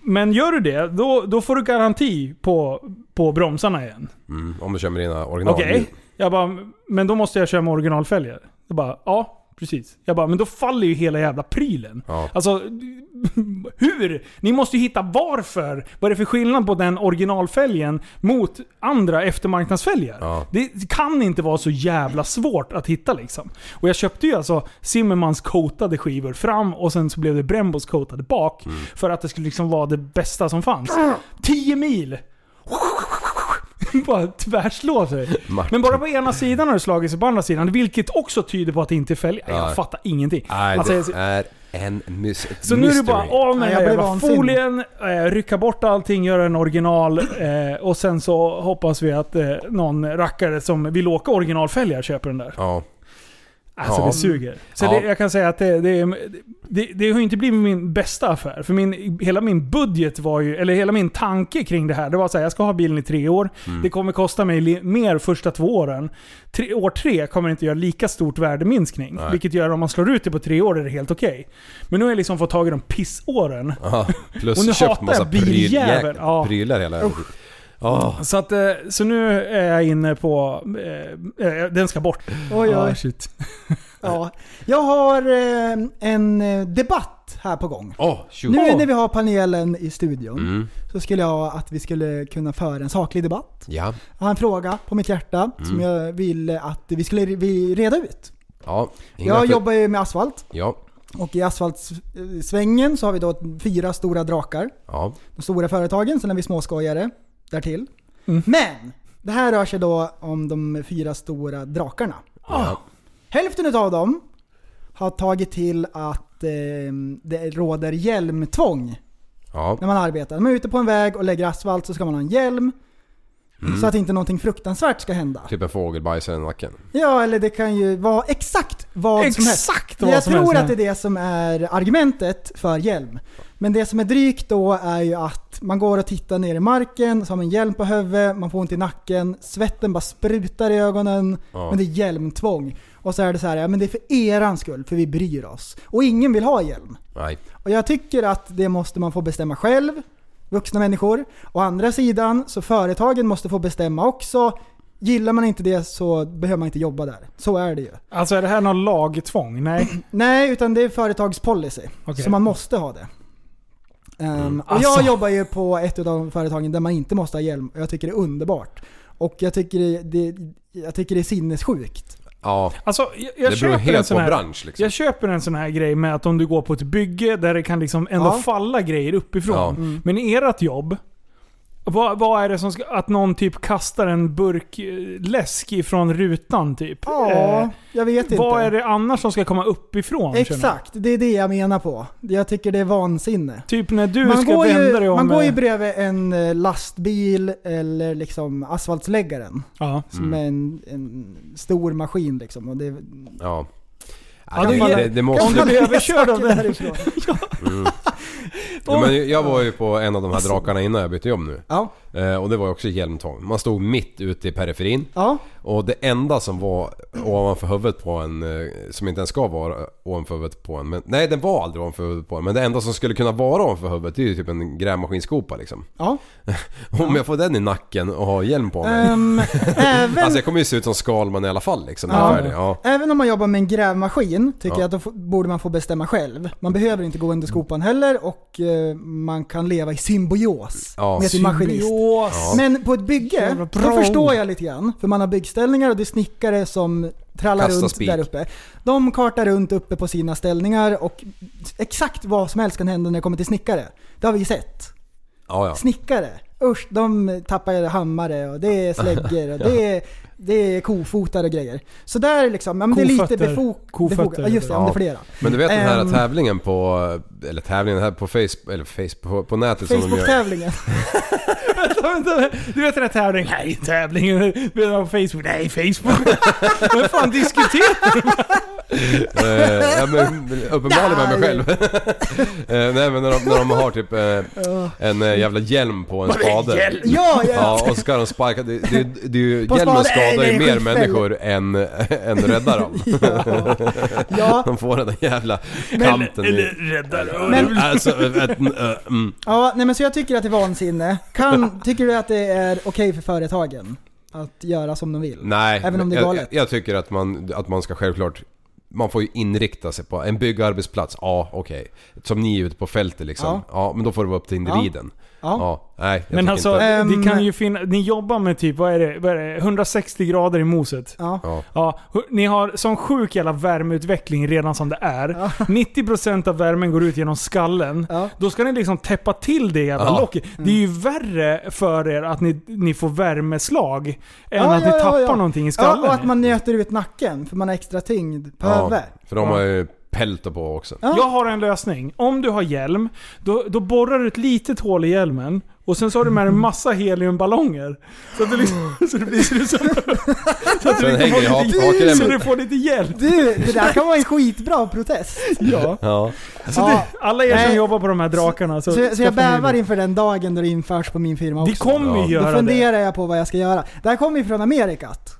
Speaker 3: men gör du det, då, då får du garanti på, på bromsarna igen.
Speaker 5: Mm. Om du kör med dina original.
Speaker 3: Okej. Jag bara, men då måste jag köra med originalfälgar. Jag bara, ja. Precis. Jag bara, men då faller ju hela jävla prylen.
Speaker 5: Ja.
Speaker 3: Alltså, *laughs* hur? Ni måste ju hitta varför. Vad är det för skillnad på den originalfälgen mot andra eftermarknadsfälgar?
Speaker 5: Ja.
Speaker 3: Det kan inte vara så jävla svårt att hitta liksom. Och jag köpte ju alltså Zimmermans coatade skivor fram och sen så blev det Brembos coatade bak.
Speaker 5: Mm.
Speaker 3: För att det skulle liksom vara det bästa som fanns. 10 mil! *laughs* bara tvärslår sig.
Speaker 5: Martin.
Speaker 3: Men bara på ena sidan har det slagit sig på andra sidan. Vilket också tyder på att det inte är fälgar.
Speaker 5: Ja.
Speaker 3: Jag fattar ingenting.
Speaker 5: Nej,
Speaker 3: Alltså, jag-
Speaker 5: det är en mys- ett
Speaker 3: så nu är det
Speaker 5: mystery.
Speaker 3: bara av med den
Speaker 4: Ja,
Speaker 3: här
Speaker 4: jag blev
Speaker 3: jävla
Speaker 4: vansinnig.
Speaker 3: folien, eh, rycka bort allting, göra en original eh, och sen så hoppas vi att eh, någon rackare som vill åka originalfälgar köper den där.
Speaker 5: Ja.
Speaker 3: Alltså
Speaker 5: Ja.
Speaker 3: det suger. Så
Speaker 5: Ja.
Speaker 3: det, jag kan säga att det, det, är- det, det har ju inte blivit min bästa affär. För min, hela min budget var ju, eller hela min tanke kring det här, det var så här, jag ska ha bilen i tre år.
Speaker 5: Mm.
Speaker 3: Det kommer kosta mig li- mer första två åren. Tre, år tre kommer inte göra lika stort värdeminskning.
Speaker 5: Nej.
Speaker 3: Vilket gör att om man slår ut det på tre år är det helt okej. Men nu har jag liksom fått tag i de pissåren.
Speaker 5: Aha. Plus
Speaker 3: Och nu
Speaker 5: köpt
Speaker 3: hatar
Speaker 5: massa
Speaker 3: jag biljäveln.
Speaker 5: pryljäk-
Speaker 3: Ja.
Speaker 5: prylar hela tiden. Ja.
Speaker 3: Så, att, eh, så nu är jag inne på... Eh, eh, den ska bort.
Speaker 4: Oj,
Speaker 3: Ah,
Speaker 4: oj.
Speaker 3: shit.
Speaker 4: Ja. Jag har eh, en eh, debatt här på gång.
Speaker 5: Åh, shoot.
Speaker 4: Nu
Speaker 3: Åh.
Speaker 4: när vi har panelen i studion
Speaker 5: Mm.
Speaker 4: så skulle jag att vi skulle kunna föra en saklig debatt.
Speaker 5: Ja.
Speaker 4: Jag har en fråga på mitt hjärta
Speaker 5: Mm.
Speaker 4: som jag ville att vi skulle vi reda ut.
Speaker 5: Ja. Inga
Speaker 4: Jag
Speaker 5: för-
Speaker 4: jobbar ju med asfalt
Speaker 5: Ja.
Speaker 4: och i asfaltsvängen så har vi då fyra stora drakar.
Speaker 5: Ja.
Speaker 4: De stora företagen, sen har vi småskojare därtill. Men! Det här rör sig då om de fyra stora drakarna.
Speaker 3: Ah.
Speaker 5: Ja.
Speaker 4: Hälften av dem har tagit till att eh, det råder hjälmtvång
Speaker 5: Ja.
Speaker 4: när man arbetar. När man är ute på en väg och lägger asfalt så ska man ha en hjälm.
Speaker 3: Mm.
Speaker 4: Så att inte någonting fruktansvärt ska hända.
Speaker 5: Typ en fågelbajsare i nacken.
Speaker 4: Ja, eller det kan ju vara exakt vad som helst.
Speaker 3: Exakt vad
Speaker 4: Jag
Speaker 3: som
Speaker 4: tror
Speaker 3: helst.
Speaker 4: att det är det som är argumentet för hjälm. Men det som är drygt då är ju att man går och tittar ner i marken, så har man hjälm på huvudet, man får ont i nacken, svetten bara sprutar i ögonen.
Speaker 5: Ja.
Speaker 4: Men det är hjälmtvång. Och så är det så här, ja men det är för eran skull, för vi bryr oss. Och ingen vill ha hjälm.
Speaker 5: Nej.
Speaker 4: Och jag tycker att det måste man få bestämma själv, vuxna människor. Å andra sidan så företagen måste få bestämma också. Gillar man inte det så behöver man inte jobba där. Så är det ju.
Speaker 3: Alltså är det här någon lagtvång? Nej.
Speaker 4: Nej, utan det är företagspolicy.
Speaker 3: Okej.
Speaker 4: Så man måste ha det. Ehm, och
Speaker 3: Alltså.
Speaker 4: Jag jobbar ju på ett av de företagen där man inte måste ha hjälm. Jag tycker det är underbart. Och jag tycker det, det, jag tycker det är sinnessjukt.
Speaker 5: Ja.
Speaker 3: Alltså, jag, jag
Speaker 5: det beror
Speaker 3: köper en
Speaker 5: helt på
Speaker 3: sån här...
Speaker 5: bransch liksom.
Speaker 3: Jag köper en sån här grej med att om du går på ett bygge där det kan liksom ändå
Speaker 4: Ja.
Speaker 3: falla grejer uppifrån.
Speaker 5: Ja. Mm.
Speaker 3: Men i ert jobb, vad, vad är det som ska... Att någon typ kastar en burk eh, läsk ifrån rutan typ?
Speaker 4: Ja,
Speaker 3: Eh,
Speaker 4: jag vet inte.
Speaker 3: vad är det annars som ska komma uppifrån? känner jag?
Speaker 4: Exakt, det är det jag menar på. Jag tycker det är vansinne.
Speaker 3: Typ när du
Speaker 4: man
Speaker 3: ska
Speaker 4: går,
Speaker 3: vända
Speaker 4: ju,
Speaker 3: dig om...
Speaker 4: man går ju
Speaker 3: eh,
Speaker 4: bredvid en eh, lastbil eller liksom asfaltsläggaren.
Speaker 3: ja.
Speaker 5: Mm.
Speaker 4: Som är en, en stor maskin liksom. Och det,
Speaker 5: Ja.
Speaker 3: Ja,
Speaker 5: det,
Speaker 3: du
Speaker 5: det,
Speaker 3: ger-
Speaker 5: det, det
Speaker 3: Om
Speaker 5: måste...
Speaker 3: du blir *laughs* överkörd av
Speaker 4: saker
Speaker 3: den.
Speaker 4: därifrån.
Speaker 5: Ja, men jag var ju på en av de här drakarna innan jag bytte jobb nu.
Speaker 4: Ja,
Speaker 5: Eh, Och det var ju också hjälmtvång. Man stod mitt ute i periferin.
Speaker 4: ja.
Speaker 5: Och det enda som var ovanför huvudet på en, eh, som inte ens ska vara ovanför huvudet på en. Men, nej den var aldrig ovanför huvudet på en. Men det enda som skulle kunna vara ovanför huvudet det är ju typ en grävmaskinskopa liksom.
Speaker 4: ja.
Speaker 5: Om jag får den i nacken och har hjälm på mig. *laughs*
Speaker 4: Ehm, även,
Speaker 5: Alltså jag kommer ju se ut som Skalman i alla fall liksom.
Speaker 4: Ja.
Speaker 5: Ja. Ja.
Speaker 4: även om man jobbar med en grävmaskin tycker
Speaker 5: Ja.
Speaker 4: jag att då f- borde man få bestämma själv. Man behöver inte gå under skopan heller och eh, man kan leva i symbios
Speaker 5: Ja.
Speaker 4: med sin maskinist.
Speaker 3: Symbios.
Speaker 4: Men på ett
Speaker 3: Jävla
Speaker 4: bygge,
Speaker 3: bra
Speaker 4: då förstår
Speaker 3: ord.
Speaker 4: jag lite grann. För man har byggställningar och det är snickare som trallar
Speaker 5: Kastar
Speaker 4: runt
Speaker 5: spik.
Speaker 4: där uppe. De kartar runt uppe på sina ställningar och exakt vad som helst kan hända när det kommer till snickare. Det har vi ju sett.
Speaker 5: Ja, ja.
Speaker 4: Snickare, usch, de tappar hammare och det är
Speaker 5: *laughs*
Speaker 4: släggor och det är, det är kofotar och grejer. Så där är liksom, ja, men det är lite
Speaker 3: Kofötter.
Speaker 4: befog-
Speaker 3: Kofötter.
Speaker 4: befogat. Ja, just det, ja. det är flera.
Speaker 5: Men du vet den här
Speaker 4: Ehm.
Speaker 5: tävlingen på... Eller tävlingen här på Facebook... Eller Facebook... På, på nätet som de gör.
Speaker 4: Facebook-tävlingen. *laughs*
Speaker 3: Vänta, vänta. *laughs* Du vet den här tävlingen? Nej, tävlingen. Vet du vad, på Facebook? Nej, Facebook. *laughs* Vad fan diskuterar du?
Speaker 5: Eh, ja, men, uppenbarligen med mig själv. *laughs* Eh, nej men när de, när de har typ eh, en eh, jävla hjälm på en spade.
Speaker 4: Ja, ja.
Speaker 5: Ja, och så ska de sparka. Det, det, det är ju,
Speaker 4: På
Speaker 5: hjälmen
Speaker 4: spaden.
Speaker 5: skadar
Speaker 4: Nej,
Speaker 5: ju
Speaker 4: nej,
Speaker 5: mer
Speaker 4: skitfäll.
Speaker 5: människor än, *laughs* än räddar dem.
Speaker 4: ja.
Speaker 5: De får den där jävla kanten i...
Speaker 3: räddare.
Speaker 4: Men-
Speaker 5: Alltså, eh, eh, eh, mm.
Speaker 4: Ja, nej men så jag tycker att det är vansinne. Kan, tycker du att det är okej för företagen att göra som de vill?
Speaker 5: Nej,
Speaker 4: Även om det är
Speaker 5: jag, jag,
Speaker 4: galet.
Speaker 5: jag tycker att man, att man ska självklart... Man får ju inrikta sig på en byggarbetsplats, ja okej. Som ni är ute på fältet liksom. Ja.
Speaker 4: Ja.
Speaker 5: men då får det vara upp till individen. Ja,
Speaker 4: Ja.
Speaker 5: nej jag
Speaker 3: Men
Speaker 5: tycker
Speaker 3: alltså,
Speaker 5: inte.
Speaker 3: det
Speaker 4: Ehm.
Speaker 3: kan ju finnas... Ni jobbar med typ, vad är det? Vad är det 160 grader i moset.
Speaker 4: Ja.
Speaker 5: Ja.
Speaker 3: Ja, hu- ni har sån sjuk jävla värmeutveckling redan som det är.
Speaker 4: *laughs*
Speaker 3: 90% av värmen går ut genom skallen.
Speaker 4: Ja. Mm.
Speaker 3: Då ska ni liksom täppa till det jävla
Speaker 5: Ja.
Speaker 3: locket. Det är ju värre för er att ni, ni får värmeslag än att ni tappar någonting i skallen.
Speaker 4: Ja, och att man nöter ut nacken för man har extra tyngd på
Speaker 5: ja,
Speaker 4: huvudet.
Speaker 5: För de har ju pelto på också.
Speaker 4: Ja.
Speaker 3: Jag har en lösning. Om du har hjälm, då, då borrar du ett litet hål i hjälmen. Och sen så har du med dig en massa heliumballonger. Så att det, liksom, *laughs* så det blir så det ser ut som... Så att
Speaker 5: Den hänger i
Speaker 3: får lite-
Speaker 5: hakremmen.
Speaker 3: Så du får lite hjälp.
Speaker 4: Du, det där kan vara en skitbra protest.
Speaker 3: *laughs* Ja.
Speaker 5: Ja.
Speaker 3: Så
Speaker 4: Ja.
Speaker 3: det, alla er som
Speaker 4: Nej.
Speaker 3: jobbar på de här drakarna. Så,
Speaker 4: Så, jag- så jag
Speaker 3: skaffa en
Speaker 4: bävar
Speaker 3: hjälm.
Speaker 4: inför den dagen då det införs på min firma också.
Speaker 3: Vi kommer ju
Speaker 5: Ja.
Speaker 3: göra
Speaker 4: Då
Speaker 3: det.
Speaker 4: funderar jag på vad jag ska göra. Det här kommer ju från Amerikat.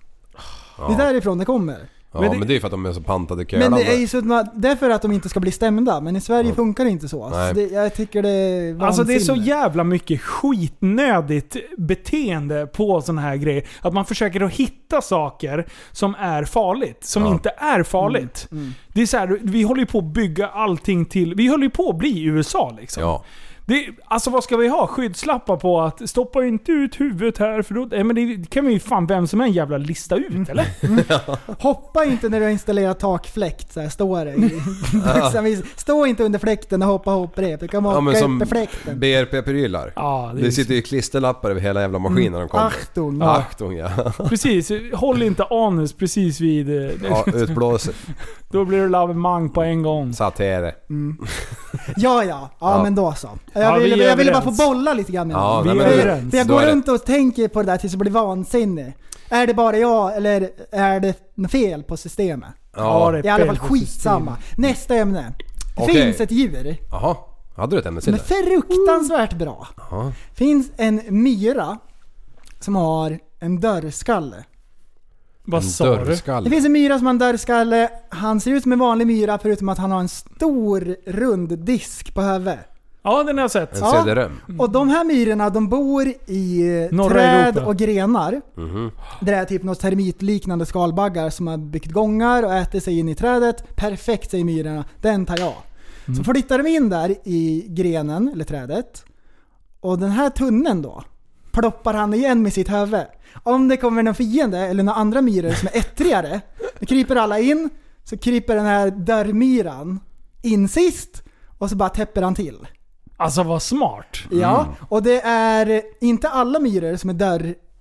Speaker 4: Det är därifrån det kommer.
Speaker 5: Ja,
Speaker 3: Men
Speaker 5: men
Speaker 3: det-
Speaker 5: det, är ju för att de är så pantade
Speaker 4: Men
Speaker 5: kölande.
Speaker 4: det är ju så att man, därför att de inte ska bli stämda. Men i Sverige funkar det inte så.
Speaker 5: Nej.
Speaker 4: så det, jag tycker det är vansinne.
Speaker 3: Alltså det är så jävla mycket skitnödigt beteende på sådana här grejer. Att man försöker att hitta saker som är farligt, som
Speaker 5: Ja.
Speaker 3: inte är farligt.
Speaker 4: Mm.
Speaker 3: Det är så här, vi håller ju på att bygga allting till... Vi håller ju på att bli USA liksom.
Speaker 5: Ja.
Speaker 3: Det, alltså vad ska vi ha? Skyddslappar på att stoppa inte ut huvudet här för då... Nej, men det kan vi ju fan vem som än jävla lista
Speaker 4: Mm.
Speaker 3: ut eller?
Speaker 4: Hoppa inte när du har installerat takfläkt, så här står det. i- Exempelvis, Stå inte under fläkten och hoppa hopprep. Du kan
Speaker 5: Ja,
Speaker 4: hoppa
Speaker 5: men
Speaker 4: upp
Speaker 5: som
Speaker 4: i fläkten.
Speaker 5: BRP-prylar.
Speaker 3: Ja, det är
Speaker 5: det sitter ju klisterlappar över hela jävla maskinen när de kommer.
Speaker 4: Achtung.
Speaker 5: Achtung ja.
Speaker 3: *laughs* Precis, håll inte anus precis vid... eh,
Speaker 5: ja utblåser.
Speaker 3: Då blir du lavemang på en gång.
Speaker 5: Satere.
Speaker 4: Ja, ja. Ja,
Speaker 5: Ja.
Speaker 4: men då så. Jag,
Speaker 3: Ja, vi
Speaker 4: ville,
Speaker 3: är
Speaker 4: jag ville bara få
Speaker 3: överens.
Speaker 4: bolla lite grann med
Speaker 5: Ja,
Speaker 4: honom.
Speaker 3: Vi
Speaker 5: nej,
Speaker 3: är
Speaker 5: men,
Speaker 3: överens.
Speaker 4: För jag
Speaker 5: då
Speaker 4: går
Speaker 5: är det-
Speaker 4: runt och tänker på det där tills jag blir vansinnig. Är det bara jag eller är det något fel på systemet?
Speaker 3: Ja,
Speaker 5: Ja,
Speaker 3: det-
Speaker 4: Det är i alla fall
Speaker 3: Fel på systemet.
Speaker 4: skitsamma. Nästa ämne. Det
Speaker 5: Okej.
Speaker 4: finns ett djur
Speaker 5: Jaha. Hade du ett ämne till
Speaker 4: som är
Speaker 5: det?
Speaker 4: fruktansvärt bra.
Speaker 5: Ja.
Speaker 4: finns en myra som har en dörrskalle.
Speaker 3: Vad
Speaker 5: En
Speaker 3: sa du?
Speaker 4: Det
Speaker 5: Dörrskalle.
Speaker 4: finns en myra som har en dörrskalle. Han ser ut som en vanlig myra förutom att han har en stor rund disk på huvudet.
Speaker 3: Ja, den har jag sett.
Speaker 5: En
Speaker 4: Ja.
Speaker 5: cederöm.
Speaker 4: Mm. Och de här myrorna de bor i eh,
Speaker 3: Norra
Speaker 4: träd
Speaker 3: Europa.
Speaker 4: och grenar.
Speaker 5: Mhm.
Speaker 4: Det är typ något termitliknande skalbaggar som har byggt gångar och äter sig in i trädet. Perfekt säger myrorna, den tar jag.
Speaker 3: Mm.
Speaker 4: Så flyttar de in där i grenen, eller trädet. Och den här tunneln då, ploppar han igen med sitt huvud. Om det kommer någon fiende eller några andra myror som är ettrigare, då kryper alla in. Så kryper den här dörrmyran in sist och så bara täpper han till.
Speaker 3: Alltså vad smart.
Speaker 4: Ja, och det är inte alla myror som är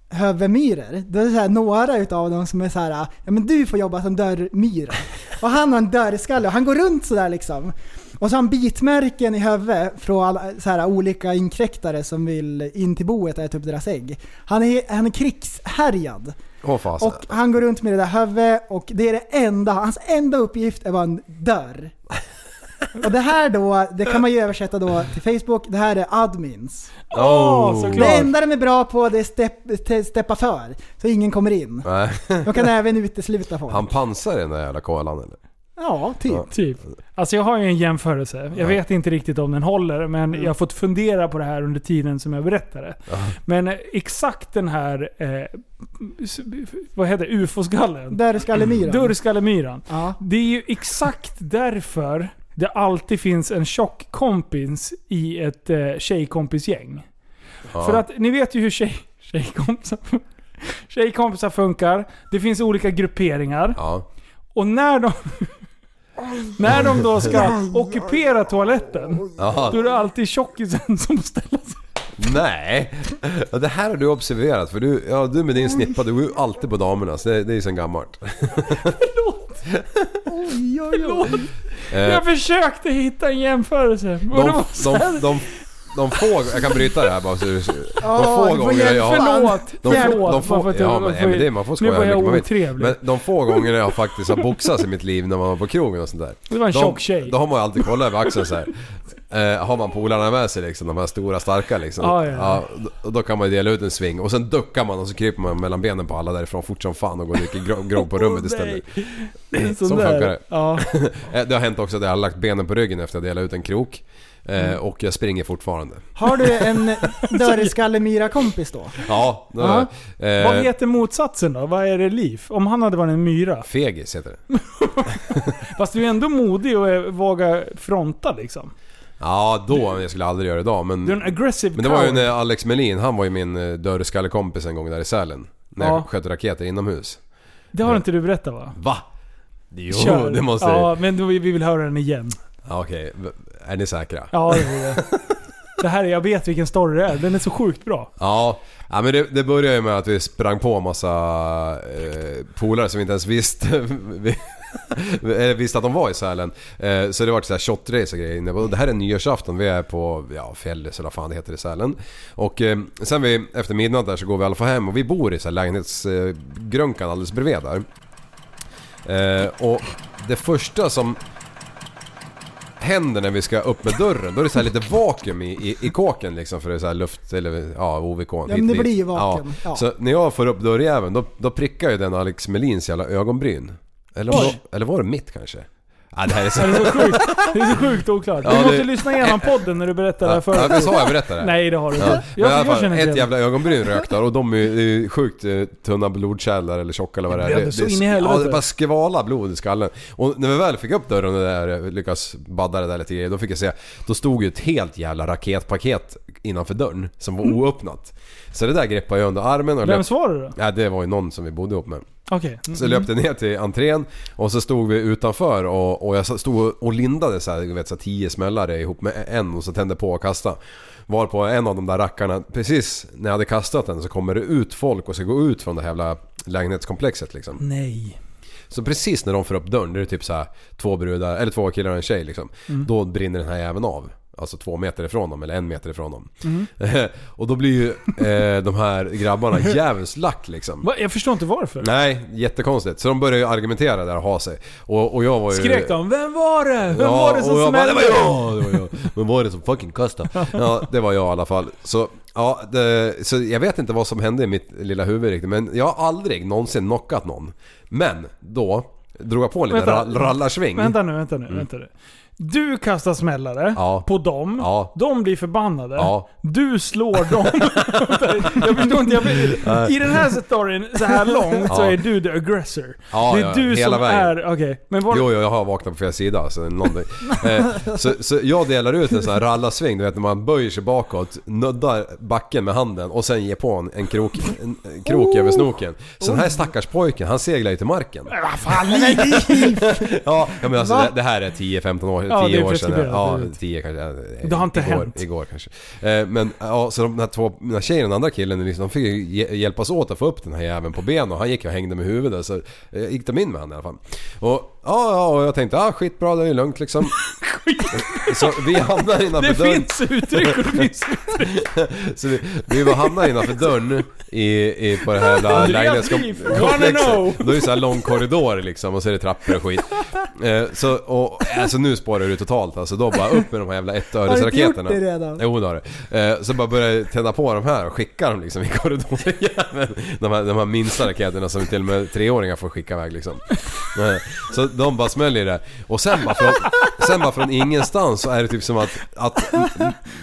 Speaker 4: dörrhövemyror. Det är så här några utav dem som är så här, ja men du får jobba som dörrmyra. Och han har en dörrskalle och han går runt sådär liksom. Och så har han bitmärken i huvudet från alla, så här, olika inkräktare som vill in till boet och äta upp deras ägg. Han är, han är krigshärjad.
Speaker 5: Åh fasen.
Speaker 4: Och han går runt med det där huvudet och det är det enda, hans enda uppgift är att vara en
Speaker 5: *laughs*
Speaker 4: dörr. Och det här då, det kan man ju översätta då till Facebook, det här är admins.
Speaker 3: Åh,
Speaker 5: Oh.
Speaker 3: såklart.
Speaker 4: Det enda de är bra på det är stepp, te- steppa för, så ingen kommer in.
Speaker 5: Nej.
Speaker 4: De kan även utesluta folk.
Speaker 5: Han pansar den där jävla koalan eller?
Speaker 4: Ja, typ.
Speaker 5: Ja.
Speaker 3: Typ. Alltså jag har ju en jämförelse. Jag
Speaker 5: Ja. Mm.
Speaker 3: vet inte riktigt om den håller, men jag har fått fundera på det här under tiden som jag berättar det. Men eh, exakt den här, eh, s- vad heter det? ufo-skallen?
Speaker 4: Dörrskallemyran.
Speaker 3: Dörrskallemyran.
Speaker 4: Ja.
Speaker 3: Det är ju exakt därför det alltid finns en tjock kompis i ett eh, tjejkompisgäng.
Speaker 5: Ja.
Speaker 3: För att ni vet ju hur tjej, tjejkompisar, *laughs* tjejkompisar funkar. Det finns olika grupperingar.
Speaker 5: Ja.
Speaker 3: Och när de... *laughs* när de då ska ockupera toaletten,
Speaker 5: Ja.
Speaker 3: då är det alltid tjockisen som ställer sig.
Speaker 5: Nej! Ja, det här har du observerat för du, ja, du med din snippa, du går ju alltid på damernas. Det, det är ju sen gammalt.
Speaker 4: Oj, oj, oj.
Speaker 3: Förlåt.
Speaker 5: Eh,
Speaker 3: Jag försökte hitta en jämförelse. Och det
Speaker 5: de,
Speaker 3: var så
Speaker 5: Eh, de,
Speaker 3: här-
Speaker 5: de, de, få, jag kan bryta det här bara så du ser. De
Speaker 4: Ja,
Speaker 5: få
Speaker 4: du får
Speaker 5: gånger jag
Speaker 4: hjälpa.
Speaker 3: Förlåt!
Speaker 5: De få,
Speaker 3: förlåt,
Speaker 5: de
Speaker 3: bara för
Speaker 5: få,
Speaker 3: att jag-
Speaker 5: ja, men, nej, men det, man får
Speaker 3: Nu var
Speaker 5: skoja hur
Speaker 3: jag
Speaker 5: mycket man vill.
Speaker 3: otrevlig.
Speaker 5: Men de få gånger jag faktiskt har boxats i mitt liv när man var på krogen och sånt där.
Speaker 3: Det var en
Speaker 5: de,
Speaker 3: tjock tjej.
Speaker 5: Då har man ju alltid kollat över axeln så här. Eh, har man polarna med sig liksom, de här stora starka liksom.
Speaker 3: Ah, Ja, ja.
Speaker 5: då, och då kan man ju dela ut en sving och sen duckar man och så kryper man mellan benen på alla därifrån fort som fan och går och dricker gro- grogg på rummet istället. *clears throat*
Speaker 3: Nej.
Speaker 5: Så
Speaker 3: Sån där.
Speaker 5: funkar det.
Speaker 3: Ja.
Speaker 5: Eh, Det har hänt också att jag har lagt benen på ryggen efter att jag delat ut en krok. Eh,
Speaker 3: Mm.
Speaker 5: och jag springer
Speaker 3: *laughs*
Speaker 5: fortfarande.
Speaker 4: Har du en dörrskallemyra-kompis då?
Speaker 5: Ja, då,
Speaker 4: Ja.
Speaker 5: eh,
Speaker 3: Vad heter motsatsen då? Vad är det liv? Om han hade varit en myra.
Speaker 5: Fegis heter det.
Speaker 3: Fast du är ändå modig och eh, vågar fronta liksom.
Speaker 5: Ja, då. Jag skulle aldrig göra det idag men...
Speaker 3: Du är en aggressive
Speaker 5: Men det var ju
Speaker 3: coward.
Speaker 5: när Alex Melin, han var ju min eh, dörrskallekompis en gång där i Sälen. När
Speaker 3: Ja.
Speaker 5: jag sköt raketer inomhus.
Speaker 3: Det har inte du berättat va?
Speaker 5: Va? Jo,
Speaker 3: Kör.
Speaker 5: det måste jag.
Speaker 3: Ja, men då- vi vill höra den igen.
Speaker 5: Ja, Okej, V- är ni säkra?
Speaker 3: Ja, det
Speaker 5: *laughs*
Speaker 3: är det. Det här är, jag vet vilken story det är. Den är så sjukt bra.
Speaker 5: Ja, ja men det, det började ju med att vi sprang på en massa eh, polare som vi inte ens visste, *laughs* vi, eh, visste att de var i Sälen. Eh, så det vart så här shotrace och grejer. inne. Och Det här är nyårsafton, vi är på ja, Fjällis eller vad fan det heter i Sälen. Och eh, sen vi, efter midnatt där så går vi i alla fall hem och vi bor i så här lägenhetsgrönkan alldeles bredvid där. Eh, och det första som händer när vi ska upp med dörren, då är det så här lite vakuum i, i, i kåken liksom för det är så här luft eller ja OVK. Ja,
Speaker 4: men det blir ju vakuum, ja.
Speaker 5: Så när jag får upp dörrjäveln då, då prickar ju den Alex Melins jävla ögonbryn. Eller, om
Speaker 3: Oj.
Speaker 5: då, eller var det mitt kanske? Ja, det här är
Speaker 4: *laughs*
Speaker 5: så
Speaker 3: Det är så sjukt, det är så sjukt oklart. Du
Speaker 5: Ja, det-
Speaker 3: måste lyssna igenom podden när du berättar det här
Speaker 5: Ja,
Speaker 3: förut.
Speaker 5: visst har jag berättat det?
Speaker 3: Nej, det har du
Speaker 5: Ja.
Speaker 3: inte.
Speaker 5: Men i alla
Speaker 3: Jag, jag
Speaker 5: fall,
Speaker 3: känner
Speaker 5: ett
Speaker 3: inte igen
Speaker 5: jävla ögonbryn rök där och de är ju är ju sjukt eh, tunna blodkärl eller tjocka eller vad det är.
Speaker 3: blev så in i helvete.
Speaker 5: Ja, det bara skvala blod i skallen. Och när vi väl fick upp dörren och där, eh, lyckas badda det där lite grejer, då fick jag se. Då stod ju ett helt jävla raketpaket innanför dörren som var oöppnat. Så det där greppade jag under armen och
Speaker 3: Mm. Vem
Speaker 5: löpte-
Speaker 3: svarar du då?
Speaker 5: Ja, det var ju någon som vi bodde ihop med.
Speaker 3: Okej.
Speaker 5: Så jag löpte ner till entrén och så stod vi utanför och, och jag stod och lindade så här, du vet, så här tio smällare ihop med en och så tände på och kastade. Var på en av de där rackarna, precis när jag hade kastat den så kommer det ut folk och ska gå ut från det här jävla lägenhetskomplexet
Speaker 3: Mm.
Speaker 5: liksom.
Speaker 3: Nej.
Speaker 5: Så precis när de får upp dörren, det är typ så här två brudar, eller två killar och en tjej liksom. Då brinner den här även av. Alltså två meter ifrån dem, eller en meter ifrån dem. *laughs* och då blir ju eh, de här grabbarna djävulskt lack liksom.
Speaker 3: Va? Jag förstår inte varför.
Speaker 5: Nej, jättekonstigt. Så de började ju argumentera där och ha sig. Och, och jag var ju...
Speaker 3: Skrek de 'Vem var det? Vem var det som
Speaker 5: och jag bara,
Speaker 3: smällde?'
Speaker 5: det var jag! Det var jag. Vem var det som fucking
Speaker 3: *laughs*
Speaker 5: kastade? Ja, det var jag i alla fall. Så, ja, det, så jag vet inte vad som hände i mitt lilla huvud riktigt, men jag har aldrig någonsin knockat någon. Men då drog jag på en liten
Speaker 3: Vänta.
Speaker 5: ra- rallarsving.
Speaker 3: Vänta nu, vänta nu, vänta nu. Du kastar smällare
Speaker 5: Mm. Ja.
Speaker 3: på dem,
Speaker 5: Ja.
Speaker 3: de blir förbannade,
Speaker 5: Ja.
Speaker 3: du slår
Speaker 5: *laughs*
Speaker 3: dem. jag förstår inte, jag blir, I den här storyn,
Speaker 5: *laughs*
Speaker 3: så här långt, så
Speaker 5: Ja.
Speaker 3: är du the aggressor.
Speaker 5: Ja,
Speaker 3: det är
Speaker 5: ja,
Speaker 3: du
Speaker 5: hela
Speaker 3: som
Speaker 5: vägen.
Speaker 3: är... Okej, men var,
Speaker 5: Jo, jo, jag har vaknat på fel sida. Så, någonting. eh, så, så jag delar ut en sån här rallarsving, du vet när man böjer sig bakåt, nuddar backen med handen och sen ger på en, en krok, en, en krok över snoken. Så den här stackars pojken, han seglar ju till marken. *laughs* Ja, ja, men alltså
Speaker 4: Va?
Speaker 5: det, det här är 10-15 år, 10
Speaker 3: Ja, det är
Speaker 5: år sedan.
Speaker 3: preskriberat,
Speaker 5: Ja,
Speaker 3: det vet.
Speaker 5: 10 kanske. eh,
Speaker 3: Det har inte
Speaker 5: igår,
Speaker 3: hänt.
Speaker 5: Igår kanske. Eh, Men ja, så de här två, den här tjejen och den andra killen, liksom, de fick ju hj- hjälpas åt att få upp den här jäveln på ben och han gick och hängde med huvudet så eh, gick de in med han i alla fall. Och ja, ja och jag tänkte ah, skitbra det är lugnt liksom.
Speaker 3: *laughs*
Speaker 5: *laughs* så vi hamnar innanför
Speaker 3: det
Speaker 5: dörren.
Speaker 3: finns uttryck och det
Speaker 5: *laughs*
Speaker 3: finns...
Speaker 5: Så vi, vi var hamnar innanför dörren i, i, på det här jävla
Speaker 3: Andreas Beef, wanna know.
Speaker 5: Då är det så här lång korridor liksom och så är det trappor och skit. Eh, så, och, alltså nu spårar det ju totalt alltså. Då bara upp med de här jävla
Speaker 4: Har du
Speaker 5: ettöresraketerna.
Speaker 4: inte gjort det redan?
Speaker 5: Jo det har det. Eh, så bara börjar jag tända på de här och skicka dem liksom i korridoren *laughs* jäveln. de, här, de här minsta raketerna som till och med treåringar får skicka iväg liksom. Eh, Så de bara smäller i det. Och sen bara från, sen bara från ingenstans så är det typ som att, att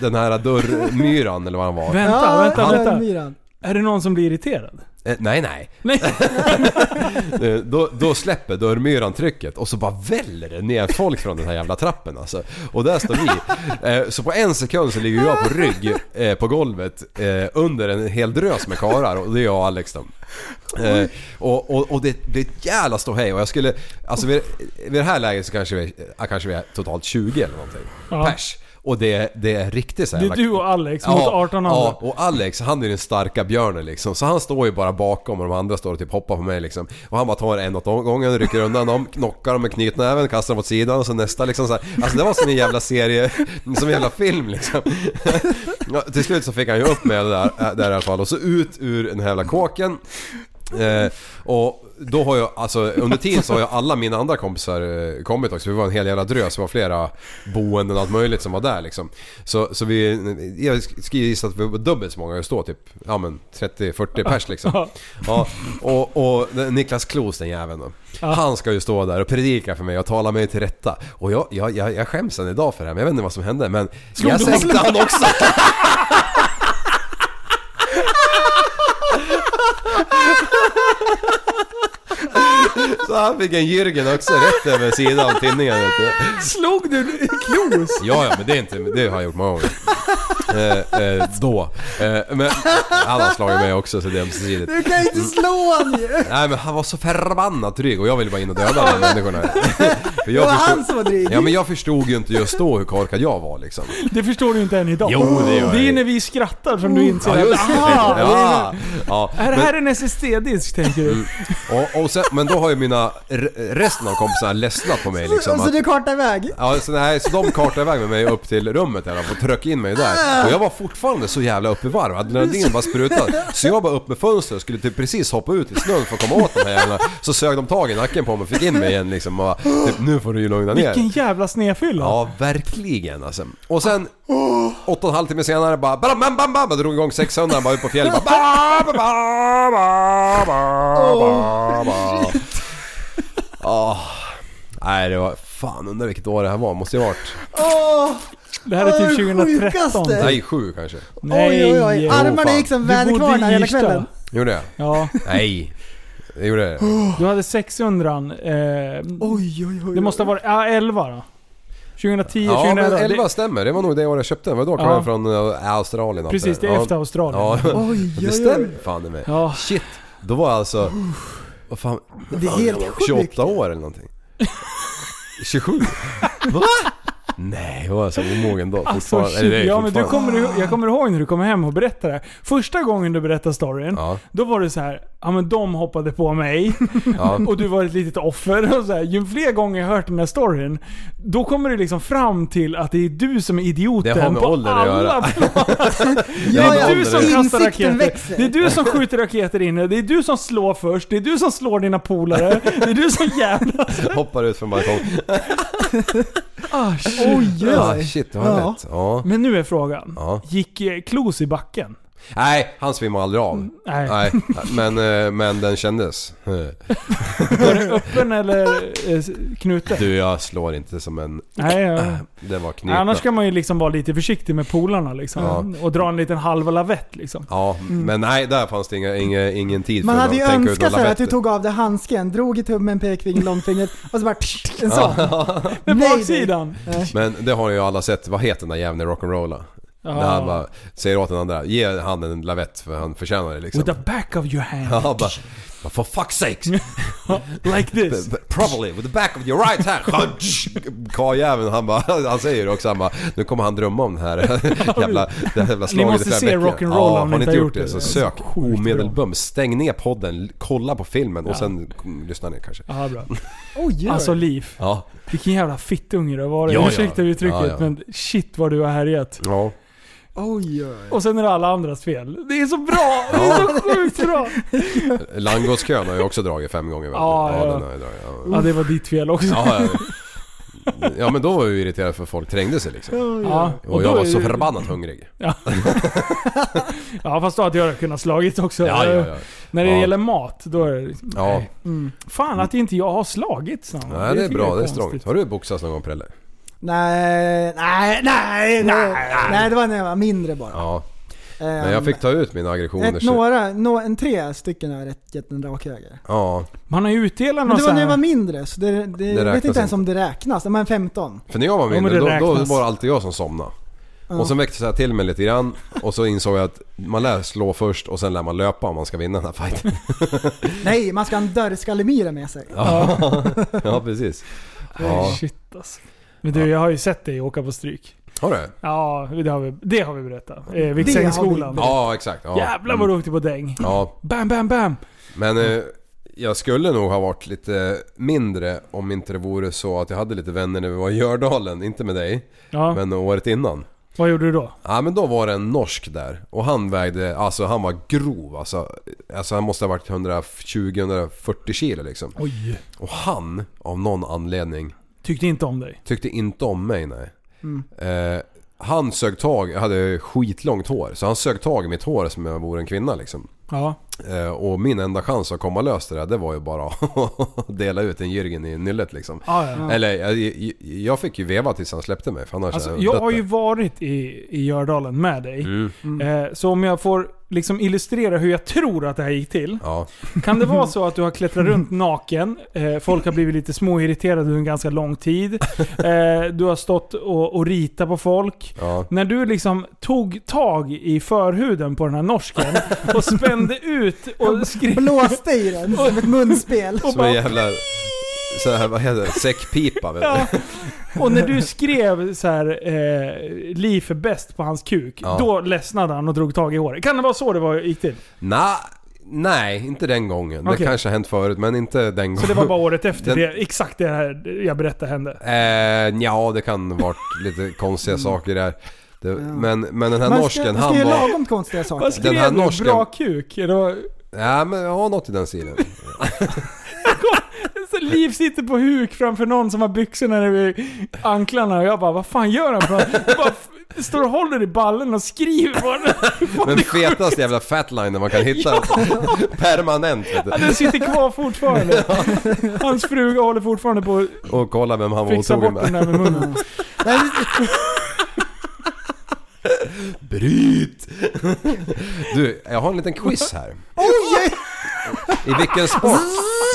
Speaker 5: den här dörrmyran eller vad han var.
Speaker 3: *laughs* Vänta, vänta,
Speaker 4: den
Speaker 3: vänta.
Speaker 4: myran.
Speaker 3: Är det någon som blir irriterad?
Speaker 5: Eh, nej, nej. *laughs*
Speaker 3: Nej.
Speaker 5: Eh, då, då släpper dörrmyran trycket och så bara väller det ner folk från den här jävla trappen alltså. Och där står vi. Eh, så på en sekund så ligger jag på rygg eh, på golvet eh, under en hel drös med karar och det är jag och Alex då. Eh, och, och, och det blir ett jävla ståhej och jag skulle... Alltså vid, vid det här läget så kanske vi, eh, kanske vi är totalt 20 eller någonting.
Speaker 3: Ja.
Speaker 5: Pers. Och det, det är riktigt så här
Speaker 3: Det är
Speaker 5: jävla-
Speaker 3: du och Alex mot 18 andra.
Speaker 5: Ja, och Alex han är den starka björnen liksom. Så han står ju bara bakom och de andra står och typ hoppar på mig liksom. Och han bara tar en åt gången, rycker undan dem, knockar dem med knytnäven, kastar dem åt sidan och så nästa liksom så här. Alltså det var som en jävla serie, som en jävla film liksom. Ja, till slut så fick han ju upp mig där, äh, där i alla fall och så ut ur den här jävla kåken. Eh, och då har jag, alltså under tiden så har ju alla mina andra kompisar eh, kommit också. Vi var en hel jävla drös, det var flera boenden och allt möjligt som var där liksom. Så, så vi, jag skulle gissa att vi var dubbelt så många, det står typ ja, men 30-40 pers liksom. Ja, och, och Niklas Klos den jäveln då. Han ska ju stå där och predika för mig och tala mig till rätta. Och jag, jag, jag, jag skäms än idag för det här, men jag vet inte vad som hände. Men jag
Speaker 3: du
Speaker 5: sänkte han också! Så han fick en Jürgen också rätt över sidan av tinningen vet du.
Speaker 3: Slog du
Speaker 5: *laughs*
Speaker 3: Klos?
Speaker 5: Ja, ja, men det är inte... Det har jag gjort många gånger. Eh, eh, då. Eh, men han har slagit mig också så det är ömsesidigt.
Speaker 4: Du kan ju inte slå honom ju!
Speaker 5: Nej men han var så förbannat dryg och jag ville bara in och döda de här människorna. För
Speaker 4: Det
Speaker 5: jag
Speaker 4: var
Speaker 5: förstod,
Speaker 4: han som var dryg.
Speaker 5: ja men jag förstod ju inte just då hur korkad jag var liksom.
Speaker 3: Det förstår du inte än idag.
Speaker 5: Jo, det gör jag. Mm.
Speaker 3: det är när vi skrattar som du inser
Speaker 5: Ja
Speaker 3: att
Speaker 5: just det.
Speaker 3: "Aha,
Speaker 5: Ja, ja.
Speaker 3: Är det
Speaker 5: Men- Mm.
Speaker 3: här en SSD-disk tänker du?
Speaker 5: Och, och sen, men då har ju mina... re- Resten av kompisarna ledsnat på mig liksom.
Speaker 4: och så
Speaker 5: att-
Speaker 4: du kartar iväg?
Speaker 5: Ja, så, nej, så de kartade iväg med mig upp till rummet där och tryckte in mig där. Och jag var fortfarande så jävla uppe i varv, adrenalin bara sprutade. Så jag bara upp med fönstret och skulle typ precis hoppa ut i snön för att komma åt de här jävlarna. Så sög de tag i nacken på mig och fick in mig igen liksom och bara, typ, nu får du ju lugna ner
Speaker 3: Vilken jävla snefylla.
Speaker 5: Ja, verkligen alltså. Och sen, åtta och en halv timme senare bara bam, bam, bam, bam, drog igång 600 bara ut på fjället. Bara, ba, ba, ba, ba, ba, ba, ba. Ja. Nej, det var... Fan, undrar vilket år det här var. Måste ju ha varit...
Speaker 4: Åh!
Speaker 3: Det här är
Speaker 4: Åh,
Speaker 3: typ
Speaker 4: det
Speaker 3: 2013.
Speaker 4: sjukaste.
Speaker 5: Nej, sju kanske.
Speaker 4: Oj, oj, oj.
Speaker 3: Nej.
Speaker 4: Armarna
Speaker 5: fan.
Speaker 4: gick som
Speaker 3: Du
Speaker 4: väderkvarnar
Speaker 3: bodde i
Speaker 4: hela
Speaker 3: Irsta.
Speaker 4: kvällen.
Speaker 5: Gjorde jag?
Speaker 3: Ja,
Speaker 5: Nej. Jag gjorde det.
Speaker 3: du hade 600 eh,
Speaker 4: Oj, oj, oj.
Speaker 3: Det måste ha varit, ja 11 då. 2010,
Speaker 5: Ja,
Speaker 3: 2011.
Speaker 5: men 11
Speaker 3: det,
Speaker 5: stämmer. Det var nog det året jag köpte den. Det var då kom
Speaker 3: Ja.
Speaker 5: jag från eh, Australien.
Speaker 3: precis, det är
Speaker 5: Ja.
Speaker 3: efter Australien.
Speaker 5: Ja,
Speaker 4: Oj, oj,
Speaker 5: *laughs* det
Speaker 4: oj.
Speaker 5: stämmer fan i mig.
Speaker 3: Ja.
Speaker 5: Shit, då var jag alltså... Vad fan?
Speaker 4: Det är helt sjukt.
Speaker 5: 28 år eller
Speaker 4: *laughs*
Speaker 5: någonting. 27? Va? Nej, jag var så omogen då
Speaker 3: Alltså,
Speaker 5: fortfarande.
Speaker 3: shit,
Speaker 5: Eller det är
Speaker 3: ja, men du
Speaker 5: fortfarande.
Speaker 3: kommer, ihå- jag kommer ihåg när du kom hem och berättade det här. Första gången du berättade storyn,
Speaker 5: Ja.
Speaker 3: då var det så här. ja men de hoppade på mig
Speaker 5: *laughs* Ja.
Speaker 3: och du var ett litet offer. Och så här, ju fler gånger jag hört den här storyn, då kommer du liksom fram till att det är du som är idioten
Speaker 5: Det har med
Speaker 3: på
Speaker 5: ålder att
Speaker 3: alla
Speaker 5: göra. *laughs*
Speaker 3: plan.
Speaker 5: Det
Speaker 3: Det
Speaker 5: har med
Speaker 3: är du
Speaker 5: ålder
Speaker 3: som
Speaker 5: att göra.
Speaker 3: kastar
Speaker 4: Insikten
Speaker 3: raketer.
Speaker 4: växer.
Speaker 3: Det är du som skjuter raketer inne. Det är du som slår först. Det är du som slår dina polare. Det är du som
Speaker 5: *laughs*
Speaker 3: jävlar.
Speaker 5: Hoppar ut från balkong.
Speaker 3: Ah,
Speaker 4: Oj,
Speaker 5: Ja,
Speaker 4: oj.
Speaker 5: shit, det var
Speaker 4: Ja.
Speaker 5: lätt. Ja.
Speaker 3: Men nu är frågan.
Speaker 5: Ja.
Speaker 3: Gick eh, Klos i backen?
Speaker 5: Nej, han svimmade aldrig av.
Speaker 3: Nej.
Speaker 5: Nej, men, eh, men den kändes. Eh,
Speaker 3: Var den öppen eller eh, s- knuten?
Speaker 5: Du, jag slår inte som en...
Speaker 3: Nej, ja.
Speaker 5: *clears throat* Det var
Speaker 3: Nej, annars
Speaker 5: knutet.
Speaker 3: ska man ju liksom vara lite försiktig med polarna liksom.
Speaker 5: Ja.
Speaker 3: Och dra en liten halv lavett liksom.
Speaker 5: Ja, men nej, där fanns det inga, inga, ingen tid
Speaker 4: Man
Speaker 5: för
Speaker 4: hade ju
Speaker 5: att tänka ut
Speaker 4: önskat
Speaker 5: några
Speaker 4: sig att du
Speaker 5: lavetter.
Speaker 4: tog av dig handsken, drog i tummen, *laughs* pekfingret, långfingret och så bara pssst, en sån.
Speaker 3: Med
Speaker 4: Nej,
Speaker 3: baksidan!
Speaker 5: *laughs* Men det har ju alla sett. Vad heter den där jäveln i Rock'n'Rolla?
Speaker 3: Ja.
Speaker 5: När han bara säger åt den andra, ge han en lavett för han förtjänar det liksom.
Speaker 3: With the back of your
Speaker 5: *laughs* Ja,
Speaker 3: hand.
Speaker 5: han bara, "But for fuck's
Speaker 3: *laughs*
Speaker 5: sake! *laughs*
Speaker 3: like this.
Speaker 5: B- Probably with the back of your right hand. *laughs* Karljäveln han bara, *laughs* han säger det också han bara, nu kommer han drömma om det här *laughs* jävla, det här jävla slaget
Speaker 3: Ni måste
Speaker 5: i flera
Speaker 3: se
Speaker 5: veckor."
Speaker 3: Rock'n'Roll om
Speaker 5: ja,
Speaker 3: ni
Speaker 5: har ni inte gjort det, så
Speaker 3: är
Speaker 5: sök
Speaker 3: sjukt bra.
Speaker 5: omedelbums, stäng ner podden, kolla på filmen och
Speaker 3: Ja.
Speaker 5: sen mm, lyssna ner kanske.
Speaker 3: Aha, bra.
Speaker 4: Oj, oj.
Speaker 3: Alltså Liv,
Speaker 5: Ja.
Speaker 3: vilken jävla fittunge du har varit.
Speaker 5: Ja, ja.
Speaker 3: Ursäkta uttrycket
Speaker 5: Ja, ja.
Speaker 3: men shit vad du har härjat.
Speaker 5: Ja.
Speaker 4: oj, oj.
Speaker 3: Och sen är det alla andras fel. Det är så bra! Det är så sjukt bra!
Speaker 5: Langårdskön har jag också dragit fem gånger vet du.
Speaker 3: Ja, ja.
Speaker 5: den har jag dragit. Ja.
Speaker 3: Ja, det var ditt fel också.
Speaker 5: *laughs* Ja, ja. ja men då var jag ju irriterad för folk trängde sig liksom.
Speaker 3: Ja,
Speaker 5: Och
Speaker 3: då
Speaker 5: jag var
Speaker 3: är
Speaker 5: så
Speaker 3: ju-
Speaker 5: förbannat hungrig.
Speaker 3: Ja, fast då hade jag kunnat slagit också.
Speaker 5: Ja, ja, ja.
Speaker 3: När det
Speaker 5: Ja.
Speaker 3: gäller mat, då är det liksom,
Speaker 5: ja.
Speaker 3: nej. Fan att inte jag har slagit snabbt.
Speaker 5: Nej, det är
Speaker 3: tycker
Speaker 5: bra,
Speaker 3: jag
Speaker 5: det är
Speaker 3: konstigt.
Speaker 5: strongt. Har du boxats någon gång Prelle?
Speaker 4: Nej, nej, nej, nej. Nej, det var när jag var mindre bara.
Speaker 5: Ja.
Speaker 4: Ehm,
Speaker 5: Men jag fick ta ut mina
Speaker 4: ett,
Speaker 5: aggressioner. så-
Speaker 4: några, nå, en tre stycken är rätt gett en rak höger.
Speaker 5: Ja.
Speaker 3: Man har ju utdelat
Speaker 4: Men
Speaker 3: någon
Speaker 4: det
Speaker 3: så
Speaker 4: var när jag var
Speaker 3: här...
Speaker 4: mindre, så det, det, jag vet
Speaker 5: räknas
Speaker 4: inte ens om det räknas. Men 15.
Speaker 5: För när jag var
Speaker 3: men
Speaker 5: mindre,
Speaker 3: det
Speaker 5: då, då
Speaker 3: räknas.
Speaker 5: var det alltid jag som somnade. Och sen väckte jag till mig lite grann och så insåg jag att man lär slå först och sen lär man löpa om man ska vinna den här fighten.
Speaker 4: Nej, man ska ha en dörrskallemyra med sig.
Speaker 5: *laughs* ja precis.
Speaker 3: Ja.
Speaker 5: Ja.
Speaker 3: Shit alltså. Men du, jag har ju sett dig åka på stryk.
Speaker 5: Har du?
Speaker 3: Ja, det har vi, det har vi berättat. Eh,
Speaker 4: har
Speaker 3: Viksängsskolan.
Speaker 4: vi
Speaker 5: Ja exakt. Ja. Mm.
Speaker 3: Jävlar vad du åkte på däng.
Speaker 5: Ja.
Speaker 3: Bam, bam, bam.
Speaker 5: Men eh, jag skulle nog ha varit lite mindre om inte det vore så att jag hade lite vänner när vi var i Gördalen. Inte med dig,
Speaker 3: Ja,
Speaker 5: men året innan.
Speaker 3: vad gjorde du då?
Speaker 5: Ja men då var det en norsk där och han vägde, alltså han var grov alltså. Alltså han måste ha varit 120-140 kilo liksom.
Speaker 3: Oj.
Speaker 5: Och han, av någon anledning,
Speaker 3: Tyckte inte om dig.
Speaker 5: tyckte inte om mig nej.
Speaker 3: Mm.
Speaker 5: Eh, han sög tag, jag hade skitlångt hår, så han sög tag i mitt hår som om jag vore en kvinna liksom.
Speaker 3: Ja.
Speaker 5: Eh, och min enda chans att komma lös det där, det var ju bara *laughs* att dela ut en Jürgen i nyllet liksom.
Speaker 3: Ja, ja.
Speaker 5: Eller jag, jag- jag fick ju veva tills han släppte mig för annars
Speaker 3: Alltså,
Speaker 5: hade
Speaker 3: jag
Speaker 5: dött
Speaker 3: har ju
Speaker 5: där. Mm.
Speaker 3: varit i, i Gördalen med dig. Eh, så om jag får liksom illustrera hur jag tror att det här gick till.
Speaker 5: Ja,
Speaker 3: Kan det vara så att du har klättrat runt naken, eh, folk har blivit lite småirriterade under en ganska lång tid. Eh, du har stått och, och ritat på folk.
Speaker 5: ja.
Speaker 3: När du liksom tog tag i förhuden på den här norsken och spände ut och skrek...
Speaker 4: Blåste i den som ett *laughs* munspel.
Speaker 3: Och,
Speaker 5: Som en
Speaker 3: bara,
Speaker 5: jävla... Så här, vad heter det? Säckpipa vet du?
Speaker 3: Ja. och när du skrev så här eh, “Liv är bäst” på hans kuk,
Speaker 5: Ja.
Speaker 3: då ledsnade han och drog tag i håret. Kan det vara så det var, gick till?
Speaker 5: Nej, nej, inte den gången. Det
Speaker 3: Okej.
Speaker 5: kanske har hänt förut men inte den gången.
Speaker 3: Så det var bara året efter
Speaker 5: Den-
Speaker 3: det, exakt det här jag berättade hände?
Speaker 5: Eh, ja, det kan varit lite konstiga
Speaker 3: Mm.
Speaker 5: saker där. Det, men, men den här
Speaker 4: Man ska,
Speaker 5: norsken,
Speaker 4: man ska
Speaker 5: han
Speaker 4: göra
Speaker 5: var...
Speaker 4: lagom konstiga saker.
Speaker 3: Vad skrev
Speaker 5: här
Speaker 3: du?
Speaker 5: norsken-
Speaker 3: Bra kuk? Eller vad-
Speaker 5: Ja, men jag har något i den stilen.
Speaker 3: Så Liv sitter på huk framför någon som har byxorna över anklarna och jag bara vad fan gör han? för något?" Jag bara, f- står och håller i ballen och skriver på den.
Speaker 5: *laughs* Men fetaste jävla fatlinen man kan
Speaker 3: *laughs*
Speaker 5: hitta. Permanent vet du.
Speaker 3: Den sitter
Speaker 5: *laughs*
Speaker 3: kvar fortfarande. Hans fruga håller fortfarande på att
Speaker 5: Och kolla vem han var
Speaker 3: fixa
Speaker 5: otrogen
Speaker 3: bort den
Speaker 5: med.
Speaker 3: där med munnen.
Speaker 5: Bryt! *laughs* Du, jag har en liten quiz här. I vilken sport...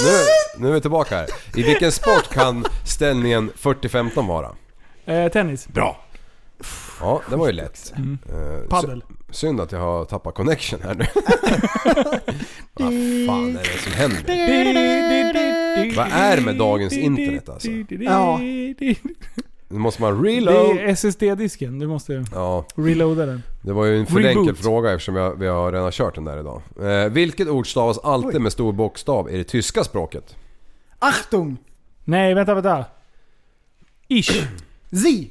Speaker 5: Nu, nu är vi tillbaka här. I vilken sport kan ställningen 40-15 vara?
Speaker 3: Eh, tennis.
Speaker 5: Bra! Ja, det var ju lätt. Eh,
Speaker 3: Paddel.
Speaker 5: sy- Synd att jag har tappat connection
Speaker 3: *laughs*
Speaker 5: här nu. Vad fan är det som händer? Vad är det med dagens internet, alltså?
Speaker 4: Ja.
Speaker 5: Nu måste man
Speaker 3: Det
Speaker 5: reload.
Speaker 3: är SSD-disken, du måste
Speaker 5: Ja,
Speaker 3: reloada den.
Speaker 5: det var ju en för
Speaker 3: Reboot.
Speaker 5: enkel fråga eftersom vi har, vi har redan kört den där idag. Eh, vilket ord stavas alltid med stor bokstav i det tyska språket?
Speaker 4: Achtung!
Speaker 3: Nej, vänta, vänta.
Speaker 5: *clears throat*
Speaker 3: Ish.
Speaker 4: Sie!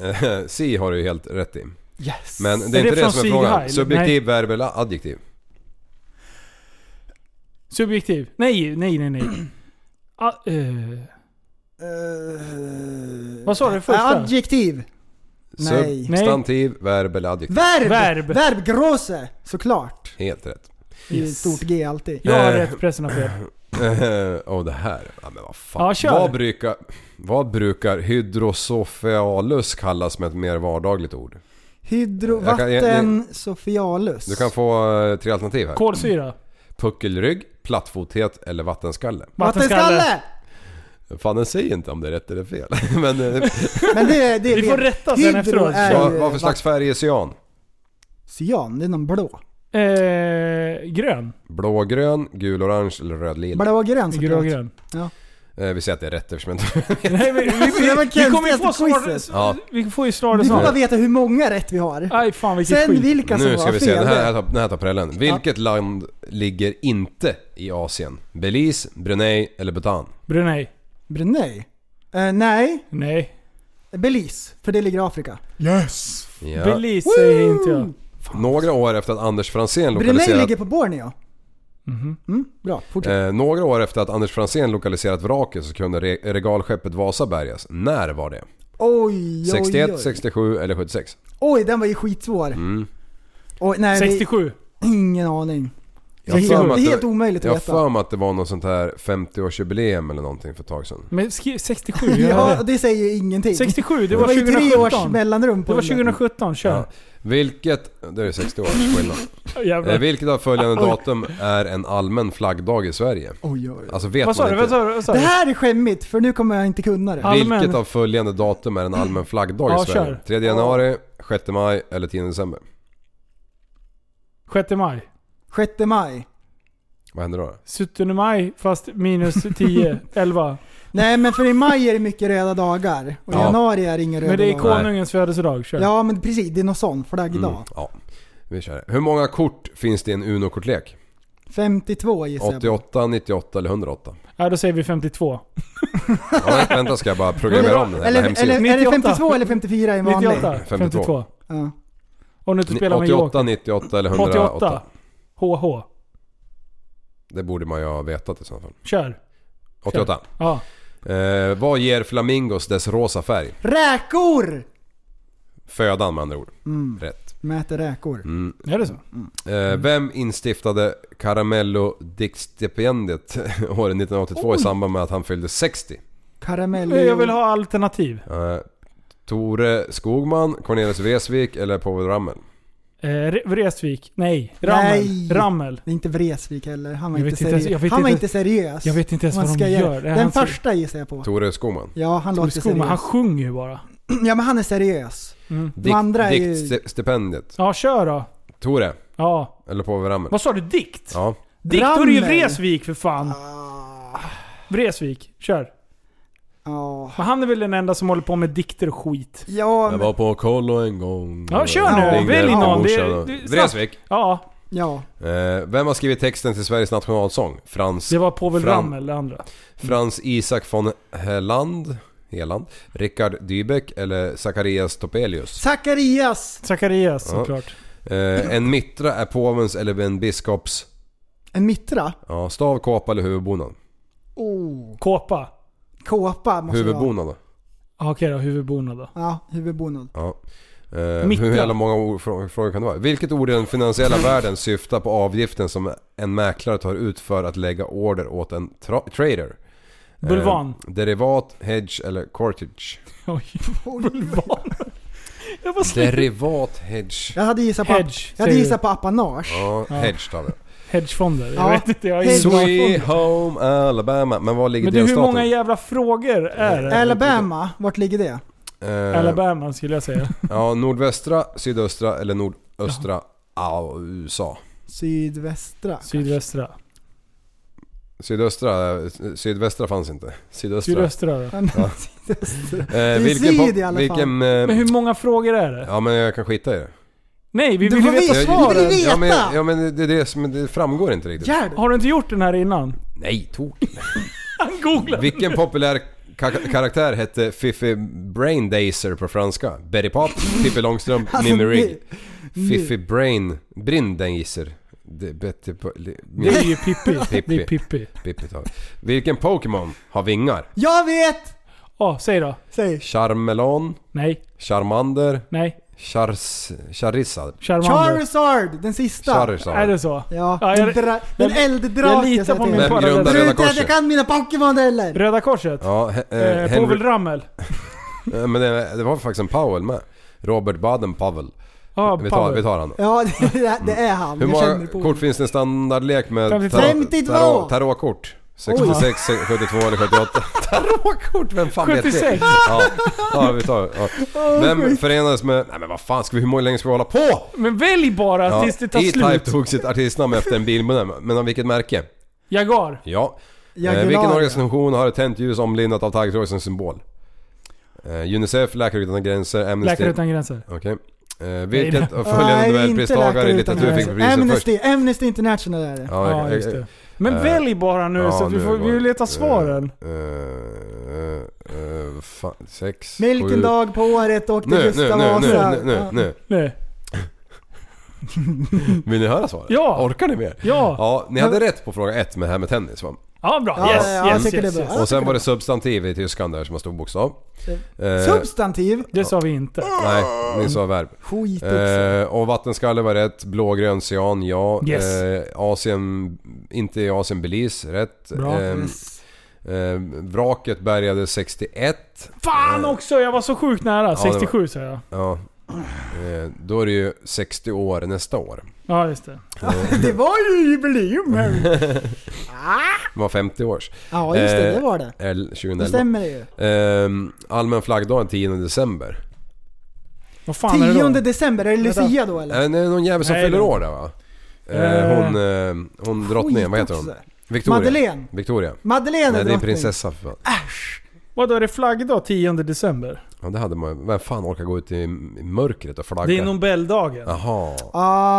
Speaker 5: Eh, *laughs* Si har du ju helt rätt i.
Speaker 4: Yes!
Speaker 5: Men det är,
Speaker 3: Är
Speaker 5: inte
Speaker 3: det
Speaker 5: det,
Speaker 3: från
Speaker 5: som är
Speaker 3: Sieg
Speaker 5: frågan.
Speaker 3: Heil?
Speaker 5: Subjektiv, verb eller adjektiv?
Speaker 3: Subjektiv. Nej, nej, nej,
Speaker 4: *clears throat*
Speaker 3: nej. Ah, eh,
Speaker 4: Eh,
Speaker 3: Vad sa du första?
Speaker 4: Adjektiv. Nej.
Speaker 5: Substantiv, verb eller adjektiv?
Speaker 4: Verb!
Speaker 3: Verb.
Speaker 4: Verb, große, såklart.
Speaker 5: Helt rätt. *laughs*
Speaker 4: I stort G alltid.
Speaker 3: jag har
Speaker 5: Eh.
Speaker 3: rätt, pressen har fel.
Speaker 5: Eh, Och det här. Ja, men vad fan.
Speaker 3: Ja, kör.
Speaker 5: vad, brukar, vad brukar hydrosofialus kallas med ett mer vardagligt ord?
Speaker 4: Hydro,
Speaker 5: Jag kan- jag-
Speaker 4: vatten, sofialus.
Speaker 5: Du kan få eh, tre alternativ här.
Speaker 3: Kolsyra.
Speaker 5: Puckelrygg, plattfothet eller vattenskalle.
Speaker 4: Vattenskalle!
Speaker 5: Fan, den säger inte om det är rätt eller fel. *laughs* Men eh,
Speaker 4: Men det, det
Speaker 3: Vi får rätta sen
Speaker 4: Hydro
Speaker 3: efteråt.
Speaker 4: är
Speaker 5: vad,
Speaker 4: ju-
Speaker 5: vad för slags färg är cyan?
Speaker 4: Cyan, det är någon blå.
Speaker 3: Eh, grön.
Speaker 5: Blågrön, gulorange eller rödlila?
Speaker 4: Blågrön såklart. *laughs*
Speaker 3: Grå-grön.
Speaker 5: Eh, vi säger att det är rätt eftersom jag inte...
Speaker 3: Nej, men vi, vi,
Speaker 4: Det var
Speaker 3: vi kommer ju få
Speaker 4: konstigaste quizet.
Speaker 3: snart...
Speaker 5: *laughs* Ja.
Speaker 3: Vi får ju snart
Speaker 4: Vi får
Speaker 3: snart.
Speaker 4: bara veta hur många rätt vi har.
Speaker 3: Aj fan Ah, vilket
Speaker 4: Sen
Speaker 3: skit.
Speaker 4: vilka som
Speaker 5: Nu ska
Speaker 4: var
Speaker 5: vi se,
Speaker 4: fel.
Speaker 5: den här, den här tar prällen. Vilket land ligger inte i Asien? Belize, Brunei eller Bhutan?
Speaker 3: Brunei.
Speaker 4: Brunei? Eh, nej,
Speaker 3: Nej.
Speaker 4: Belize. För det ligger i Afrika.
Speaker 5: Ja.
Speaker 3: Belize säger inte jag.
Speaker 5: Några år efter att Anders Franzén
Speaker 4: Brunei
Speaker 5: lokaliserat...
Speaker 4: ligger på Borneo.
Speaker 3: Mhm.
Speaker 4: Mm, bra, fortsätt.
Speaker 5: Eh, några år efter att Anders Franzén lokaliserat vraket så kunde re- regalskeppet Vasa bärgas. När var det?
Speaker 4: Oj, oj,
Speaker 5: 61,
Speaker 4: oj.
Speaker 5: 67 eller 76?
Speaker 4: Oj, den var ju skitsvår.
Speaker 5: Mm.
Speaker 4: Oj, nej, det-
Speaker 3: 67.
Speaker 4: Ingen aning.
Speaker 5: Jag har
Speaker 4: det, är
Speaker 5: för
Speaker 4: helt,
Speaker 5: mig
Speaker 4: det
Speaker 5: att
Speaker 4: är
Speaker 5: det-
Speaker 4: helt omöjligt
Speaker 5: Jag
Speaker 4: att
Speaker 5: har
Speaker 4: veta.
Speaker 5: för mig att det var något sånt här 50-årsjubileum eller någonting för ett tag sedan.
Speaker 3: Men skri- 67?
Speaker 4: *laughs* Ja,
Speaker 3: Ja.
Speaker 4: och det säger ju ingenting.
Speaker 3: 67, det
Speaker 4: det
Speaker 3: var
Speaker 4: var ju tre års
Speaker 3: 2017.
Speaker 4: mellanrum
Speaker 3: Det
Speaker 4: på
Speaker 3: var
Speaker 4: den.
Speaker 3: 2017,
Speaker 5: Ja.
Speaker 3: kör.
Speaker 5: Vilket... Det är 60 års skillnad.
Speaker 3: Mm.
Speaker 5: Eh,
Speaker 3: Jävlar.
Speaker 5: vilket av följande datum är en allmän flaggdag i Sverige?
Speaker 4: Oj, oj, oj.
Speaker 5: Alltså vet
Speaker 3: Vad sa
Speaker 5: man
Speaker 3: du?
Speaker 5: inte.
Speaker 3: Vad sa du? Vad sa
Speaker 4: Det
Speaker 3: du?
Speaker 4: här är skämmigt, för nu kommer jag inte kunna det.
Speaker 3: Ja. Allmän.
Speaker 5: Vilket av följande datum är en allmän flaggdag
Speaker 3: Ja,
Speaker 5: i Sverige?
Speaker 3: kör.
Speaker 5: 3 januari, 6 maj eller 10 december?
Speaker 3: 6 maj.
Speaker 4: 6 maj.
Speaker 5: Vad händer då?
Speaker 3: 17 maj fast minus
Speaker 4: *laughs*
Speaker 3: 10, 11.
Speaker 4: Nej men för i maj är det mycket röda dagar. Och i
Speaker 5: Ja.
Speaker 4: januari är det inga röda
Speaker 3: Men det är
Speaker 4: dagar.
Speaker 3: konungens födelsedag, kör.
Speaker 4: Ja men precis, det är någon sån
Speaker 5: Mm,
Speaker 4: flaggdag.
Speaker 5: ja, vi kör det. Hur många kort finns det i en Uno-kortlek?
Speaker 4: 52 gissar jag.
Speaker 5: 88, 98 eller 108?
Speaker 3: Ja, då säger vi 52.
Speaker 5: Ja, vänta ska jag bara programmera om den här
Speaker 4: Eller,
Speaker 5: jävla
Speaker 4: eller,
Speaker 5: hemsidan.
Speaker 4: eller är det
Speaker 3: 98?
Speaker 4: 52 eller 54 i vanlig?
Speaker 3: 98.
Speaker 5: 52.
Speaker 3: 52.
Speaker 4: Ja.
Speaker 3: Om du inte spelar med Joker.
Speaker 5: 88, 98 eller 108?
Speaker 3: 88. HH.
Speaker 5: Det borde man ju ha vetat i så fall.
Speaker 3: Kör.
Speaker 5: 88.
Speaker 3: Ja.
Speaker 5: Eh, vad ger flamingos dess rosa färg?
Speaker 4: Räkor!
Speaker 5: Födan med andra ord.
Speaker 3: Mm.
Speaker 5: Rätt. Mm.
Speaker 4: Mäter räkor.
Speaker 3: Är det så?
Speaker 5: Eh, vem instiftade Caramello-diktstipendiet *laughs* åren 1982 i samband med att han fyllde 60?
Speaker 4: Karamell.
Speaker 3: Jag vill ha alternativ.
Speaker 5: Eh, Tore Skogman, Cornelis Vreeswijk eller Povel Ramel?
Speaker 3: Eh, Re- Vreeswijk. Nej. Rammel.
Speaker 4: Nej.
Speaker 3: Rammel.
Speaker 4: Det är inte Vreeswijk heller. Han var
Speaker 3: Jag
Speaker 4: inte
Speaker 3: vet inte ens- jag
Speaker 4: seriös.
Speaker 3: vet
Speaker 4: Han var
Speaker 3: inte-
Speaker 4: inte seriös.
Speaker 3: Jag vet inte ens
Speaker 4: Man
Speaker 3: vad
Speaker 4: ska
Speaker 3: de
Speaker 4: göra.
Speaker 3: gör.
Speaker 4: Den första gissar jag på.
Speaker 5: Tore Skogman.
Speaker 4: Ja, han låter
Speaker 3: Skogman, han
Speaker 4: seriös.
Speaker 3: sjunger ju bara.
Speaker 4: Ja men han är seriös.
Speaker 5: Dik-
Speaker 4: andra är ju-
Speaker 5: Diktstipendiet.
Speaker 3: Ja, kör då.
Speaker 5: Tore,
Speaker 3: Ja.
Speaker 5: eller Povel Ramel?
Speaker 3: Vad sa du? Dikt?
Speaker 5: Ja.
Speaker 3: Dikt? Då är det ju
Speaker 4: Rammel.
Speaker 3: Vreeswijk för fan. Vreeswijk. Kör.
Speaker 4: Ja.
Speaker 3: Men han är väl den enda som håller på med dikter och skit.
Speaker 4: Ja,
Speaker 5: Jag
Speaker 4: men,
Speaker 5: var på kollo en gång.
Speaker 3: Ja, kör
Speaker 4: nu.
Speaker 5: Ringde
Speaker 3: Välj
Speaker 5: efter
Speaker 3: någon.
Speaker 5: morsan
Speaker 3: Det-
Speaker 5: och-
Speaker 3: det- snabbt.
Speaker 5: Vreeswijk.
Speaker 3: Ja.
Speaker 4: ja.
Speaker 5: Eh, vem har skrivit texten till Sveriges nationalsång? Frans,
Speaker 3: Det var Povel
Speaker 5: Fram.
Speaker 3: Ramel det andra.
Speaker 5: Frans Isak von Heland, Heland Rickard Dybeck eller Zacharias Topelius?
Speaker 4: Zacharias!
Speaker 3: Zacharias
Speaker 5: Ja.
Speaker 3: såklart.
Speaker 5: Eh, en mittra är påvens eller en biskops
Speaker 4: En mittra?
Speaker 5: ja, stav, kåpa eller huvudbonad?
Speaker 4: Oh.
Speaker 3: Kåpa.
Speaker 4: Kåpa måste det vara.
Speaker 5: Huvudbonad då?
Speaker 3: Ja, Okej då, huvudbonad då.
Speaker 4: Ja, huvudbonad.
Speaker 5: Ja. Eh,
Speaker 3: Mittra.
Speaker 5: hur jävla många ord, frå- frågor kan det vara? Vilket ord i den finansiella världen syftar på avgiften som en mäklare tar ut för att lägga order åt en tra- trader? Eh,
Speaker 3: Bulvan.
Speaker 5: derivat, hedge eller cortage?
Speaker 4: Eh. *laughs*
Speaker 3: Oj, bulvan. Jag bara säger
Speaker 5: Derivat, hedge.
Speaker 4: Jag hade gissat på,
Speaker 3: Hedge,
Speaker 4: jag hade
Speaker 3: säger
Speaker 4: gissat på apanage.
Speaker 5: Ja, hedge tar vi.
Speaker 3: hedgefonder. Jag
Speaker 4: Ja.
Speaker 3: vet inte, jag har
Speaker 4: Hedge-
Speaker 3: ingen
Speaker 5: Sweet home Alabama. Men var ligger
Speaker 3: Men du, hur
Speaker 5: delstaten?
Speaker 3: många jävla frågor är det?
Speaker 4: Alabama, vart ligger det?
Speaker 5: Eh,
Speaker 3: Alabama skulle jag
Speaker 4: *laughs*
Speaker 3: säga.
Speaker 5: Ja, nordvästra, sydöstra eller nordöstra ja. USA.
Speaker 4: Sydvästra.
Speaker 3: Sydvästra.
Speaker 5: Sydöstra, eh, sydvästra fanns inte. Sydöstra.
Speaker 3: Sydöstra då.
Speaker 5: Eh,
Speaker 4: är
Speaker 5: vilken
Speaker 4: syd
Speaker 5: pop-
Speaker 4: i alla fall.
Speaker 5: vilken, eh,
Speaker 3: Men hur många frågor är det?
Speaker 5: Ja men jag kan skita i det.
Speaker 3: Nej, vi
Speaker 4: Du
Speaker 3: vill ju
Speaker 4: får
Speaker 3: veta
Speaker 4: veta.
Speaker 3: svaren.
Speaker 4: Vi vill
Speaker 5: Ja men,
Speaker 4: Veta!
Speaker 5: ja, men det, det, är det, som- det framgår inte riktigt.
Speaker 4: Gerd!
Speaker 3: Har du inte gjort den här innan?
Speaker 5: Nej, tok.
Speaker 3: Han googlade.
Speaker 5: Vilken populär ka- karaktär hette Fiffi Braindazer på franska? Betty Pop, Pippi Långstrump,
Speaker 4: Alltså,
Speaker 5: Mimmi Rigg.
Speaker 4: det-
Speaker 5: Fiffi Brain... Brindazer. Det- Betty Po- li-
Speaker 3: Det är ju
Speaker 4: *laughs*
Speaker 3: Pippi.
Speaker 5: Pippi.
Speaker 3: Det är Pippi.
Speaker 5: Pippi tar vi. Vilken Pokémon har vingar?
Speaker 4: Jag vet!
Speaker 3: Ja, säg då.
Speaker 4: Säg.
Speaker 5: Charmelon,
Speaker 3: Nej,
Speaker 5: Charmander,
Speaker 3: nej.
Speaker 5: Chars... Charizard.
Speaker 3: Charmander.
Speaker 4: Charizard, den sista.
Speaker 3: Är
Speaker 5: Charizard.
Speaker 3: det så?
Speaker 4: Ja,
Speaker 3: Ja, jag-
Speaker 4: den, dra- den
Speaker 3: jag-
Speaker 4: elddraken
Speaker 3: jag litar
Speaker 4: säger
Speaker 3: på
Speaker 4: till.
Speaker 3: min
Speaker 5: Vem
Speaker 3: Bara
Speaker 5: grundade Röda
Speaker 3: den-
Speaker 4: Tror inte att jag
Speaker 5: Korset?
Speaker 4: kan mina Pokémon heller!
Speaker 3: Röda Korset?
Speaker 5: Ja, he- eh,
Speaker 3: Eh,
Speaker 5: Henry,
Speaker 3: Povel Ramel?
Speaker 5: eh, men det, det var faktiskt en Powell med. Robert Baden Powell.
Speaker 3: Ja,
Speaker 5: vi, tar,
Speaker 3: Powell.
Speaker 5: vi tar han.
Speaker 4: Ja, *laughs* det, det, det är han.
Speaker 5: Mm. Hur
Speaker 4: jag känner
Speaker 5: många
Speaker 4: på
Speaker 5: kort finns det i standardlek med
Speaker 3: 52?
Speaker 5: tarot-
Speaker 4: 52?
Speaker 5: tarot- Tarotkort? 66, 72 eller 78?
Speaker 3: *laughs*
Speaker 5: Tarotkort? Vem fan vet det?
Speaker 3: 76.
Speaker 5: *laughs* Ja, ja, vi tar, ja. Vem förenades med... Nej men vad fan, ska vi, hur länge ska vi hålla på?
Speaker 3: Men välj bara
Speaker 5: Ja,
Speaker 3: tills det tar
Speaker 5: E-Type
Speaker 3: slut.
Speaker 5: tog sitt artistnamn efter en bilmodell, men av vilket märke?
Speaker 3: Jagar.
Speaker 5: Ja.
Speaker 4: Jag är
Speaker 5: Eh, vilken
Speaker 4: glad.
Speaker 5: organisation har ett tänt ljus omlindat av taggtråd som symbol? Eh, Unicef, Läkare Utan Gränser, Amnesty...
Speaker 3: Läkare Utan Gränser.
Speaker 5: Okej. Eh,
Speaker 3: Nej,
Speaker 5: vilket av
Speaker 4: Nej,
Speaker 5: följande
Speaker 4: inte
Speaker 5: Nobelpristagare i
Speaker 4: Läkare
Speaker 5: litteratur
Speaker 4: utan
Speaker 5: fick
Speaker 4: gränser.
Speaker 5: priset först?
Speaker 4: Amnesty, Amnesty International är det.
Speaker 5: Ja,
Speaker 3: Ja,
Speaker 5: jag-
Speaker 3: just
Speaker 5: jag-
Speaker 3: det. Men
Speaker 5: eh,
Speaker 3: välj bara nu så att vi
Speaker 5: nu
Speaker 3: får,
Speaker 5: går-
Speaker 3: vi vill leta svaren.
Speaker 5: Eh, eh, eh, fan, sex,
Speaker 4: Men vilken
Speaker 5: sju-
Speaker 4: dag på året åkte
Speaker 5: nu, nu,
Speaker 4: Gustav
Speaker 5: nu,
Speaker 4: Vasa?
Speaker 5: nu, nu,
Speaker 4: Ja.
Speaker 5: nu,
Speaker 3: Nej.
Speaker 5: nu. Vill ni höra svaret?
Speaker 3: Ja.
Speaker 5: Orkar ni mer?
Speaker 3: Ja.
Speaker 5: Ja, ni hade rätt på fråga ett med det här med tennis va?
Speaker 3: Ja, bra.
Speaker 4: Ja,
Speaker 3: yes,
Speaker 4: ja, jag
Speaker 3: yes,
Speaker 4: tycker
Speaker 3: yes,
Speaker 4: det är bra.
Speaker 3: yes.
Speaker 5: Och sen var det substantiv i tyskan där som har stor bokstav. Eh,
Speaker 4: Substantiv?
Speaker 3: Det sa vi inte.
Speaker 5: nej, ni sa verb.
Speaker 4: Skit också.
Speaker 5: Eh, och vattenskalle var rätt, blågrön cyan, ja.
Speaker 3: Yes.
Speaker 5: Eh, Asien, inte i Asien, Belize, rätt.
Speaker 3: Bra.
Speaker 5: Ehm, eh, vraket bärgades 61.
Speaker 3: Fan också, jag var så sjukt nära.
Speaker 5: eh. det var-
Speaker 3: 67 sa jag.
Speaker 5: Ja. Eh, då är det ju 60 år nästa år.
Speaker 3: Ja, just det.
Speaker 4: *laughs* det var ju jubileum
Speaker 5: Mm.
Speaker 4: här.
Speaker 5: Det var 50 års.
Speaker 4: Ja just det,
Speaker 5: Eh,
Speaker 4: det var det.
Speaker 5: Eller
Speaker 4: Det
Speaker 5: 2011.
Speaker 4: stämmer det ju.
Speaker 5: Ehm, allmän flaggdag 10 december.
Speaker 3: Vad fan är det
Speaker 4: 10
Speaker 3: då?
Speaker 4: december, är det Lucia då eller?
Speaker 5: Eh, det är någon jävel som
Speaker 3: Nej,
Speaker 5: fyller
Speaker 3: det-
Speaker 5: år där va? Eh,
Speaker 3: Eh.
Speaker 5: hon eh, hon drottningen, vad heter hon?
Speaker 4: Skit också.
Speaker 5: Victoria.
Speaker 4: Madeleine.
Speaker 5: Victoria.
Speaker 4: Madeleine
Speaker 5: Nej det är en
Speaker 4: drottning.
Speaker 5: prinsessa för fan.
Speaker 3: Vadå, är det flaggdag 10 december?
Speaker 5: Ja det hade man Vem fan orkar gå ut i i mörkret och flagga?
Speaker 3: Det är Nobeldagen.
Speaker 5: Jaha.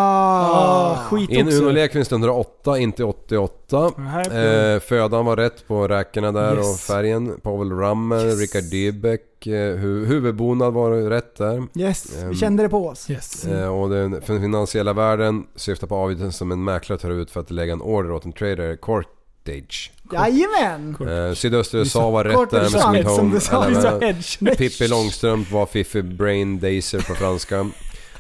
Speaker 4: Ah.
Speaker 3: Ah, skit
Speaker 5: I en
Speaker 3: också.
Speaker 5: Unolek finns det 108, inte 88.
Speaker 3: Nej,
Speaker 5: Eh, födan var rätt på räkorna där
Speaker 3: Yes.
Speaker 5: och färgen. Pavel Rammer, Richard Dybeck. Eh, hu- huvudbonad var rätt där.
Speaker 4: Yes,
Speaker 5: Ehm.
Speaker 4: vi kände det på oss.
Speaker 3: Yes. *laughs*
Speaker 5: Eh, och den fin- finansiella världen syftar på avgiften som en mäklare tar ut för att lägga en order åt en trader, Cortage.
Speaker 4: Jajamän!
Speaker 5: Eh, sydöstra USA var rätt där med
Speaker 4: Cortage
Speaker 5: Sweet
Speaker 4: som
Speaker 5: Home
Speaker 4: du sa.
Speaker 3: Vi sa
Speaker 5: Alabama.
Speaker 3: hedge.
Speaker 5: Pippi Långstrump var Fiffi Brain Dazer på franska.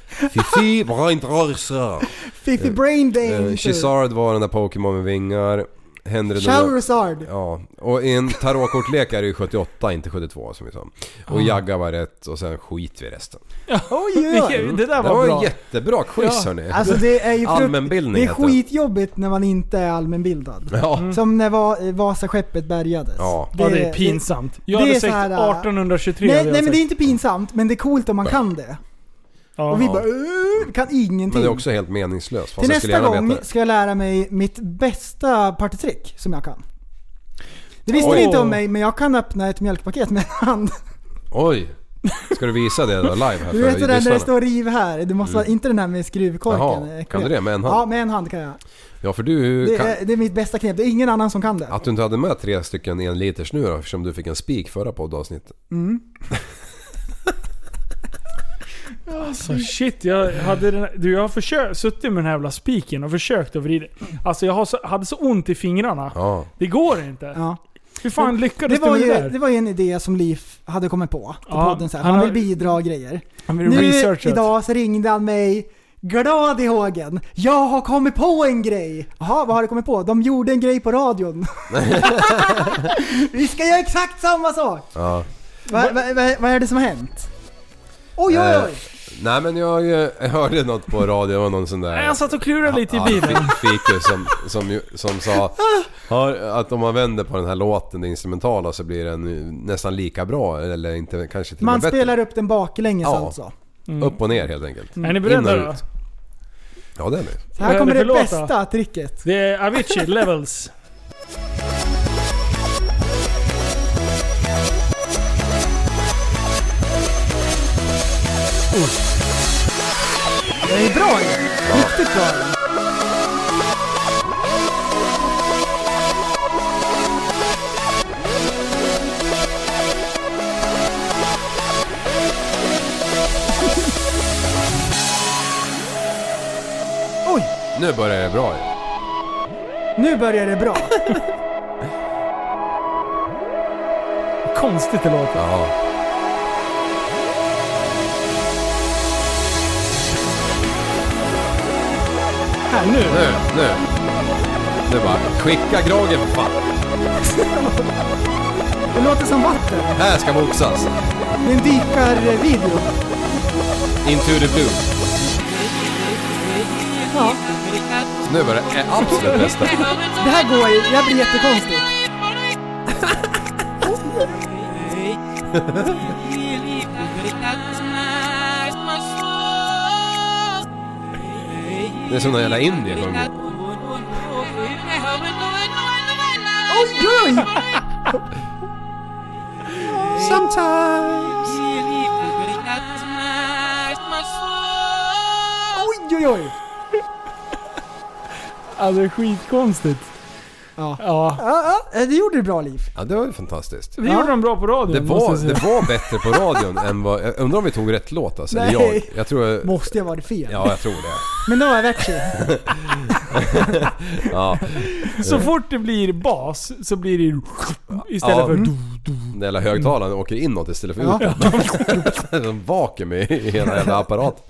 Speaker 5: Fifi Brain Dazer.
Speaker 4: Fifi Brain
Speaker 5: Eh,
Speaker 4: Danger.
Speaker 5: Chizard var den där Pokémon med vingar. Henry
Speaker 4: Charizard.
Speaker 5: Ja, och i en tarotkortlek är det ju 78, inte 72 som vi sa.
Speaker 4: Ah.
Speaker 5: Och Jagga var rätt och sen skit vi resten.
Speaker 4: Oj, oj, oj.
Speaker 3: Mm. Det där
Speaker 5: Det
Speaker 3: var
Speaker 5: var en
Speaker 3: bra.
Speaker 5: jättebra quiz
Speaker 3: Ja.
Speaker 5: hörni.
Speaker 4: Alltså det är ju frukt-
Speaker 5: Allmänbildning
Speaker 4: Det är
Speaker 5: heter den.
Speaker 4: skitjobbigt när man inte är allmänbildad.
Speaker 5: *laughs* Ja.
Speaker 4: Som när Va- eh, Vasaskeppet bärgades.
Speaker 5: Ja.
Speaker 3: Mm. Ja, det är pinsamt. Jag
Speaker 4: det
Speaker 3: hade
Speaker 4: är så
Speaker 3: sagt
Speaker 4: här, äh,
Speaker 3: 1823.
Speaker 4: Nej,
Speaker 3: hade jag
Speaker 4: nej men det är
Speaker 3: sagt.
Speaker 4: inte pinsamt, men det är coolt om man kan det.
Speaker 3: Ja.
Speaker 4: Och vi bara "Åh, kan ingenting.
Speaker 5: Men det är också helt meningslöst. Fast
Speaker 4: Till
Speaker 5: jag skulle
Speaker 4: nästa
Speaker 5: gärna
Speaker 4: gång
Speaker 5: veta det.
Speaker 4: ska jag lära mig mitt bästa partytrick som jag kan. Det visste
Speaker 3: Oj.
Speaker 4: ni inte om mig, men jag kan öppna ett mjölkpaket med en hand.
Speaker 5: Oj! Ska du visa det då live här
Speaker 4: *laughs* Du
Speaker 5: för
Speaker 4: vet det där när det
Speaker 5: lyssnarna?
Speaker 4: står riv här. Du måste vara, inte den här med skruvkorken.
Speaker 5: Jaha,
Speaker 4: Äckliga.
Speaker 5: kan du det med en hand?
Speaker 4: Ja, med en hand kan jag.
Speaker 5: Ja för du
Speaker 4: Det
Speaker 5: kan...
Speaker 4: är, det är mitt bästa knep. Det är ingen annan som kan det.
Speaker 5: Att du inte hade med tre stycken en liters nu då eftersom du fick en spik förra poddavsnittet.
Speaker 3: Alltså shit, jag hade den, du, jag har försökt, suttit med den här jävla spiken och försökt att vrida. Alltså jag har så, hade så ont i fingrarna.
Speaker 5: Ja.
Speaker 3: Det går inte.
Speaker 4: Ja.
Speaker 3: Hur fan
Speaker 4: Det
Speaker 3: lyckades du
Speaker 4: var,
Speaker 3: med det
Speaker 4: ju,
Speaker 3: där?
Speaker 4: det var ju en idé som Liv hade kommit på. På
Speaker 3: Ja,
Speaker 4: podden så här.
Speaker 3: han
Speaker 4: Han
Speaker 3: har-
Speaker 4: vill bidra och grejer.
Speaker 3: Han blev
Speaker 4: Nu
Speaker 3: researchat.
Speaker 4: idag så ringde han mig glad i hågen. Jag har kommit på en grej! Jaha, vad har du kommit på? De gjorde en grej
Speaker 5: *laughs*
Speaker 4: på radion. Vi ska göra exakt samma sak!
Speaker 5: ja.
Speaker 4: Vad va, va, vad är det som har hänt? Oj, oj,
Speaker 5: Eh,
Speaker 4: oj!
Speaker 5: Nej men jag eh, hörde något på radio, det var någon sån där...
Speaker 3: Nej, jag satt och klurade lite i
Speaker 5: Ja,
Speaker 3: bilen.
Speaker 5: Fi- Fikus som, som, ju- som sa "Hör, att om man vänder på den här låten, det instrumentala, så blir den ju nästan lika bra eller inte, kanske till och
Speaker 4: Man
Speaker 5: med bättre.
Speaker 4: spelar upp den baklänges
Speaker 5: Ja.
Speaker 4: alltså.
Speaker 5: Upp och ner helt enkelt.
Speaker 3: Mm. Är ni
Speaker 5: In och
Speaker 3: beredda då?
Speaker 5: ut. Ja det är det.
Speaker 4: Så här
Speaker 3: Vad är
Speaker 4: kommer
Speaker 3: det
Speaker 4: det
Speaker 3: för låt då?
Speaker 4: bästa tricket.
Speaker 3: Det är Avicii, Levels.
Speaker 4: Det är bra Ian. Riktigt bra Ian. Oj,
Speaker 5: Nu börjar det bra ju.
Speaker 4: nu börjar det bra.
Speaker 3: Konstigt det låter.
Speaker 5: Jaha.
Speaker 3: Här nu.
Speaker 5: Nu, nu. Nu bara, skicka Gragen för fan.
Speaker 4: Det låter som vatten.
Speaker 5: Här ska boxas.
Speaker 4: Det är en eh, dykarvideo.
Speaker 5: Into the blue.
Speaker 4: Ja.
Speaker 5: Nu börjar det eh, absolut bästa.
Speaker 4: Det här går ju, det här blir jättekonstigt.
Speaker 5: Det är som någon jävla indier sjunger.
Speaker 4: Oj, oj! Sometimes. Oj, oj, oj.
Speaker 3: Alltså det är skitkonstigt.
Speaker 4: Ja.
Speaker 3: ja.
Speaker 4: Ja, ja, det gjorde du bra Liv.
Speaker 5: Ja, det var ju fantastiskt.
Speaker 3: Det gjorde de bra på radion.
Speaker 5: Det
Speaker 3: måste jag
Speaker 5: var,
Speaker 3: säga.
Speaker 5: det var bättre på radion *laughs* än vad... Jag undrar om vi tog rätt låt alltså. eller
Speaker 4: Nej.
Speaker 5: Jag, jag tror... jag-
Speaker 4: Måste jag vara fel?
Speaker 5: Ja, jag tror det.
Speaker 4: Men det var Avicii.
Speaker 5: Ja,
Speaker 3: Så fort det blir bas så blir det istället
Speaker 5: Ja.
Speaker 3: för...
Speaker 5: Mm. den jävla högtalaren åker inåt istället för utåt. *laughs* Det är en vakuum i i hela jävla apparaten.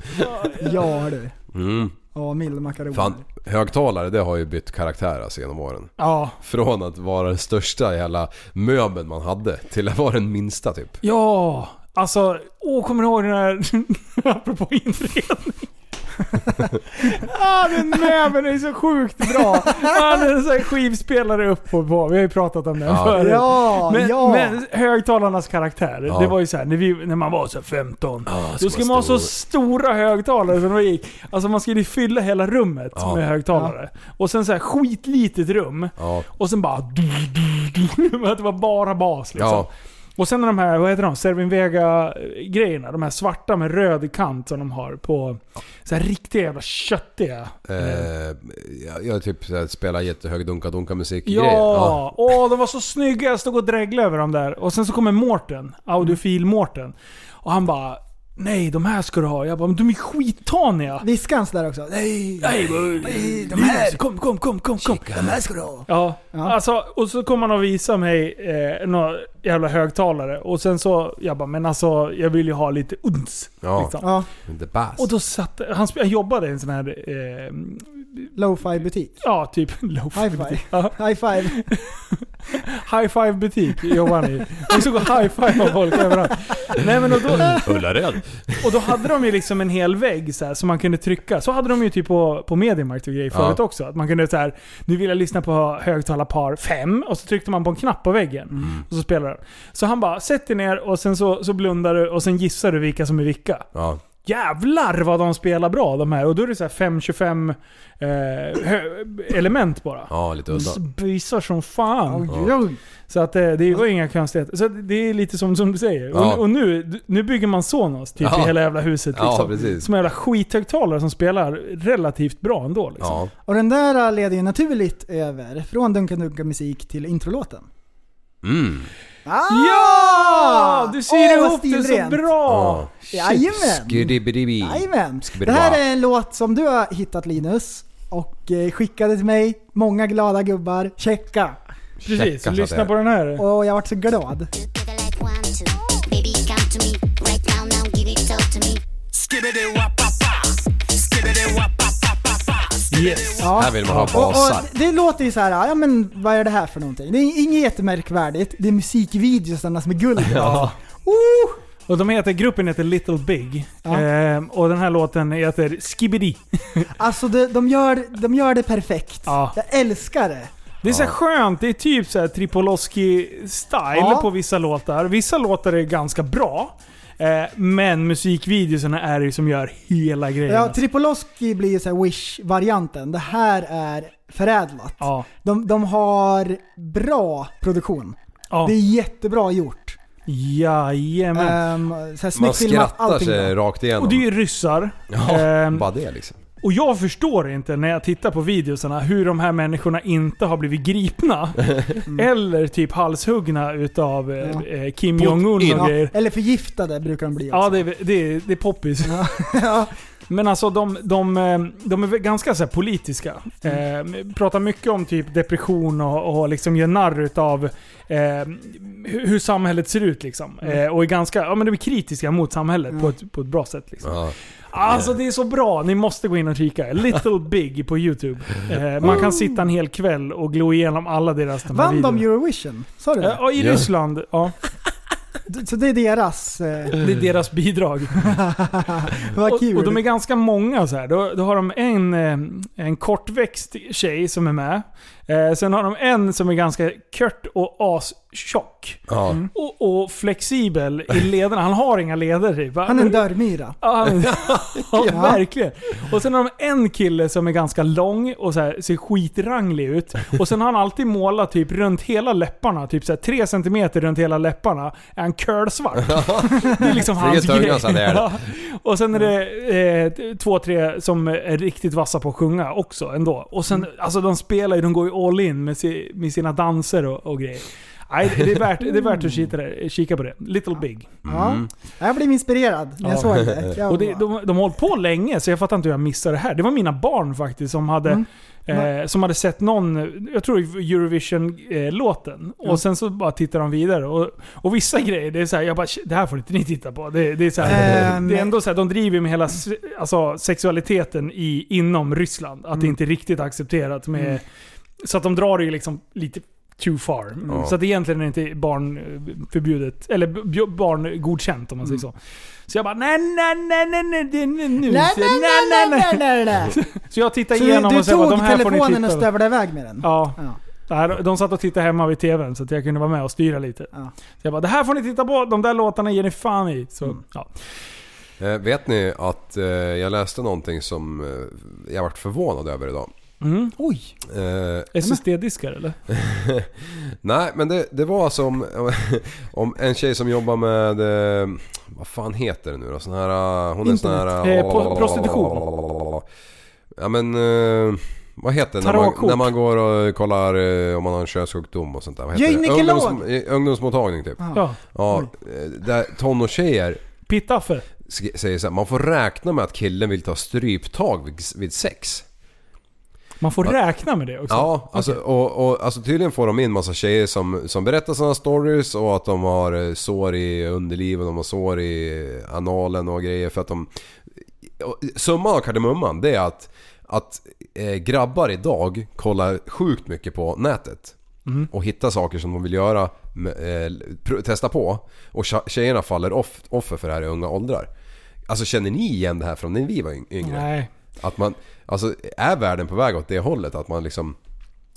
Speaker 4: Ja du.
Speaker 5: Mm.
Speaker 4: Ja, mildmakaroner.
Speaker 5: Fan, högtalare det har ju bytt karaktär alltså genom åren.
Speaker 3: Ja.
Speaker 5: Från att vara den största jävla möbeln man hade till att vara den minsta typ.
Speaker 3: Ja. Alltså, åh, kommer du ihåg den här... *laughs* apropå
Speaker 5: *laughs*
Speaker 3: inredning. ah, den näven är så sjukt bra. Ah, den är så här skivspelare upp och på. Vi har ju pratat om den
Speaker 5: Ja.
Speaker 3: förut.
Speaker 4: Ja,
Speaker 3: Men,
Speaker 4: ja.
Speaker 3: men högtalarnas karaktär,
Speaker 5: Ja.
Speaker 3: det var ju så här, när, vi, när man var så här 15.
Speaker 5: ska
Speaker 3: då skulle man ha
Speaker 5: stor.
Speaker 3: så stora högtalare som det gick. Alltså man skulle ju fylla hela rummet
Speaker 5: Ja.
Speaker 3: med högtalare. Och sen så här skitlitet rum.
Speaker 5: Ja.
Speaker 3: Och sen bara... *laughs* Att det var bara bas liksom.
Speaker 5: Ja,
Speaker 3: Och sen de här, vad heter de? Servin Vega-grejerna. De här svarta med röd kant som de har på... Så här riktiga jävla köttiga.
Speaker 5: eh, jag, jag typ så här spelar jättehög dunka-dunka musik
Speaker 3: Ja! Åh, de var så snygga. Jag stod och dreglade över dem där. Och sen så kommer Mårten, audiofil Mårten. Och han bara Nej, de här ska du ha. Jag bara, men de är skittaniga.
Speaker 4: Viskans där också. Nej,
Speaker 3: Nej, vad-
Speaker 4: de här.
Speaker 3: Kom, kom, kom, kom, kom.
Speaker 4: De här ska du ha.
Speaker 3: Ja,
Speaker 4: Ja.
Speaker 3: alltså och så kom han och visade mig eh, några jävla högtalare. Och sen så, jag bara, men alltså jag vill ju ha lite uns.
Speaker 5: Ja.
Speaker 3: Liksom.
Speaker 4: Ja,
Speaker 5: The bass.
Speaker 3: Och då satt, han, sp- han jobbade i en sån här, eh,
Speaker 4: lo-fi butik.
Speaker 3: ja typ *laughs* loaf.
Speaker 4: High five.
Speaker 3: Ja,
Speaker 4: High five.
Speaker 3: high five butik jobbade han i. Och så går high five av folk överallt. Nej men och då,
Speaker 5: Ullared.
Speaker 3: och då hade de ju liksom en hel vägg så här, som man kunde trycka. Så hade de ju typ på, på Mediamarkt och grejer
Speaker 5: Ja.
Speaker 3: förut också. Att man kunde så här, nu vill jag lyssna på högtalarpar 5 och så tryckte man på en knapp på väggen. Och så spelade den. Så han bara, sätt dig ner och sen så, så blundar du och sen gissar du vilka som är vilka.
Speaker 5: Ja.
Speaker 3: Jävlar vad de spelar bra de här. Och då är det så här 5-25 eh, hö- element bara.
Speaker 5: ja, lite udda.
Speaker 3: Bysar som fan.
Speaker 4: Oj, oj.
Speaker 3: Så att eh, det var inga konstigheter. Så att det är lite som, som du säger.
Speaker 5: Ja.
Speaker 3: Och, och nu, nu bygger man Sonos typ
Speaker 5: Ja.
Speaker 3: i hela jävla huset.
Speaker 5: Ja,
Speaker 3: Liksom.
Speaker 5: precis.
Speaker 3: som jävla skithögtalare som spelar relativt bra ändå. Liksom.
Speaker 5: Ja.
Speaker 4: Och den där leder ju naturligt över från Dunka Dunka musik till introlåten.
Speaker 5: Mm.
Speaker 4: Ah!
Speaker 3: Ja! Du syr
Speaker 4: Åh, vad
Speaker 3: ihop det så
Speaker 4: stilrent.
Speaker 3: bra!
Speaker 5: Ja.
Speaker 4: Jajamän!
Speaker 5: Skudibidibi.
Speaker 4: Jajamän!
Speaker 5: Skibidi
Speaker 4: Det här
Speaker 5: bra.
Speaker 4: är en låt som du har hittat Linus och eh, skickade till mig. Många glada gubbar. Checka!
Speaker 3: Precis,
Speaker 5: Checka, så
Speaker 3: lyssna
Speaker 5: där.
Speaker 3: på den här.
Speaker 4: Och jag vart så glad.
Speaker 1: Together like one, two. Baby, come to me right now, now give it all to me.
Speaker 3: Yes.
Speaker 4: Ja.
Speaker 5: Här vill man ha
Speaker 4: Och, och
Speaker 5: basar.
Speaker 4: det låter ju så här, ja men vad är det här för någonting? Det är inget jättemärkvärdigt. Det är musikvideosarna som
Speaker 5: *laughs*
Speaker 4: är guld.
Speaker 3: Ja.
Speaker 4: Oh!
Speaker 3: Och de heter, gruppen heter Little Big.
Speaker 4: Ja.
Speaker 3: Ehm, och den här låten heter Skibidi.
Speaker 4: Alltså det, de, gör, de gör det perfekt.
Speaker 3: Ja.
Speaker 4: Jag älskar det.
Speaker 3: Det är så här skönt, det är typ så här Tripoloski-style
Speaker 4: Ja.
Speaker 3: på vissa låtar. Vissa låtar är ganska bra. Eh, men musikvideorna är det som gör hela grejen.
Speaker 4: Ja, Tripoloski blir ju så här Wish-varianten. Det här är förädlat.
Speaker 3: ja.
Speaker 4: De, de har bra produktion.
Speaker 3: Ja.
Speaker 4: Det är jättebra gjort.
Speaker 3: Jajamän.
Speaker 4: Ehm, så här
Speaker 5: Man
Speaker 4: snyggt
Speaker 5: skrattar
Speaker 4: allting.
Speaker 5: sig
Speaker 4: bra.
Speaker 5: rakt igenom.
Speaker 3: Och det är ju ryssar.
Speaker 5: Ja,
Speaker 3: Ehm,
Speaker 5: bara det liksom.
Speaker 3: Och jag förstår inte när jag tittar på videosarna hur de här människorna inte har blivit gripna.
Speaker 4: *laughs*
Speaker 3: Eller typ halshuggna utav eh,
Speaker 4: Ja.
Speaker 3: eh, Kim
Speaker 5: Putin.
Speaker 3: Jong-Un och
Speaker 4: Ja,
Speaker 3: grejer.
Speaker 4: eller förgiftade brukar de bli
Speaker 3: Ja,
Speaker 4: också.
Speaker 3: det är, det är, det är poppis. *laughs*
Speaker 4: Ja.
Speaker 3: Men alltså de, de, eh, de är väl ganska så här politiska.
Speaker 4: Mm.
Speaker 3: Eh, pratar mycket om typ depression och, och liksom gör narr utav eh, hur, hur samhället ser ut. Liksom.
Speaker 4: Mm.
Speaker 3: Eh, och är ganska, ja men de är kritiska mot samhället på, ett, på ett bra sätt. Liksom.
Speaker 5: Ja.
Speaker 3: Alltså det är så bra, ni måste gå in och kika.
Speaker 4: *laughs*
Speaker 3: Little Big på YouTube. Eh, man kan sitta en hel kväll och glo igenom alla deras de här
Speaker 4: Mm. Vann de
Speaker 3: videorna.
Speaker 4: Eurovision? Sa du det?
Speaker 3: Eh, Ja, i
Speaker 5: Ja.
Speaker 3: Ryssland. Ja,
Speaker 4: Så det är deras... *laughs* Eh,
Speaker 3: det är deras bidrag.
Speaker 4: vad kul.
Speaker 3: Och, och de är ganska många så här. Då, då har de en, eh, en kortväxt tjej som är med. Eh, sen har de en som är ganska kört och astjock.
Speaker 5: Ja.
Speaker 3: Och, och flexibel i lederna. Han har inga leder typ.
Speaker 4: Han är en dörrmyra.
Speaker 3: Ja, han- *laughs* ja, verkligen. Och sen har de en kille som är ganska lång och så här, ser skitranglig ut. Och sen har han alltid målat typ runt hela läpparna, typ så här, tre centimeter runt hela läpparna, är han curlsvart. *laughs* Det är liksom hans
Speaker 5: Vilket öga
Speaker 3: grej.
Speaker 5: så här det är.
Speaker 3: Ja. Och sen är det eh, två, tre som är riktigt vassa på att sjunga också ändå. Och
Speaker 5: Mm.
Speaker 3: sen, alltså de spelar ju, de går ju all in med, si, med sina danser och, och grejer. Nej, det är värt, det är värt att kika, där- kika på det. Little Big.
Speaker 5: Mm.
Speaker 4: Ja. Jag blev inspirerad när jag
Speaker 3: Ja.
Speaker 4: såg det. Jag
Speaker 3: Och det,
Speaker 4: bara-
Speaker 3: de, de har hållit på länge, så jag fattar inte hur jag missade det här. Det var mina barn faktiskt som hade, eh, som hade sett någon, jag tror Eurovision-låten. Och sen så bara tittar de vidare. Och, och vissa grejer, det är så här, jag bara "Shit, det här får inte ni titta på. Det, det, är, så här,
Speaker 4: Ehm.
Speaker 3: det är ändå så här, de driver med hela se- alltså, sexualiteten i, inom Ryssland. Att det inte är riktigt accepterat med...
Speaker 4: Mm.
Speaker 3: Så att de drar det ju liksom lite too far. Mm.
Speaker 5: Ja.
Speaker 3: Så att egentligen är det inte barnförbjudet, eller bj- barngodkänt om man säger
Speaker 5: Mm.
Speaker 3: så. Så jag bara nej, nej, nej, nej, nej, det är nu. Nej,
Speaker 4: Nej, nej, nej, nej, nej, nej, nej.
Speaker 3: Så jag tittade
Speaker 4: Så
Speaker 3: igenom
Speaker 4: du, du
Speaker 3: och sa bara, de
Speaker 4: tog
Speaker 3: här får ni
Speaker 4: telefonen
Speaker 3: titta
Speaker 4: och
Speaker 3: på.
Speaker 4: stövlade iväg med den?
Speaker 3: Ja,
Speaker 4: Ja.
Speaker 3: det här- de satt och tittade hemma vid tvn så att jag kunde vara med och styra lite.
Speaker 4: Ja.
Speaker 3: Så jag bara, det här får ni titta på, de där låtarna ger ni fan i. Så,
Speaker 5: Mm.
Speaker 3: ja.
Speaker 5: Eh, vet ni att eh, jag läste någonting som eh, jag vart förvånad över idag?
Speaker 4: Oj!
Speaker 5: Eh,
Speaker 3: SSD-diskar eller?
Speaker 5: nej, men det, det var alltså om, *laughs* om en tjej som jobbar med... Eh, vad fan heter det nu då? Sån här... eh, Hon är sån här...
Speaker 3: Internet. Eh, pro- prostitution.
Speaker 5: Ja men... Eh, vad heter det när man,
Speaker 3: Tarotkort.
Speaker 5: när man går och kollar eh, om man har en könssjukdom och sånt där? Vad heter det?
Speaker 4: Gynekolog.
Speaker 5: Ungdoms, ungdomsmottagning typ.
Speaker 3: Ja.
Speaker 5: Ja, eh, där tonårstjejer
Speaker 3: Pittaffe.
Speaker 5: sk- säger så här, man får räkna med att killen vill ta stryptag vid, vid sex.
Speaker 3: Man får räkna med det också.
Speaker 5: Ja, alltså, och, och, alltså tydligen får de in massa tjejer som, som berättar sina stories och att de har eh, sår i underlivet, de har sår i analen och grejer för att de... och Summan av kardemumman det är att, att eh, grabbar idag kollar sjukt mycket på nätet.
Speaker 3: Mhm.
Speaker 5: Och hittar saker som de vill göra, med, eh, pr- testa på. Och tja- tjejerna faller off, offer för det här i unga åldrar. Alltså känner ni igen det här från när vi var yng- yngre?
Speaker 3: Nej.
Speaker 5: Att man, alltså är världen på väg åt det hållet? Att man liksom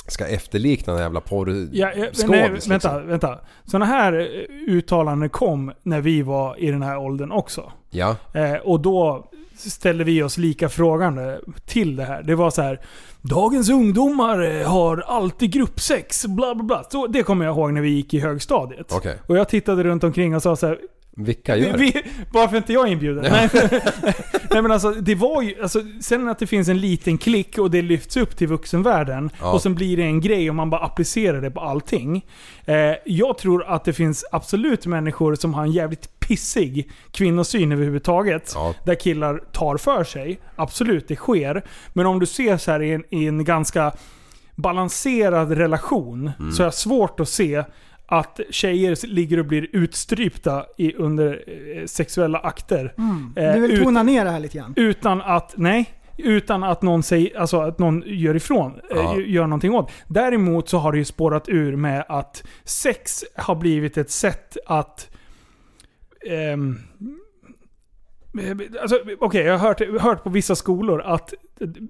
Speaker 5: ska efterlikna den jävla
Speaker 3: Ja, ja,
Speaker 5: porrskådis?
Speaker 3: nej,
Speaker 5: liksom?
Speaker 3: vänta, vänta. Sådana här eh, uttalanden kom när vi var i den här åldern också.
Speaker 5: Ja,
Speaker 3: Eh, och då ställde vi oss lika frågande till det här. Det var så här. Dagens ungdomar eh, har alltid gruppsex, bla bla bla. Så, det kommer jag ihåg när vi gick i högstadiet.
Speaker 5: Okej.
Speaker 3: Och jag tittade runt omkring och sa så här.
Speaker 5: vilka gör det?
Speaker 3: Vi, varför inte jag inbjuden? Nej, *laughs* men- nej men alltså, det var ju, alltså, sen att det finns en liten klick och det lyfts upp till vuxenvärlden
Speaker 5: Ja.
Speaker 3: och sen blir det en grej och man bara applicerar det på allting. Eh, jag tror att det finns absolut människor som har en jävligt pissig kvinnosyn överhuvudtaget.
Speaker 5: Ja.
Speaker 3: Där killar tar för sig. Absolut, det sker. Men om du ser så här i en, i en ganska balanserad relation så är det svårt att se att tjejer ligger och blir utstrypta i, under eh, sexuella akter. Eh,
Speaker 4: Du vill
Speaker 3: ut,
Speaker 4: tona ner det här lite grann.
Speaker 3: utan att, nej. Utan att någon, säger, alltså att någon gör ifrån, eh,
Speaker 5: Ja.
Speaker 3: gör någonting åt. Däremot så har det ju spårat ur med att sex har blivit ett sätt att... ehm, Alltså, Okej, jag har hört, hört på vissa skolor att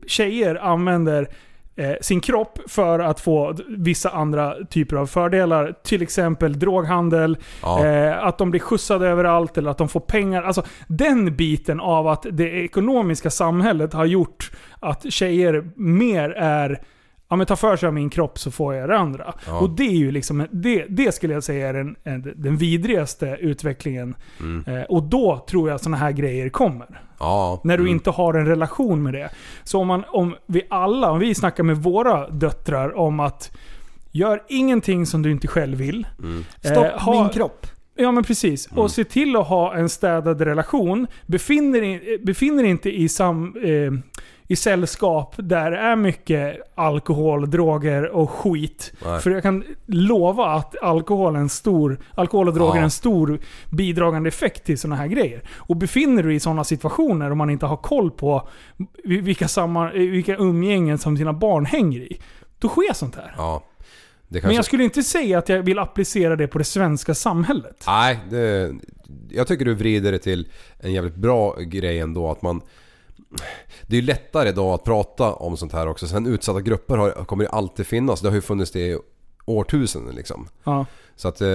Speaker 3: tjejer använder eh, sin kropp för att få d- vissa andra typer av fördelar. Till exempel droghandel,
Speaker 5: Ja.
Speaker 3: eh, att de blir skjutsade överallt eller att de får pengar. Alltså den biten av att det ekonomiska samhället har gjort att tjejer mer är ja, men ta för sig av min kropp så får jag det andra.
Speaker 5: Ja.
Speaker 3: Och det är ju liksom, en- det, det skulle jag säga är den, en- den vidrigaste utvecklingen.
Speaker 5: Mm.
Speaker 3: Eh, och då tror jag sådana här grejer kommer.
Speaker 5: Ja.
Speaker 3: När du
Speaker 5: Mm.
Speaker 3: inte har en relation med det. Så om, man, om vi alla, om vi snackar med våra döttrar om att Gör ingenting som du inte själv vill.
Speaker 5: Mm.
Speaker 4: Stopp
Speaker 3: Eh, ha-
Speaker 4: min kropp.
Speaker 3: Ja men precis. Och se till att ha en städad relation. Befinner, i- eh, befinner inte i, sam, eh, i sällskap där det är mycket alkohol, droger och skit.
Speaker 5: Nej.
Speaker 3: För jag kan lova att alkohol, är en stor, alkohol och droger
Speaker 5: Ja.
Speaker 3: är en stor bidragande effekt till sådana här grejer. Och befinner du dig i sådana situationer och man inte har koll på vi- vilka, samma, eh, vilka umgängen som sina barn hänger i. Då sker sånt här.
Speaker 5: Ja. Det kanske...
Speaker 3: Men jag skulle inte säga att jag vill applicera det på det svenska samhället.
Speaker 5: Nej, det, jag tycker du vrider det till en jävligt bra grej ändå att man... Det är ju lättare då att prata om sånt här också. Sen utsatta grupper har, kommer ju alltid finnas. Det har ju funnits det i årtusenden liksom.
Speaker 3: Ja.
Speaker 5: Så att... eh,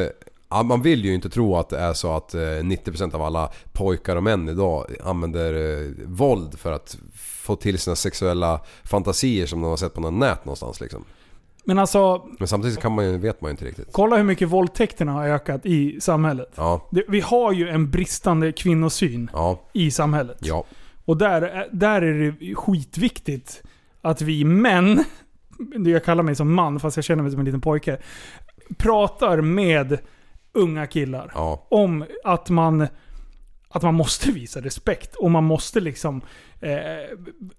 Speaker 5: Ja, man vill ju inte tro att det är så att eh, 90% av alla pojkar och män idag använder eh, våld för att få till sina sexuella fantasier som de har sett på något nät någonstans liksom.
Speaker 3: Men alltså,
Speaker 5: Men samtidigt så kan man ju, vet man ju inte riktigt.
Speaker 3: kolla hur mycket våldtäkterna har ökat i samhället.
Speaker 5: Ja,
Speaker 3: Det, vi har ju en bristande kvinnosyn
Speaker 5: ja,
Speaker 3: i samhället.
Speaker 5: ja.
Speaker 3: Och där, är- där är det skitviktigt att vi män, det jag kallar mig som man fast jag känner mig som en liten pojke, pratar med unga killar.
Speaker 5: Ja.
Speaker 3: Om att man, att man måste visa respekt och man måste liksom eh,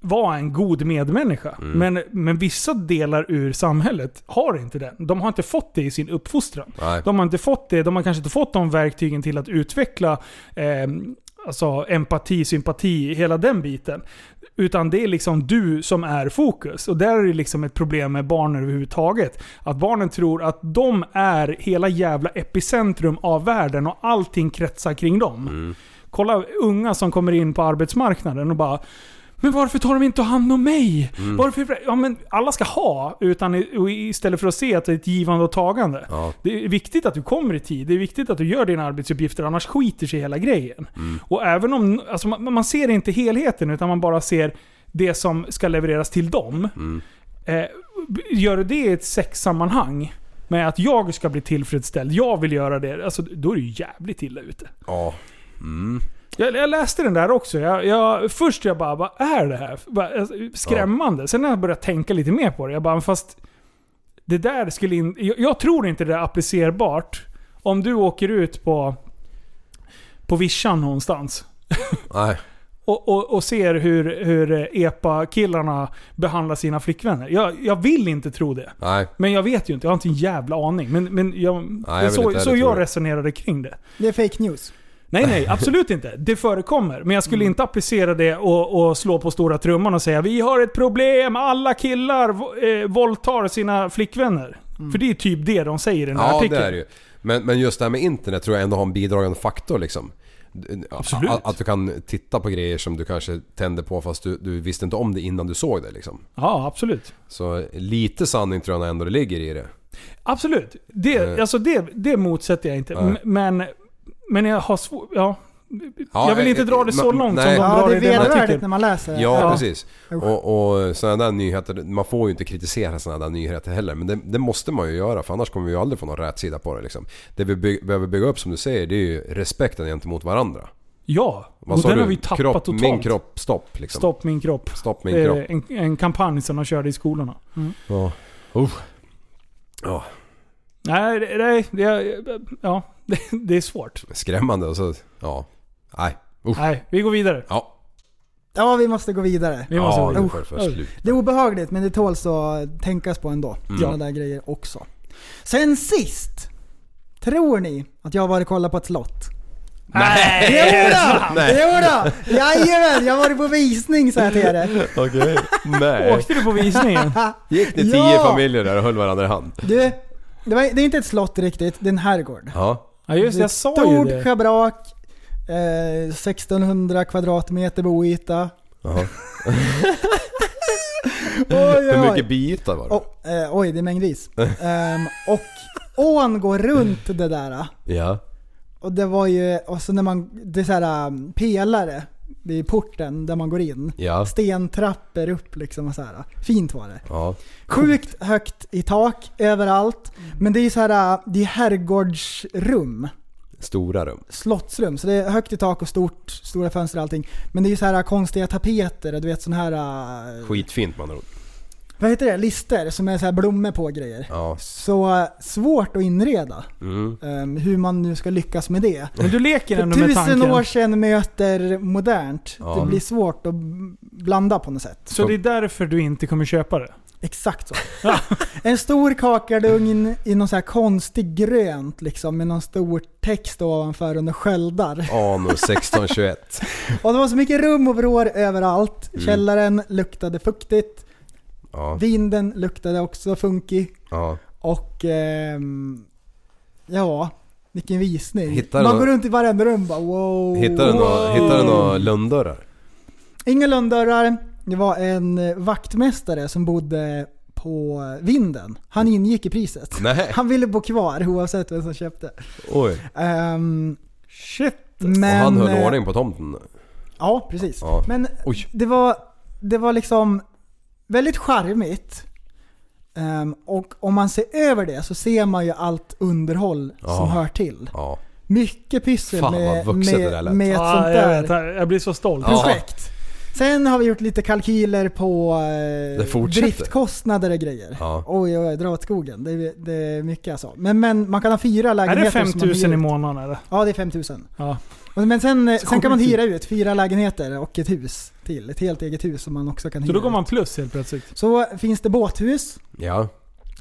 Speaker 3: vara en god medmänniska. Men, men vissa delar ur samhället har inte den. De har inte fått det i sin uppfostran.
Speaker 5: Nej.
Speaker 3: De har inte fått det. De har kanske inte fått de verktygen till att utveckla eh, alltså empati, sympati, hela den biten. Utan det är liksom du som är fokus. Och där är det liksom ett problem med barn överhuvudtaget. Att barnen tror att de är hela jävla epicentrum av världen och allting kretsar kring dem. Kolla unga som kommer in på arbetsmarknaden och bara men varför tar de inte hand om mig? Varför, ja, men alla ska ha, utan, i- och istället för att se att det är ett givande och tagande.
Speaker 5: Ja.
Speaker 3: Det är viktigt att du kommer i tid. Det är viktigt att du gör dina arbetsuppgifter, annars skiter sig hela grejen. Och även om, alltså, man, man ser inte helheten, utan man bara ser det som ska levereras till dem. Eh, gör du det i ett sexsammanhang, med att jag ska bli tillfredsställd, jag vill göra det, alltså, då är du jävligt illa ute.
Speaker 5: ja.
Speaker 3: Jag, jag läste den där också. Jag, jag, först jag bara, vad är det här? Bara, alltså, Skrämmande. Sen när jag började tänka lite mer på det, jag bara, fast det där skulle in, jag, jag tror inte det är applicerbart om du åker ut på, på vischan någonstans
Speaker 5: Nej.
Speaker 3: och, och, och ser hur, hur EPA-killarna behandlar sina flickvänner. Jag, jag vill inte tro det.
Speaker 5: Nej.
Speaker 3: Men jag vet ju inte, jag har inte en jävla aning. Men, men jag,
Speaker 5: jag vill inte
Speaker 3: så,
Speaker 5: heller
Speaker 3: så
Speaker 5: tro
Speaker 3: jag
Speaker 5: det.
Speaker 3: resonerade kring det.
Speaker 4: Det är fake news.
Speaker 3: Nej, nej, absolut inte. Det förekommer. Men jag skulle
Speaker 5: Mm.
Speaker 3: inte applicera det och, och slå på stora trumman och säga vi har ett problem, alla killar vo- eh, våldtar sina flickvänner. För det är typ det de säger i den här
Speaker 5: Mm. Ja,
Speaker 3: artikeln.
Speaker 5: det är det ju. Men, men just det här med internet tror jag ändå har en bidragande faktor liksom.
Speaker 3: Absolut.
Speaker 5: Att, att du kan titta på grejer som du kanske tände på fast du, du visste inte om det innan du såg det liksom.
Speaker 3: Ja, absolut.
Speaker 5: Så lite sanning tror jag ändå det ligger i det.
Speaker 3: Eh, Absolut. Det,
Speaker 5: Eh.
Speaker 3: alltså det, det motsätter jag inte.
Speaker 5: Nej.
Speaker 3: M- Men, men jag har svårt... Ja.
Speaker 5: Ja,
Speaker 3: jag vill
Speaker 5: eh,
Speaker 3: inte dra det
Speaker 5: eh,
Speaker 3: så
Speaker 5: ma-
Speaker 3: långt
Speaker 5: nej.
Speaker 3: som de
Speaker 4: Ja,
Speaker 3: drar
Speaker 4: det är
Speaker 3: i den
Speaker 4: vedervärdigt när
Speaker 3: artikeln.
Speaker 4: man läser
Speaker 5: Ja,
Speaker 4: det. här.
Speaker 5: precis.
Speaker 4: Usch.
Speaker 5: Och, och sådana där nyheter, man får ju inte kritisera sådana där nyheter heller. Men det, det måste man ju göra för annars kommer vi ju aldrig få någon rätsida på det liksom. Det vi by- behöver bygga upp som du säger det är ju respekten gentemot varandra.
Speaker 3: Ja.
Speaker 5: Vad
Speaker 3: Och
Speaker 5: sa
Speaker 3: den
Speaker 5: du?
Speaker 3: har vi tappat
Speaker 5: kropp,
Speaker 3: totalt.
Speaker 5: Min kropp, stopp liksom.
Speaker 3: Stopp min kropp.
Speaker 5: Stopp
Speaker 3: Det
Speaker 5: min
Speaker 3: är
Speaker 5: kropp.
Speaker 3: En, en kampanj som de körde i skolorna.
Speaker 5: Ja. Usch. Ja,
Speaker 3: Nej, det, nej, det, ja, det, det är svårt.
Speaker 5: skrämmande och så... Ja. Nej. Usch.
Speaker 3: Nej, vi går vidare.
Speaker 5: Ja.
Speaker 4: Ja, vi måste gå vidare.
Speaker 3: Vi måste
Speaker 5: ja,
Speaker 3: gå
Speaker 5: nu
Speaker 3: vidare.
Speaker 5: får det för
Speaker 3: Usch.
Speaker 5: slut.
Speaker 4: Det är obehagligt men det tåls att tänkas på ändå.
Speaker 5: Mm.
Speaker 4: Sådana där grejer också. Sen sist. Tror ni att jag har varit och kollat på ett slott?
Speaker 3: Nej!
Speaker 4: Jodå!
Speaker 5: *laughs* Nej.
Speaker 4: Jodå! Jajamän! Jag har varit på visning så här till er.
Speaker 5: Okej. Nej.
Speaker 3: Åkte du på
Speaker 4: *laughs*
Speaker 3: visningen?
Speaker 5: Gick ni tio
Speaker 4: Ja!
Speaker 5: familjer där och höll varandra i hand?
Speaker 4: Du, det, var, det är inte ett slott riktigt. Det är en herrgård.
Speaker 5: Ja.
Speaker 3: Ja just det, jag
Speaker 4: ett
Speaker 3: sa ju
Speaker 4: stort
Speaker 3: det.
Speaker 4: schabrak. Eh, 1600 kvadratmeter boyta.
Speaker 5: Jaha.
Speaker 4: Oj,
Speaker 5: Hur
Speaker 4: oj,
Speaker 5: mycket biyta var det?
Speaker 4: Oh, eh, oj, det
Speaker 5: *laughs*
Speaker 4: är mängdvis. Ehm, och ån går runt det där.
Speaker 5: Ja.
Speaker 4: Och det var ju, och så när man, det är så här um, pelare vid porten där man går in.
Speaker 5: Ja.
Speaker 4: Stentrappor upp liksom och så här. Fint var det.
Speaker 5: Ja.
Speaker 4: Sjukt högt i tak överallt.
Speaker 3: Mm.
Speaker 4: Men det är ju så här, eh, det är herrgårdsrum.
Speaker 5: Stora
Speaker 4: Mm.
Speaker 5: rum.
Speaker 4: Slottsrum. Så det är högt i tak och stort, stora fönster och allting. Men det är ju så här äh, konstiga tapeter och du vet sån här... eh,
Speaker 5: Skitfint man ord.
Speaker 4: Vad heter det? Lister som är så här blommor på och grejer.
Speaker 5: Ja.
Speaker 4: Så eh, svårt att inreda.
Speaker 5: Mm.
Speaker 4: eh, hur man nu ska lyckas med det.
Speaker 3: Men du leker
Speaker 4: För
Speaker 3: ändå med
Speaker 4: tusen år
Speaker 3: tanken.
Speaker 4: sedan möter modernt.
Speaker 5: Ja.
Speaker 4: Det blir svårt att blanda på något sätt.
Speaker 3: Så det är därför du inte kommer köpa det?
Speaker 4: Exakt så. *laughs* en stor kakardugn i någon så här konstig grönt liksom med någon stor text ovanför under sköldar.
Speaker 5: Anno 1621.
Speaker 4: Och det var så mycket rum och vrår överallt.
Speaker 5: Mm.
Speaker 4: Källaren luktade fuktigt.
Speaker 5: Ja.
Speaker 4: Vinden luktade också funky.
Speaker 5: ja.
Speaker 4: Och ehm, ja, vilken visning.
Speaker 5: Hittar du
Speaker 4: Man
Speaker 5: nå-
Speaker 4: går runt i varenda rum och bara wow.
Speaker 5: Hittar du några, hittar du några lönndörrar?
Speaker 4: Inga lönndörrar. Det var en eh, vaktmästare som bodde på vinden. Han ingick i priset.
Speaker 5: Mm. Nej.
Speaker 4: Han ville bo kvar oavsett vem som köpte.
Speaker 5: Oj.
Speaker 4: Ehm,
Speaker 3: Shit.
Speaker 4: men,
Speaker 5: Och han höll
Speaker 4: eh,
Speaker 5: ordning på tomten.
Speaker 4: Ja, precis.
Speaker 5: Ja.
Speaker 4: Men
Speaker 5: Oj.
Speaker 4: det var, det var liksom väldigt charmigt. Ehm, och om man ser över det så ser man ju allt underhåll
Speaker 5: Ja.
Speaker 4: som hör till.
Speaker 5: Ja.
Speaker 4: Mycket pyssel
Speaker 5: Fan, vad
Speaker 4: med,
Speaker 5: vuxet det där
Speaker 4: med,
Speaker 5: lät.
Speaker 4: med ett sånt
Speaker 3: Ah, jag,
Speaker 4: där
Speaker 3: vet, jag jag blir så stolt.
Speaker 5: Ja.
Speaker 4: projekt. Sen har vi gjort lite kalkyler på
Speaker 5: Det
Speaker 4: eh,
Speaker 5: fortsätter.
Speaker 4: driftkostnader och grejer.
Speaker 5: Ja.
Speaker 4: Oj, oj, oj, dra åt skogen. Det är, det är mycket alltså. Men, men man kan ha fyra
Speaker 3: Är
Speaker 4: lägenheter.
Speaker 3: det
Speaker 4: som man hyr
Speaker 3: 5000 i
Speaker 4: ut.
Speaker 3: månaden eller?
Speaker 4: Ja, det är 5000.
Speaker 3: Ja.
Speaker 4: Och- Men sen, eh, sen kan man
Speaker 3: Sjukt. typ.
Speaker 4: hyra ut fyra lägenheter och ett hus till. Ett helt eget hus som man också kan
Speaker 3: Så
Speaker 4: hyra
Speaker 3: då går man
Speaker 4: ut.
Speaker 3: plus helt plötsligt?
Speaker 4: Så finns det båthus
Speaker 5: Ja.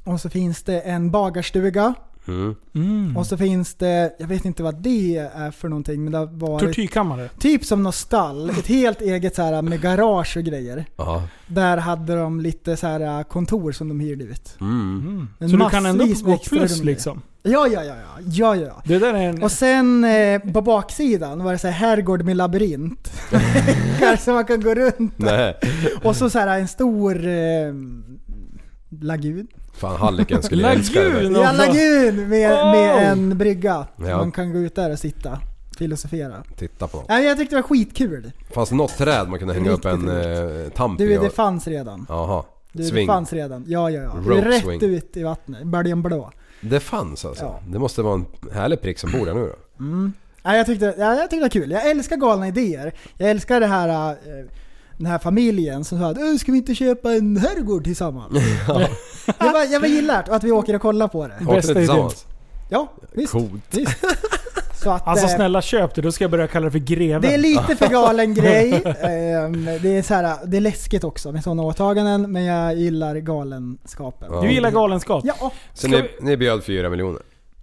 Speaker 4: och så finns det en bagarstuga
Speaker 5: Mm.
Speaker 3: Mm.
Speaker 4: och så finns det, jag vet inte vad det är för någonting men det har varit
Speaker 3: Tortyrkammare?
Speaker 4: typ som något stall. Ett helt eget så här med garage och grejer.
Speaker 5: Ja.
Speaker 4: Där hade de lite så här äh, kontor som de hyrde ut.
Speaker 5: Mm.
Speaker 3: Mm.
Speaker 4: Men
Speaker 3: Så du kan ändå
Speaker 4: massvis med
Speaker 3: gå
Speaker 4: extra
Speaker 3: plus
Speaker 4: rum.
Speaker 3: liksom?
Speaker 4: Ja, ja, ja, ja, ja, ja. ja.
Speaker 3: Det där är en...
Speaker 4: Och sen eh, på baksidan var det så här herrgård med
Speaker 3: *laughs*
Speaker 4: labyrint. Kanske man kan gå runt
Speaker 5: Nej.
Speaker 4: Och så, så här en stor eh, lagun.
Speaker 5: Fan Halliken skulle jag älska det där.
Speaker 3: Lagun!
Speaker 4: Ja, lagun med,
Speaker 3: Oh!
Speaker 4: med en brygga.
Speaker 5: Ja.
Speaker 4: Man kan gå ut där och sitta. Filosofera.
Speaker 5: Titta på något.
Speaker 4: Nej, jag tyckte det var skitkul.
Speaker 5: Fanns det något träd man kunde hänga upp en
Speaker 4: Riktigt
Speaker 5: eh, tamp
Speaker 4: Du,
Speaker 5: i?
Speaker 4: det
Speaker 5: och-
Speaker 4: fanns redan.
Speaker 5: Jaha.
Speaker 4: Du, det
Speaker 5: Sving.
Speaker 4: fanns redan. Ja, ja, ja.
Speaker 5: Rope
Speaker 4: Rätt
Speaker 5: swing.
Speaker 4: ut i vattnet. Böljan blå.
Speaker 5: Det fanns alltså?
Speaker 4: Ja.
Speaker 5: Det måste vara en härlig prick som bor där nu då?
Speaker 4: Nej, jag tyckte, ja, jag tyckte det var kul. Jag älskar galna idéer. Jag älskar det här, eh, den här familjen som sa att "Ö, ska vi inte köpa en
Speaker 5: *laughs*
Speaker 4: herrgård tillsammans? jag, bara, jag bara gillar det och att vi åker och kollar på det.
Speaker 5: Åkte ni
Speaker 3: Bästa idén.
Speaker 5: tillsammans?
Speaker 4: Ja, visst.
Speaker 5: Coolt.
Speaker 4: visst. Så att,
Speaker 3: Alltså
Speaker 4: eh,
Speaker 3: snälla köp det, då ska jag börja kalla det för greven.
Speaker 4: Det är lite för
Speaker 3: *laughs*
Speaker 4: galen grej. Ehm, Det är, så här, det är läskigt också med sådana åtaganden, men jag gillar galenskapen.
Speaker 5: Ja.
Speaker 3: Du gillar galenskap?
Speaker 4: Ja,
Speaker 5: Så
Speaker 3: Ska
Speaker 5: ni, ni bjöd fyra miljoner?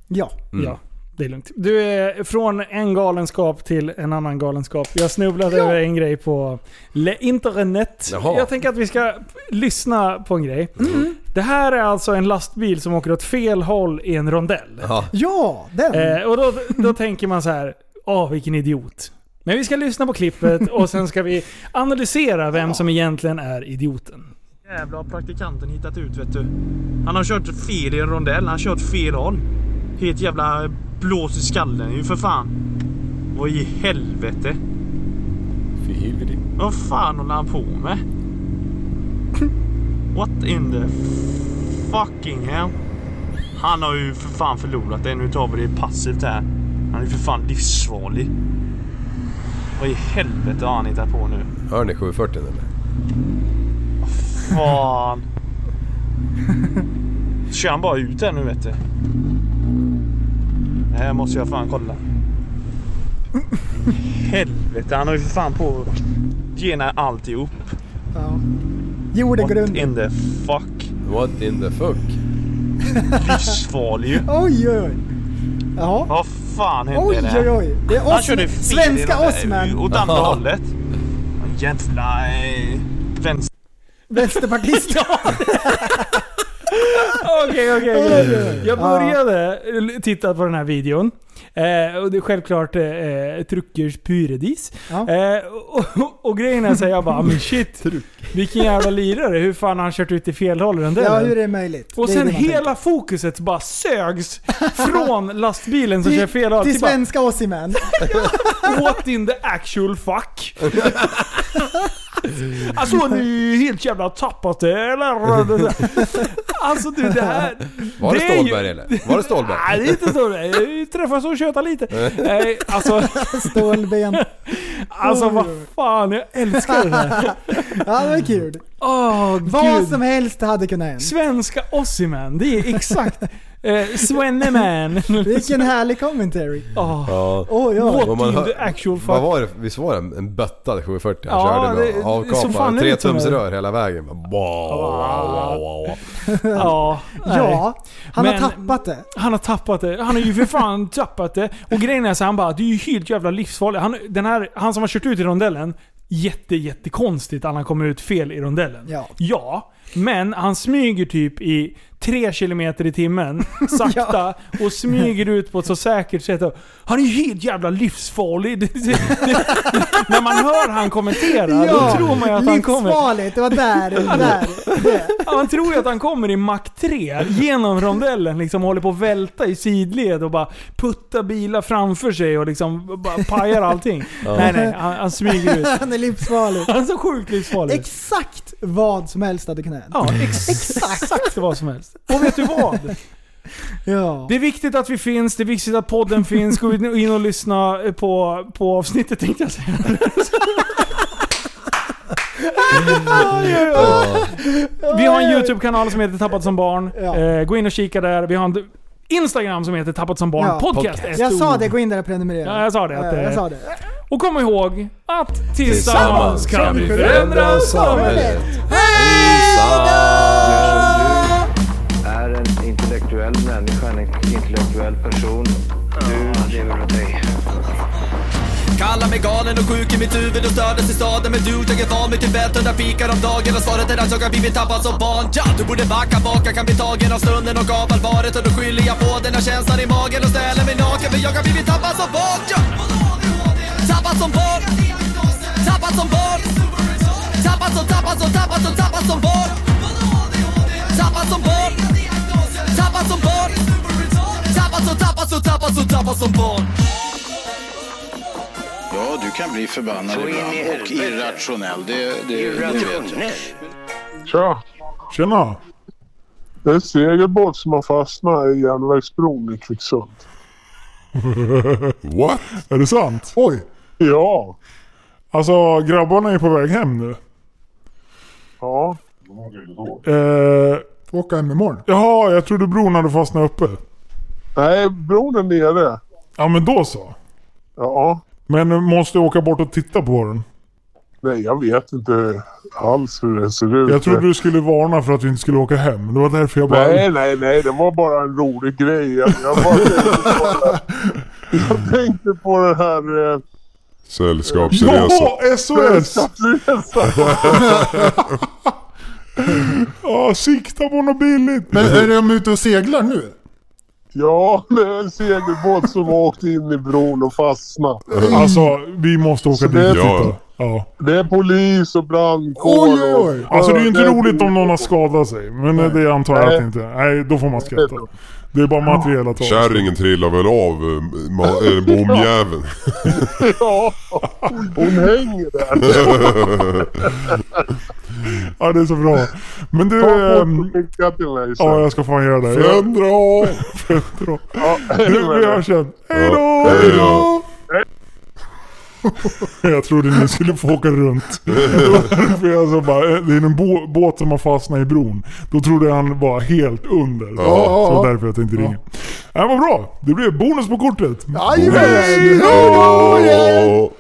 Speaker 4: ja.
Speaker 5: Mm.
Speaker 3: Ja, det är lugnt. Du, är från en galenskap till en annan galenskap. Jag snubblade över en grej på le- internet.
Speaker 5: Jaha. Mm.
Speaker 3: Jag tänker att vi ska p- lyssna på en grej. Det här är alltså en lastbil som åker åt fel håll i en rondell.
Speaker 5: Ja. Mm.
Speaker 4: Ja, den.
Speaker 3: Eh, och då, då tänker man så här, åh vilken idiot. Men vi ska lyssna på klippet och sen ska vi analysera vem som egentligen är idioten.
Speaker 6: Jävla har praktikanten hittat ut vet du. Han har kört fel i en rondell. Han har kört fel håll. Helt jävla blås i skallen ju för fan. Vad i helvete.
Speaker 5: Fy huvud.
Speaker 6: Vad fan håller han på med? What in the fucking hell? Han har ju för fan förlorat det. Nu tar vi det passivt här. Han är för fan livsfarlig. Vad i helvete har han hittat på nu?
Speaker 5: Hör ni 740 eller?
Speaker 6: Fan. Kör han bara ut här nu vet du. Det här måste jag fan kolla. Helvete, han har ju för fan på att gena alltihop.
Speaker 4: Ja. Jorden går
Speaker 6: What
Speaker 4: under.
Speaker 6: in the fuck?
Speaker 5: What in the fuck?
Speaker 6: Livsfarlig ju.
Speaker 4: Oj, oj, oj. Ja.
Speaker 6: Vad fan hände
Speaker 4: Oj,
Speaker 6: där?
Speaker 4: oj, oj. Det är
Speaker 6: Han körde
Speaker 4: Osman.
Speaker 6: fel
Speaker 4: Svenska
Speaker 6: i den där-
Speaker 4: Osman.
Speaker 6: Åt andra hållet. Jävla eh, vänster...
Speaker 3: *laughs*
Speaker 4: Vänsterpartist.
Speaker 3: Okej, Okej, okej, okej. Jag började titta på den här videon. Eh, och det är självklart eh, eh, Truckers pyredis.
Speaker 4: Ja.
Speaker 3: Eh, och, och, och grejen är såhär, jag bara "Ah, men shit. Vilken jävla lirare. Hur fan har han kört ut i fel håll i den där?
Speaker 4: Ja, hur är det möjligt?
Speaker 3: Och
Speaker 4: det är
Speaker 3: sen
Speaker 4: det man tänker.
Speaker 3: hela fokuset bara sögs från lastbilen som kör fel håll.
Speaker 4: Till
Speaker 3: till bara- *laughs*
Speaker 4: svenska Osimhen.
Speaker 3: What in the actual fuck? *laughs* alltså har ni helt jävla tappat det eller? Alltså du det här...
Speaker 5: Var det,
Speaker 3: är ju-
Speaker 5: Stålberg eller? Var det Stålberg?
Speaker 3: *laughs* Nej det är inte Stålberg. Vi träffas och tjötar lite. Nej, alltså,
Speaker 4: Stålben.
Speaker 3: alltså vad fan, jag älskar det här.
Speaker 4: Ja, det var kul.
Speaker 3: *laughs* Åh
Speaker 4: Vad
Speaker 3: gud.
Speaker 4: som helst hade kunnat hända.
Speaker 3: Svenska Ossiman, det är exakt. Eh, *laughs* Svenneman.
Speaker 4: Vilken härlig commentary.
Speaker 3: Åh,
Speaker 5: Ja.
Speaker 4: Åh ja.
Speaker 3: What
Speaker 5: Om man
Speaker 3: in
Speaker 5: hör-
Speaker 3: the actual
Speaker 5: Vad
Speaker 3: fuck?
Speaker 5: var det? Visst var det en- en bötta 740 han
Speaker 3: Ja,
Speaker 5: körde
Speaker 3: det- det-
Speaker 5: med
Speaker 3: som fan
Speaker 5: avkapad?
Speaker 3: är det inte
Speaker 5: Tretumsrör hela vägen. Bara, wow, wow, wow, wow.
Speaker 3: Ja, nej.
Speaker 4: Ja, han
Speaker 3: Men-
Speaker 4: har tappat det.
Speaker 3: Han har tappat det. Han har ju för fan *laughs* tappat det. Och grejen är så här, han bara, det är ju helt jävla livsfarligt. Han, den här, han som har kört ut i rondellen, jätte, jätte konstigt att han kommer ut fel i rondellen.
Speaker 4: Ja.
Speaker 3: men han smyger typ i 3 km i timmen, sakta, och smyger ut på ett så säkert sätt. Och, han är ju helt jävla livsfarlig. *laughs* Det, det, det, när man hör han kommentera, då tror man ju att han kommer...
Speaker 4: livsfarligt. Det var där, där, det.
Speaker 3: Ja, Man tror ju att han kommer i Mac 3 genom rondellen liksom håller på att välta i sidled och bara puttar bilar framför sig och liksom bara pajar allting. Nej nej, han, han smyger ut.
Speaker 4: Han är livsfarlig.
Speaker 3: Han är så sjukt livsfarlig.
Speaker 4: Exakt vad som helst hade kunnat hända.
Speaker 3: Ja, ex- exakt vad som helst. Och vet du vad?
Speaker 4: Ja.
Speaker 3: Det är viktigt att vi finns, det är viktigt att podden finns. Gå in och lyssna eh, på, på avsnittet tänkte jag
Speaker 4: *laughs*
Speaker 3: säga.
Speaker 5: Ja.
Speaker 3: Vi har en YouTube-kanal som heter Tappat som barn.
Speaker 4: Ja.
Speaker 3: Eh, gå in och kika där. Vi har en Instagram som heter Tappat som barn
Speaker 4: Ja.
Speaker 3: podcast.
Speaker 4: Jag sa det, gå in där och prenumerera.
Speaker 3: Ja, jag sa det. Att,
Speaker 4: Ja, jag
Speaker 3: eh,
Speaker 4: sa det.
Speaker 3: Och kom ihåg att tillsammans
Speaker 5: Tillsammans
Speaker 3: kan vi
Speaker 5: förändra
Speaker 3: förändra samhället.
Speaker 5: samhället. Hejsan!
Speaker 8: Du är en intellektuell människa, en intellektuell person. Du lever åt dig.
Speaker 2: Kallar mig galen och sjuk i mitt huvud och stördes i staden Men du, jag är van vid Tibet och där fikar om dagen Och svaret är att jag har blivit tappad som barn ja, Du borde backa bak, jag kan bli tagen av stunden och av allvaret Och då skyller jag på den här känslan i magen och ställer mig naken För jag har blivit tappad som barn ja. Tappad som barn Tappad som barn Tappad som, tappad som, tappad som, tappad som barn Tappad som barn Tappad som barn Tappad som, tappad som, tappad som, tappad som barn
Speaker 9: Ja, du kan bli förbannad
Speaker 8: Så in i
Speaker 9: ibland och
Speaker 8: helvete.
Speaker 9: irrationell. Det, det, det vet jag.
Speaker 10: Tja!
Speaker 11: Tjena!
Speaker 10: Det är en segelbåt som har fastnat i järnvägsbron i Kvicksund.
Speaker 11: What? Är det sant? Oj!
Speaker 10: Ja,
Speaker 11: Alltså grabbarna är på väg hem nu.
Speaker 10: ja.
Speaker 11: Eh, Får åka hem imorgon. Jaha, jag trodde bron hade fastnat uppe.
Speaker 10: Nej, bron är nere.
Speaker 11: Ja men då så.
Speaker 10: Ja,
Speaker 11: Men måste jag åka bort och titta på den?
Speaker 10: nej jag vet inte alls hur det ser ut.
Speaker 11: Jag trodde du skulle varna för att vi inte skulle åka hem. Det var därför jag bara...
Speaker 10: Nej, nej, nej. Det var bara en rolig grej. Jag, jag, bara tänkte, på, jag tänkte på den här... Eh,
Speaker 11: Sällskapsresa. Ja, SOS!
Speaker 10: stadsresan.
Speaker 11: *laughs* Ja, sikta på något billigt. Men är de ute och seglar nu?
Speaker 10: ja, det är en segelbåt som åkte in i bron och fastnade.
Speaker 11: Alltså, vi måste åka
Speaker 10: Så
Speaker 11: dit
Speaker 10: det-
Speaker 11: och titta. Ja.
Speaker 10: Det är polis och brandkår.
Speaker 11: Oj, oj, oj.
Speaker 10: och-
Speaker 11: Alltså det är ju inte
Speaker 10: Ja,
Speaker 11: roligt om någon har skadat sig. Men det antar jag att det inte är. Nej, då får man skratta. Det är bara materiella tal.
Speaker 12: Kärringen trillar väl av eh, ma- eh, bomjäveln.
Speaker 10: Ja, hon hänger där.
Speaker 11: Ja, det är så bra. Men du...
Speaker 10: Hon
Speaker 11: ehm,
Speaker 10: får skicka till mig sen.
Speaker 11: Ja, jag ska fan göra det. Jag-
Speaker 12: Förändra av!
Speaker 11: Förändra.
Speaker 10: Ja, hej
Speaker 11: Du,
Speaker 10: med
Speaker 11: vi
Speaker 10: dig.
Speaker 11: hörs sen. Hejdå!
Speaker 12: Ja, hejdå.
Speaker 11: Jag trodde ni skulle få åka runt. Det var därför jag så bara, eh, det är en bå- båt som har fastnat i bron. Då trodde jag han var helt under.
Speaker 12: Ja.
Speaker 11: Så därför jag tänkte ringa. Ja, vad bra! Det blev bonus på kortet.
Speaker 4: Jajamän!
Speaker 12: Hejdå!